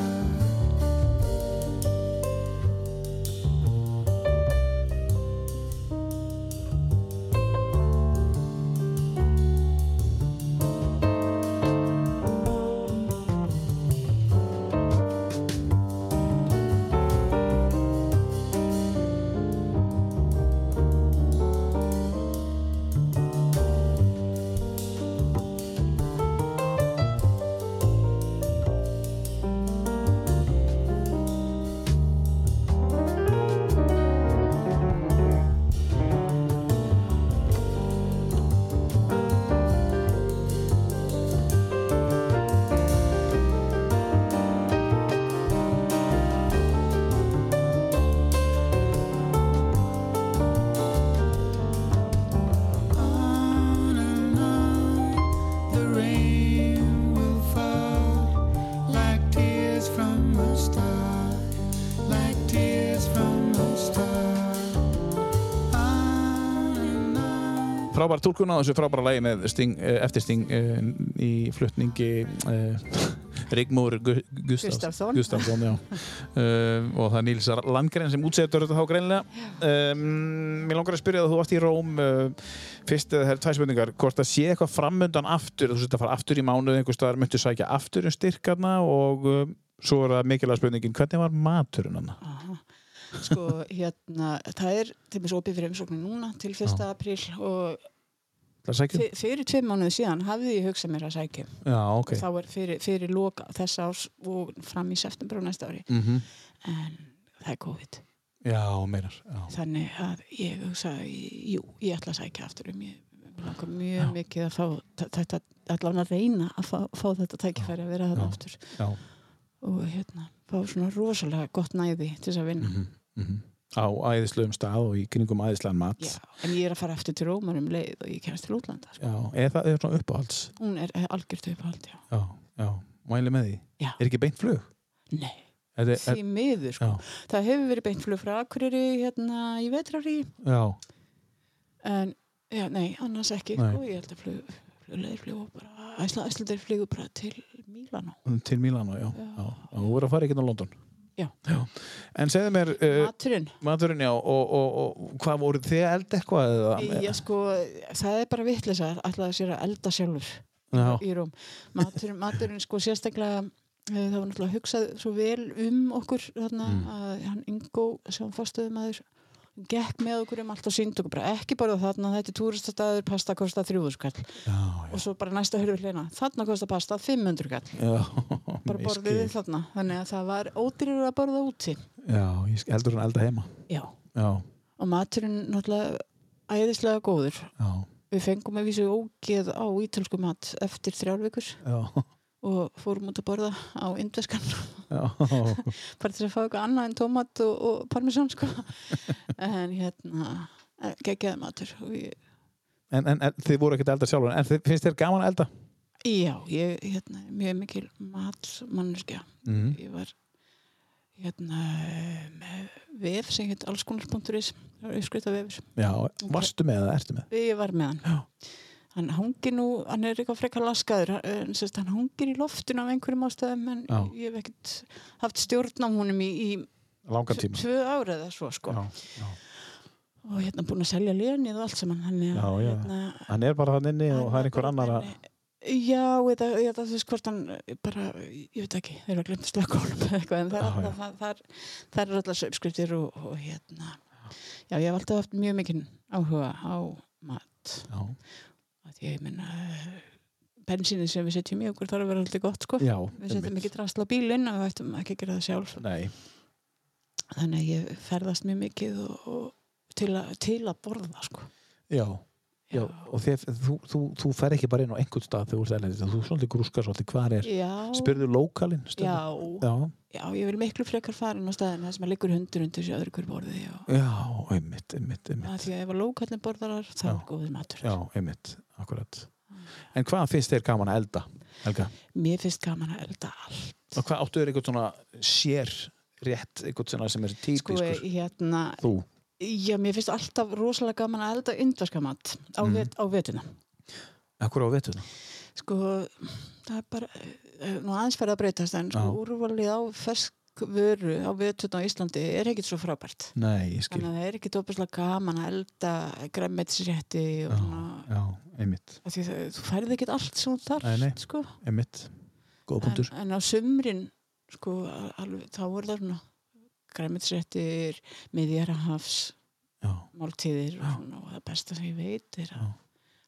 C: On and on, the rain will fall like tears from a star, like tears from a star. On and on.
A: Frábær tólkun á þessu frábæra lagi með Sting, eh, eftir Sting eh, í flutningi uh, Rigmur Gu- Gustafsson,
B: Gustafsson.
A: Gustafsson já. uh, og það er Níls Landgren sem útsettur þetta þá greinlega um, Mér langar að spyrja það þú varst í Róm uh, fyrst eða það er tvær spurningar hvort það sé eitthvað framöndan aftur þú sett að fara aftur í mánuð einhvers staðar myndu sækja aftur um styrkarna og uh, svo er það mikilvæg spurningin hvernig var maturinn hann?
B: Aha. Sko, hérna, það er til mér svo opið fyrir umsóknir núna til 1.
A: Já.
B: apríl og
A: Það sækja?
B: fyr, fyrir tveim mánuðu síðan hafði ég hugsað mér að sækja.
A: Já, ok
B: Þá er fyrir, fyrir loka þessa árs og fram í september á næsta ári.
A: mm
B: En það er COVID.
A: Já, meinar já.
B: Þannig að ég hugsaði, jú, ég ætla að sækja aftur um ég langar mjög
A: Já.
B: mikið að fá þ- þetta, allan að reyna að fá, fá þetta tækifæri að vera
A: Já.
B: þetta aftur
A: Já.
B: og hérna, fá svona rosalega gott næði til þess að vinna.
A: mm á æðislegum stað og í kynningum æðislegan mat
B: mhm. Já, en ég er að fara aftur til Rómar um leið og ég kemst til útlanda. Sko.
A: Já, eða það er svona uppáhalds
B: Hún er eh, algjört uppáhald, já.
A: já, já, mæli með því
B: Já.
A: er ekki beint flug
B: Nei,
A: er, er,
B: því miður, sko.
A: já,
B: Það hefur verið beint flug frá Akureyri hérna í vetrari,
A: já,
B: en já, nei, annars ekki,
A: Nei.
B: sko. Ég held að flug, flugleir flugur bara, æsla, æslandir flugur bara til Mílanó.
A: til Mílanu já,
B: Já.
A: já. og þú voru að fara ekki á London
B: Já.
A: en segðu mér uh,
B: Maturinn,
A: maturinn já og, og, og hvað voru þið að elda eitthvað eða,
B: ég sko, það er bara vitleisa, ætlaði sér að elda sjálfur
A: já,
B: í Róm. Maturinn, maturinn sko sérstaklega Eh, Það var náttúrulega hugsað svo vel um okkur þarna að hann Ingo sem fastöðum aður gekk með okkur um allt og sínd okkur bara ekki bara þarna þetta er túristastæður pasta kosta 300 kall og svo bara næsta hörðu hlena þarna kosta pasta 500 kall
A: Já,
B: bara
A: ég
B: borðið
A: skil.
B: þið þarna þannig að það var ódýrur að borða úti
A: Já, ég skil, heldur hann elda heima
B: já
A: Já,
B: og maturinn náttúrulega æðislega góður
A: já,
B: við fengum að vísu ógeð á ítölsku mat eftir þrjár vikur
A: já,
B: og fórum út að borða á indveskan
A: já
B: bara til að fá eitthvað annað en tómat og, og parmesan sko en hérna eh, geggjaði matur og ég,
A: En, en, en þið voru ekkert að elda sjálfur En þið, finnst þér gaman að elda?
B: já, ég hérna er mjög mikil matsmannurskja
A: Mm.
B: ég var hérna með vef sem heit allskonar.is það var uppskrifta vefur
A: Já, varstu með eða ertu með?
B: Ég var með hann. Hann hangir nú, hann er eitthvað frekar laskaður, hann, sérst, hann hangir í loftinu af einhverjum ástæðum en
A: Já.
B: ég hef ekkert haft stjórn á honum í, í
A: Langan
B: tv-
A: tíma
B: tvö ára eða svo sko.
A: Já, já.
B: Og hérna búin að selja lénið og allt saman. Hann,
A: Já, já.
B: Hérna,
A: Hann er bara hann inni og það er einhver
B: bara-
A: annar að
B: Já, eða, eða þú veist hvort hann eh, bara, ég veit ekki, þeir eru að glemta slökkólum eða eitthvað, en það er
A: Já,
B: alltaf, það, það, er- það er alltaf uppskriftir og, og hérna. Já, ég hef alltaf haft mjög mikinn áhuga á mat.
A: Já,
B: að því að ég minna bensinið sem við setjum í okkur þarf að vera alltaf gott sko
A: já
B: við setjum
A: einmitt.
B: ekki drasla á bílinn og við ættum ekki að gera það sjálf
A: Nei,
B: þannig að ég ferðast mjög mikið og, og til, a, til að borða sko
A: já, já Og þið, þú, þú, þú fer ekki bara inn á einhvern stað þegar þú ert erlendis Þú svolítið grúskar svolítið hvað er
B: já,
A: Spyrðu lókalinn
B: já,
A: stundum? Já,
B: já, ég vil miklu frekar fara inn á staðin þar sem að liggur hundur undir sér öðru hver borði og
A: já, einmitt, einmitt, einmitt
B: að því að ef að lókallin borðarar þá er Ah.
A: Já.
B: góður matur
A: Já, einmitt, akkurat En hvað finnst þér gaman að elda, Helga?
B: mér finnst gaman að elda allt
A: Og hvað áttu þér einhvern svona sér rétt, einhvern svona sem er
B: sko,
A: típiskur
B: hérna,
A: Þú,
B: já, mér finnst alltaf rosalega gaman að elda indverskamat á,
A: Mhm.
B: vet, á vetuna
A: akkur á vetuna
B: sko, það er bara eh, nú aðeins færið að breytast en sko,
A: Já.
B: úrvalið á fersk vöru á viðtönd á Íslandi er ekkit svo frábært
A: Nei, ég skil
B: þannig að það er ekkit opaslega gaman að elda græmmetisrétti og svona
A: Já, einmitt,
B: af því það, þú færið ekkit allt sem þú
A: Nei, nei.
B: þarft sko.
A: einmitt Góð
B: en,
A: punktur
B: en á sumrin sko, al- alveg, þá voru það svona græmmetisréttir miðjarahafs
A: Já,
B: máltíðir og,
A: Já.
B: svona, og það besta sem ég veit er að
A: Já.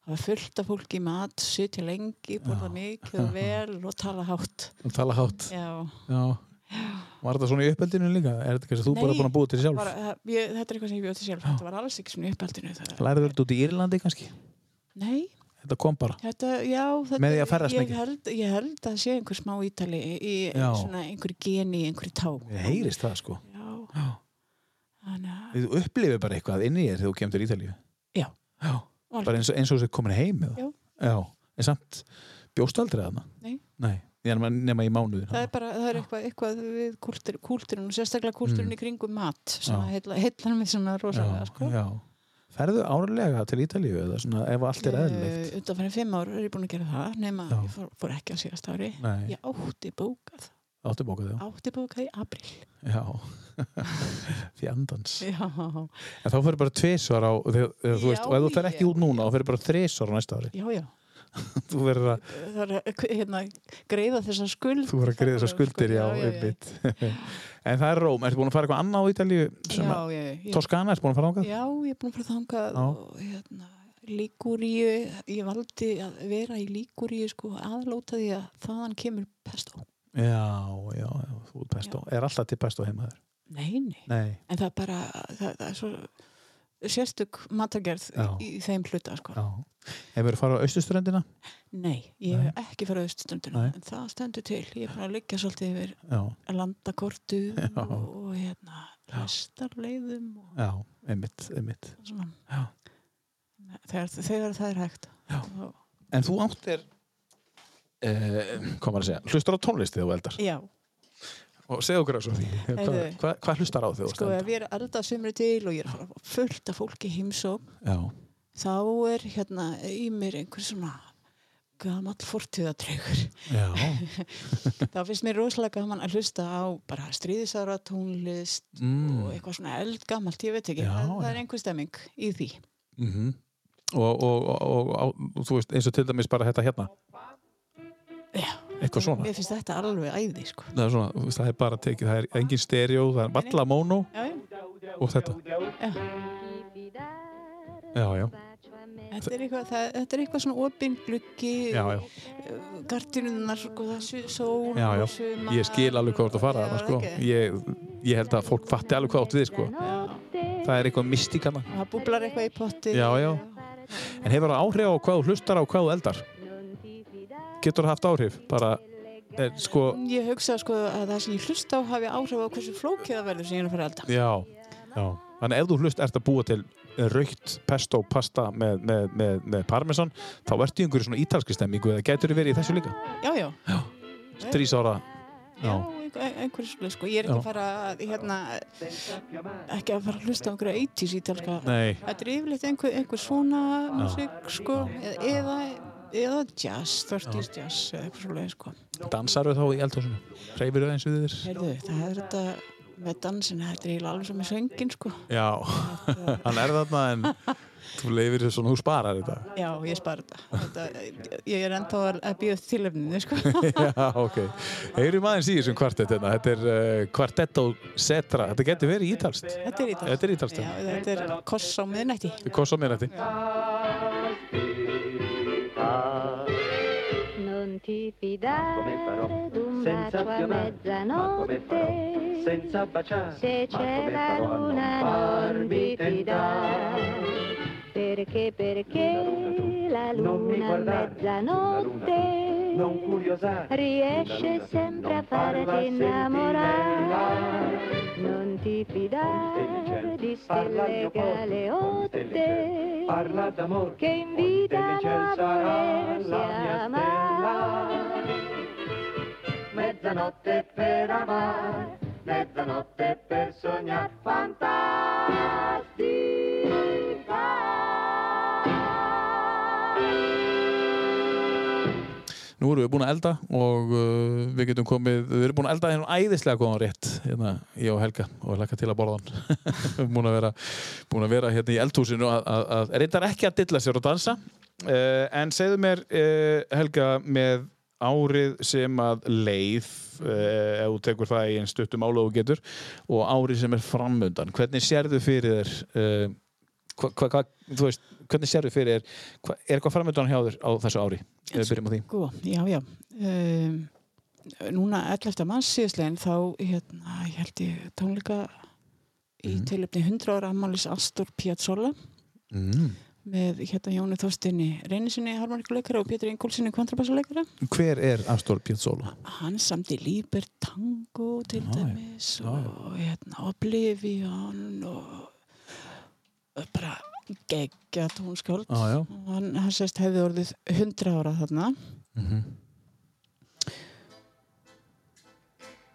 B: hafa fullt af fólki í mat, sitja lengi, borða
A: Já.
B: mikið og vel og tala hátt.
A: þú tala hátt
B: Já,
A: Já Var þetta svona í uppeldinu líka? Er þetta kannski þú bara
B: Nei,
A: búin að búa til sjálf?
B: bara, það- ég, þetta er eitthvað sem ég bjóti sjálf, þetta var alls ekki svona í uppeldinu. það-
A: Lærið þetta út í Írlandi kannski?
B: Nei,
A: Þetta kom bara
B: þetta, já, þetta,
A: Með því að ferðast
B: ég,
A: mikið?
B: held, ég held að sé einhver smá ítali í
A: Já.
B: svona einhver geni, einhver tá.
A: Mér heyrist það sko
B: Já,
A: Já.
B: þannig að,
A: Þú upplifir bara eitthvað inn í þér þegar þú kemur til Ítalíu
B: Já.
A: Já Bara eins og, eins og þú sér komin heim eða
B: Já.
A: Já En samt bjóst aldrei þarna
B: Nei.
A: Nei Já, nema, nema í mánuðin
B: það er bara, það er eitthvað, eitthvað við kúltur, kúlturinn og sérstaklega
A: Mm.
B: kúlturinn í kringum mat sem
A: Já.
B: heitla, heitlan mig svona rosalega,
A: Já,
B: sko.
A: já. Ferðu árlega til Ítalíu eða svona ef allt er eðlilegt?
B: Undan fyrir Eh, fimm ár er ég búin að gera það nema
A: Já.
B: ég fór, fór ekki á síðast ári
A: Nei,
B: Ég átti bókað,
A: áttu bókað já.
B: átti bókað í april
A: Já. Fjandans.
B: Já,
A: En þá fyrir bara tvisvar á, þegar, þegar, þú
B: Já,
A: veist, og ef þú fer ekki
B: já.
A: út núna, þá fyrir bara þrisvar á næsta ári.
B: já, já
A: Þú verður að,
B: Það er að hérna, greiða þessa skuld
A: þú verður að greiða þessar
B: Sko,
A: skuldir, já,
B: já, já, já.
A: einmitt. en það er Róm, ertu búin að fara eitthvað annað á Ítalíu?
B: Já,
A: sem að-
B: já, já, já,
A: Toskana, ertu búin að fara ángað?
B: já, ég er búin að fara þangað
A: Já.
B: og hérna Líkuríu, ég valdi að vera í Líkuríu sko aðlóta því að þaðan kemur pesto
A: Já, já, já, þú er pesto. Er alltaf til pesto heimaður?
B: Nei, nei,
A: Nei,
B: en það er bara það, það er svo sérstök matargerð
A: Já.
B: í, í þeim hluta sko
A: já. Hefur þú farið á austusturendina?
B: Nei, ég hef ekki farið auðstunduna
A: Nei.
B: en það stendur til, ég er búin að liggja svolítið yfir
A: Já,
B: landakortu
A: Já.
B: og, og hérna lestarleiðum og
A: já, einmitt, einmitt.
B: svona
A: Já.
B: þegar, þegar það er hægt
A: Já.
B: Og,
A: En þú áttir uh, hvað maður að segja, hlustar á tónlist þegar þú eldar
B: já
A: og segja okkur að svo því hvað,
B: Heyrðu.
A: hvað, hvað hlustar á þegar þú
B: sko ef
A: eldar
B: ég er að elda sumri til og ég er að fara að fá fullt af fólki í heimsókn
A: Já,
B: þá er hérna í mér einhver svona gamall fortíðatregur
A: já,
B: þá finnst mér rosalega gaman að hlusta á bara stríðisára tónlist og
A: mm.
B: eitthvað svona eldgamalt, ég veit ekki
A: Já,
B: það, það
A: já.
B: er einhver stemming í því
A: Mhm. og, og, og, og, og þú veist eins og til dæmis bara þetta hérna
B: Já.
A: já, eitthvað svona
B: Mér finnst þetta alveg æði, sko.
A: það er, svona, þú veist, það er bara tekið, það er engin stereo það er valla mono
B: Já, já.
A: og þetta
B: Já.
A: já, já,
B: Þetta er eitthvað, það, þetta er eitthvað svona opinn gluggi,
A: já, já.
B: gardinunnar, sko, það er sól
A: Já, já.
B: og sumar.
A: ég skil alveg hvað þú ert að fara
B: Já,
A: þarna, sko.
B: ekki?
A: ég, ég held að fólk fatti alveg hvað átti þið sko.
B: Já.
A: það er eitthvað mystíkana
B: Og það búblar eitthvað í potti.
A: Já, já. en hefur það áhrif á hvað þú hlustar á hvað þú eldar getur það haft áhrif bara, er, sko
B: Ég hugsa sko að það sem ég hlusta á hafi áhrif á hversu flókið það verður sem ég er að fara að elda.
A: já, já þannig ef þú hlust ert að búa til raukt pesto pasta með, með, með, með parmesan þá ertu í einhverju svona ítalski stemmingu eða getur þið verið í þessu líka
B: Já, já.
A: þrís ára
B: Já,
A: já,
B: einhver- einhverju svolítið sko. Ég er ekki
A: Já.
B: að fara að, hérna, ekki að fara að hlusta á einhverju 80s ítalska.
A: nei,
B: Þetta er yfirleitt einhver, einhver svona musik sko, eða, eða, eða jazz, 30s jazz eða eitthvað svolítið sko.
A: dansaru þá í eldhúsinu reyfir þau eins við þér
B: Heyrðu, það er þetta með dansina, þetta er eiginlega alveg sem með söngin sko.
A: já, hann er þarna en þú leifir þau svona, þú sparar þetta
B: Já, ég spara þetta. þetta ég er ennþá að að býða tilöfninu sko.
A: já, ok heyrum aðeins í þessum kvartettina þetta er uh, kvartetto setra þetta getur verið ítalst
B: Þetta er ítalskt.
A: Þetta er ítalskt, já.
B: Já, þetta er koss á miðnætti.
A: kosa mér þetta
E: Non ti fidare d'un bacio a mezzanotte
F: senza baciare.
E: Se c'è la luna non ti fidare Perché, perché la
F: Non mi
E: luna a
F: guardare, non
E: mezzanotte
F: curiosare,
E: Riesce sempre a
F: farla
E: farti innamorare
F: sentinella.
E: Non ti fidare di
F: Parla al
E: stelle
F: mio corpo,
E: galeotte
F: parla d'amore,
E: che invitano a
F: intelligenza
E: volersi
F: la mia
E: amare.
F: mezzanotte per amare, mezzanotte per sognare,
A: nú erum við búin að elda og uh, við getum komið, við erum búin að elda hérna æðislega góðan rétt, hérna ég og Helga og hlakka til að borða hann við erum búin að vera, búin að vera hérna í eldhúsinu að, að, að reyndar ekki að dilla sér og dansa uh, en segðu mér uh, Helga með árið sem að leið uh, ef þú tekur það í einn stuttum ála og getur og árið sem er framundan hvernig sérðu fyrir þér uh, hva, hva, hva, þú veist, hvernig sérðu fyrir þér hva, er eitthvað framundan hjá þér á þessu ári ef við byrjum á því
B: Sko, já, já. Um, núna 11. manns síðastlegin þá hérna, ég held ég tónleika í
A: Mhm.
B: tilöfni 100 ára ammális Astor Piazzolla
A: mm.
B: með hérna Jóni Þorstinni Reynisinni harmonikuleikara og Pétur Ingólfsinni kontrabassuleikara.
A: Hver er Astor Piazzolla?
B: Hann samti Líber Tango til
A: Já, já.
B: dæmis og hérna Oblivion og og bara geggja tónskáld.
A: Já, já.
B: Hann, hann sérst hefði orðið 100 ára þarna.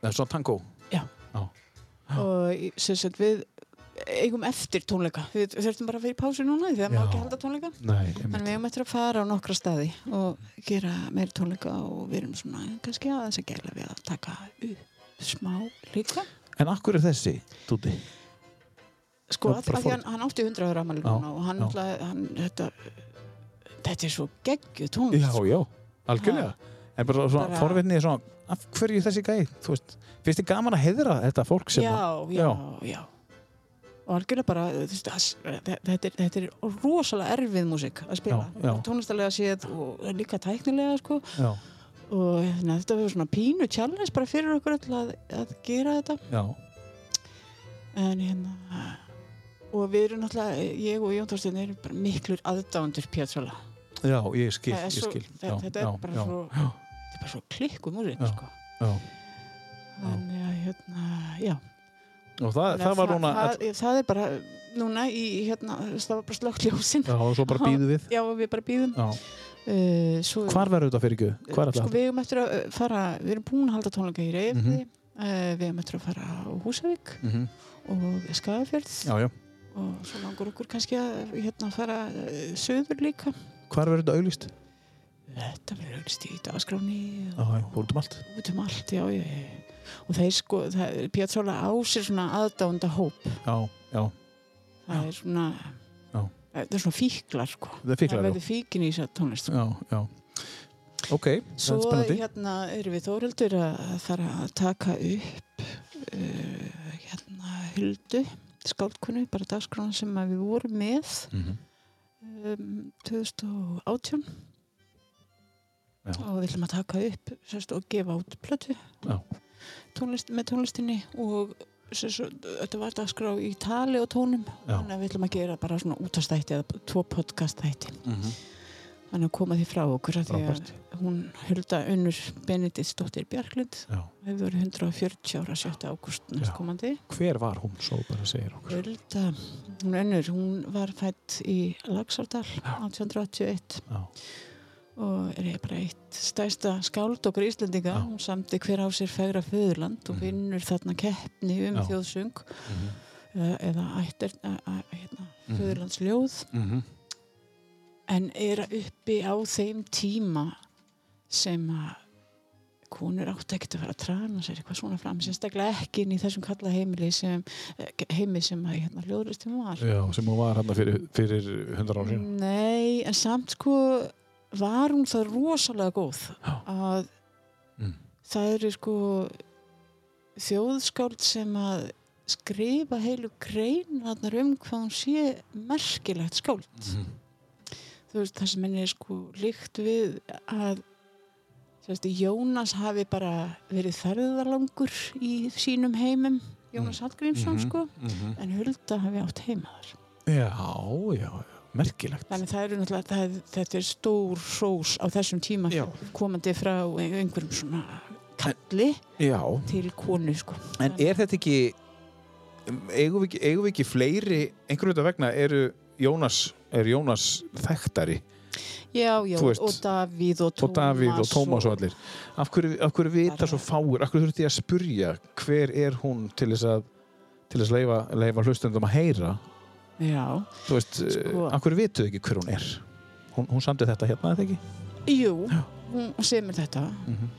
A: Það er svona tango
B: Já.
A: Já.
B: Og í- sem sagt við eigum eftir tónleika. Við þurftum bara að fyrir pásu núna því að
A: Já.
B: maður ekki halda tónleika.
A: Nei,
B: Þannig við eigum eftir að fara á nokkra staði og gera meiri tónleika og við erum svona kannski aðeins að gæla við að taka upp smá líka.
A: En akkur er þessi, Dúti?
B: Sko,
A: Já,
B: að,
A: bara
B: að því
A: fór-
B: hann, hann átti 100 ára ammali
A: Já,
B: núna og hann
A: já.
B: alltaf, hann, þetta, þetta er svo geggju tónlist.
A: Já, já, algjörlega En bara svona
B: Bara-
A: forvitni er svona Af hverju þessi gæi? Þú veist, finnst þið gaman að heiðra þetta fólk sem að-
B: já, já, já. Og algjörlega bara, þú veist, að- þetta er, þetta er rosalega erfið músík að spila.
A: Já, já.
B: Tónlistalega séð og líka tæknilega, sko.
A: já,
B: Og þannig að þetta verður svona pínu challenge bara fyrir okkur öll að, að gera þetta.
A: já,
B: En hérna, og við erum náttúrulega, ég og Jón Þorstein erum bara miklur aðdándur Pjátróla.
A: já, ég skil,
B: Það er
A: ég
B: svo-
A: skil
B: þe-
A: já,
B: þetta er
A: já,
B: bara
A: já,
B: svo-
A: já,
B: Þetta er bara svo klikku músík,
A: Já.
B: sko.
A: já.
B: Þannig að, hérna, já.
A: Og það, það var núna
B: það, það er bara eh, núna í hérna það var bara slögt ljósin
A: Já, og svo bara býðu við
B: já og við bara býðum
A: já.
B: uh, svo,
A: Hvar verður þetta fyrir ekki? Hvar er
B: sko,
A: þetta?
B: við erum eftir að uh, fara við erum búin að halda tónleika í reyfi uh, við erum eftir að fara á Húsavík
A: Mhm.
B: og Skagafjörð
A: Já, já
B: og svo langur okkur kannski að hérna fara uh, söður líka
A: Hvar verður þetta auglýst?
B: þetta verður auðvist í dagskráni
A: Já,
B: og
A: já, þú ert um allt
B: út um allt já, já, já. og þeir sko Pjátsóla á sér svona aðdánda hóp
A: Já, já,
B: það er svona
A: Já.
B: það er svona fíklar sko
A: það er
B: það
A: fíklar já.
B: verður fíkin í þess að tónlist sko.
A: já, já ok, það er
B: Svo
A: spennandi.
B: hérna erum við Þóreldur að fara að taka upp uh, hérna Huldu skáldkunni, bara dagskrána sem að við vorum með
A: Mhm.
B: um, 2018
A: Já.
B: og við ætlum að taka upp sérst, og gefa út plötu
A: Já.
B: tónlist, með tónlistinni og sérst, þetta var dagskrá í tali og tónum
A: Já.
B: þannig að við ætlum að gera bara svona útastætti eða tvo podcastætti
A: Mhm.
B: þannig að koma því frá okkur af því að
A: Frábært.
B: hún hulda unnur Benediktsdóttir Bjarklind
A: Já.
B: hefur verið 140 ára 7. ágúst
A: Já.
B: næstkomandi
A: Hver var hún, svo bara segir okkur.
B: hulda, hún önnur, hún var fætt í Lagsardal 1881
A: Já.
B: og er bara eitt stærsta skáld okkur Íslendinga,
A: Já.
B: hún samti hver á sér fegra föðurland og
A: Mhm.
B: vinnur þarna keppni um
A: Já.
B: þjóðsöng
A: Mm
B: eða, eða ættir hérna,
A: Mhm.
B: föðurlandsljóð
G: Mhm.
B: en er uppi á þeim tíma sem að konur átti ekkert að fara að trana sér eitthvað svona fram, sérstaklega ekki inn í þessum kalla heimili sem eh, heimi sem að hérna hljóðlistum var
A: Já, sem hún var hann fyrir, fyrir 100 ára síðan.
B: Nei, en samt sko var hún það rosalega góð
A: Já.
B: að
A: Mm.
B: það eru sko þjóðskáld sem að skrifa heilu greinarnar um hvað hún sé merkilegt skáld
A: Mhm.
B: þú veist, það sem henni er sko líkt við að þú veist, Jónas hafi bara verið ferðarlangur í sínum heimum, Jónas Hallgrímsson
A: Mhm.
B: sko,
A: Mm -hmm.
B: en Hulda hafi átt heima þar.
A: Já, já, já, merkilegt.
B: Þannig það eru náttúrulega, það, er- þetta er stór hrós á þessum tíma
A: Já.
B: komandi frá einhverjum svona kalli
G: Já,
B: til konu sko.
G: en e- er þetta ekki um, eigum við ekki, eigum við ekki fleiri einhverjum þetta vegna eru Jónas, er Jónas þekktari
B: Já, já,
G: Þú veist,
B: og Davíð og Tómas
G: og Davíð og Tómas og allir af hverju, af hverju vita
B: Bara-
G: svo fáir af hverju þurfti ég að spurja hver er hún til þess að til þess að leifa, leifa hlustendum að heyra
B: Já,
G: þú veist, sko.
B: Sko.
G: af hverju vituð þið ekki hver hún er hún, hún samdi þetta hérna, eða ekki?
B: jú, hún semur þetta
G: Mhm.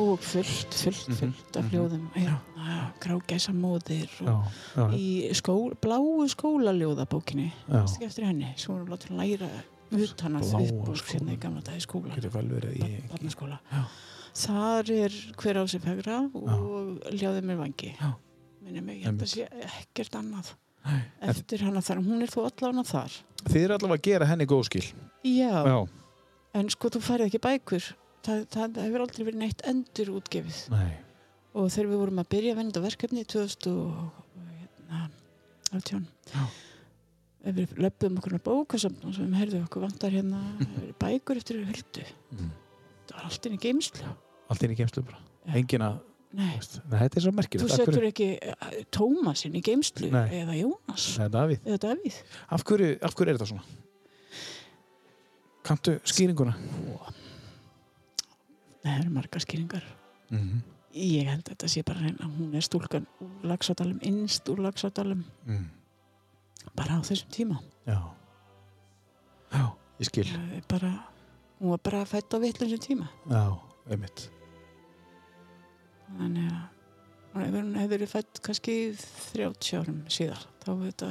B: og fullt, fullt,
G: Mhm,
B: fullt af
G: mhm.
B: hljóðum hérna, grágæsa móðir
G: já,
B: og
G: já,
B: í skó, bláu skólaljóðabókinni
G: já.
B: Manstu ekki eftir henni, svo erum við látið að læra utan að
G: Bláa
B: viðbúr
G: skóla.
B: hérna í gamla dagi skóla
G: getur vel verið í
B: barnaskóla
G: Já.
B: þar er hver á sig fegra og ljáði mér vangi
G: Já.
B: minni mig, ég held að sé ekkert annað
G: Nei.
B: eftir hana þar, hún er þó allan að þar
G: þið eru allavega að gera henni góðskil
B: já,
G: já,
B: en sko þú færið ekki bækur það, það hefur aldrei verið neitt endur útgefið
G: nei
B: og þegar við vorum að byrja að venda verkefni 2018
G: Já.
B: hérna, ef við löpum okkur á bókasamn og sem herðu okkur vantar hérna bækur eftir við höldu
G: Mm.
B: það var allt inn í geimslu
G: allt inn í kemstu bara
B: Já.
G: engin að,
B: Nei,
G: veist, nei, þetta er svo
B: þú
G: merkilegt Af
B: setur
G: hverju-
B: ekki eh, Tómas inn í geimslu
G: Nei.
B: eða Jónas
G: Nei, Davíð,
B: eða Davíð
G: af hverju, af hverju er þetta svona? Kanntu skýringuna?
B: það eru margar skýringar
G: Mm -hmm.
B: ég held að þetta sé bara reyna hún er stúlkan úr lagsadalum innst úr lagsadalum
G: mm.
B: bara á þessum tíma
G: Já Já, ég skil
B: Eh, bara, hún var bara fætt á vitlansum tíma
G: Já, einmitt
B: þannig að og ef hún hefði verið fætt kannski 30 árum síðar þá þetta,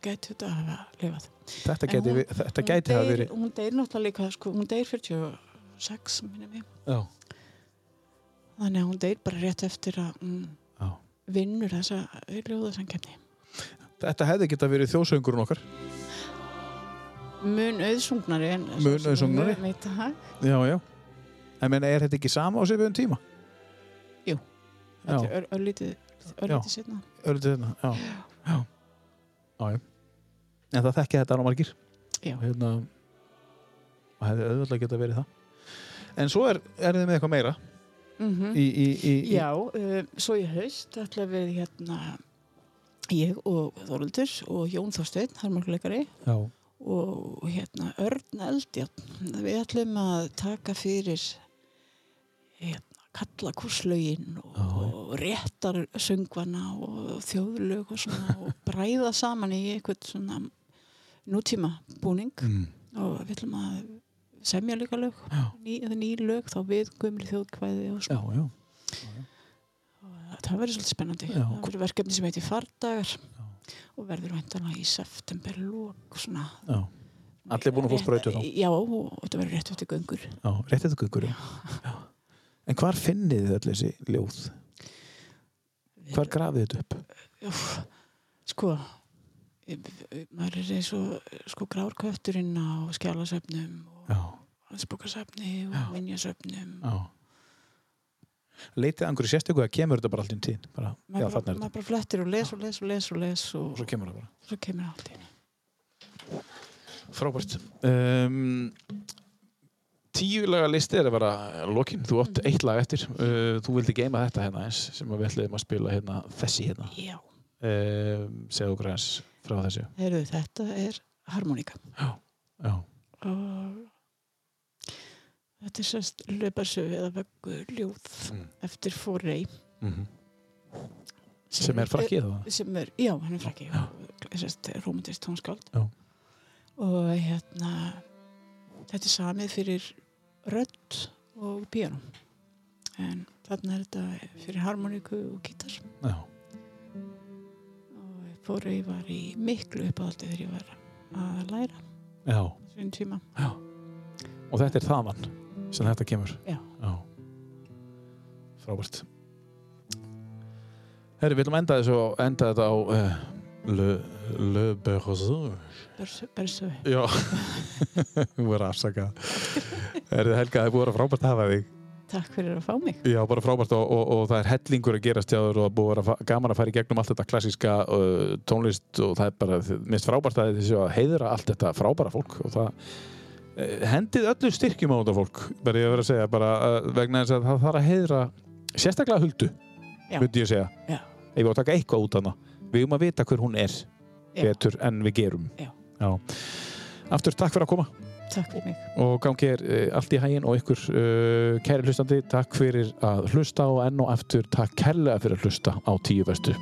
B: gæti þetta að hafa lifað
G: Þetta
B: En
G: gæti,
B: hún-
G: við- þetta gæti
B: hún,
G: hafa
B: deyr,
G: verið
B: hún deyr náttúrulega líka sko, hún deyr 46 minni mig
G: Já,
B: þannig að hún deyr bara rétt eftir að hún
G: Já.
B: vinnur þessa ljóðasankefni
G: Þetta hefði geta verið þjóðsöngurinn okkar
B: mun auðsungnari en
G: Mun auðsóknari.
B: mitt, ha?
G: Já, já En meina, er þetta ekki sama á sviðum tíma?
B: þetta er ör- örlítið örlítið setna
G: Öldið
A: hérna,
G: þetta, já Já, já, já. En það þekki þetta á margir
B: Já.
G: Og Hérna og hefði auðvitað geta verið það En svo er, er þið með eitthvað meira
B: mm -hmm.
G: í, í, í, í,
B: Já, um, svo í haust ætla við hérna ég og Þorlundur og Jón Þorsteinn, harmarkuleikari
G: já.
B: og hérna Örn Eldjátt við ætlum að taka fyrir hérna kallakurslaugin og,
G: Já.
B: og réttar söngvana og þjóðlög og svona og bræða saman í eitthvað svona nútíma búning
G: Mm.
B: og við ætlum að semja líka lög ný, eða ný lög þá við gömli þjóðkvæði og
G: já,
B: svona
G: já
B: Og það verður svolítið spennandi
G: Já.
B: það verður verkefni sem heitir Fardagar og verður væntanlega í september lók svona
G: Já.
A: Allir búin að fá sprautu þá.
B: Já, og þetta verður rétt eftir göngur.
A: Já, rétt eftir kukurum. En hvar finnið þið öll þessi ljóð? Hvar grafið þetta upp?
B: Úff, sko eh, eh, maður er eins og eh, sko grárkötturinn á skjálasöfnum og
A: Já,
B: hansbókasöfni
A: Já.
B: og minjasöfnum
A: já. Leitið einhverju sérstöku að kemur þetta bara allt inn tíðin. Bara, já,
B: maður, bara-
A: þarna er þetta.
B: maður bara flettir og les og les og les og les
A: Og
B: og
A: svo kemur það bara.
B: svo kemur allt inn
A: Frábært. Um, tíu laga listi er að vera lokin. Þú átt eitt lag eftir. Uh, þú vildi geima þetta hérna eins sem að við ætliðum að spila hérna þessi hérna.
B: Já,
A: Um, segðu okkur eins frá þessu.
B: heyrðu, þetta er harmonika
A: Já.
B: og þetta er sérst löparsöf eða vöggu ljóð
A: Mm.
B: eftir Forey
A: Sem er frakkið það.
B: sem er, já, hann er frækki sérst romantist tónskáld
A: Já.
B: og hérna þetta er samið fyrir rödd og piano en þarna er þetta fyrir harmoníku og gítar
A: Já.
B: og fóru ég var í miklu uppáhaldi þegar ég var að læra
A: Já.
B: svinn tíma
A: Og þetta er þaðan sem þetta kemur.
B: Já.
A: Frábært. Herri, við viljum enda, þessu, enda þetta á uh, Le, Le Bergeau.
B: bersu,
A: Já, þú verður afsakað. Er þið Helga, það er búið að vera frábært að hafa þig.
B: takk fyrir að fá mig
A: Já, bara frábært og, og, og það er hellingur að gerast hjá þér og það er búið að vera fa- gaman að fara í gegnum allt þetta klassíska uh, tónlist og það er bara, minnst frábært að þessu að heiðra allt þetta frábæra fólk og það eh, hendið öllu styrkjum á þetta fólk, bara ég verður að segja, bara uh, vegna þess að það þarf að heiðra sérstaklega huldu,
B: Já.
A: myndi ég segja.
B: Já.
A: Ef við á að taka eitthvað út hana, við um að vita hver hún er
B: Já.
A: betur en við gerum.
B: Já.
A: Já. Aftur, takk fyrir að koma
B: takk fyrir mig
A: og gangi er allt í hægin og ykkur uh, kæri hlustandi, takk fyrir að hlusta og enn og aftur takk kærlega fyrir að hlusta á tíu bestu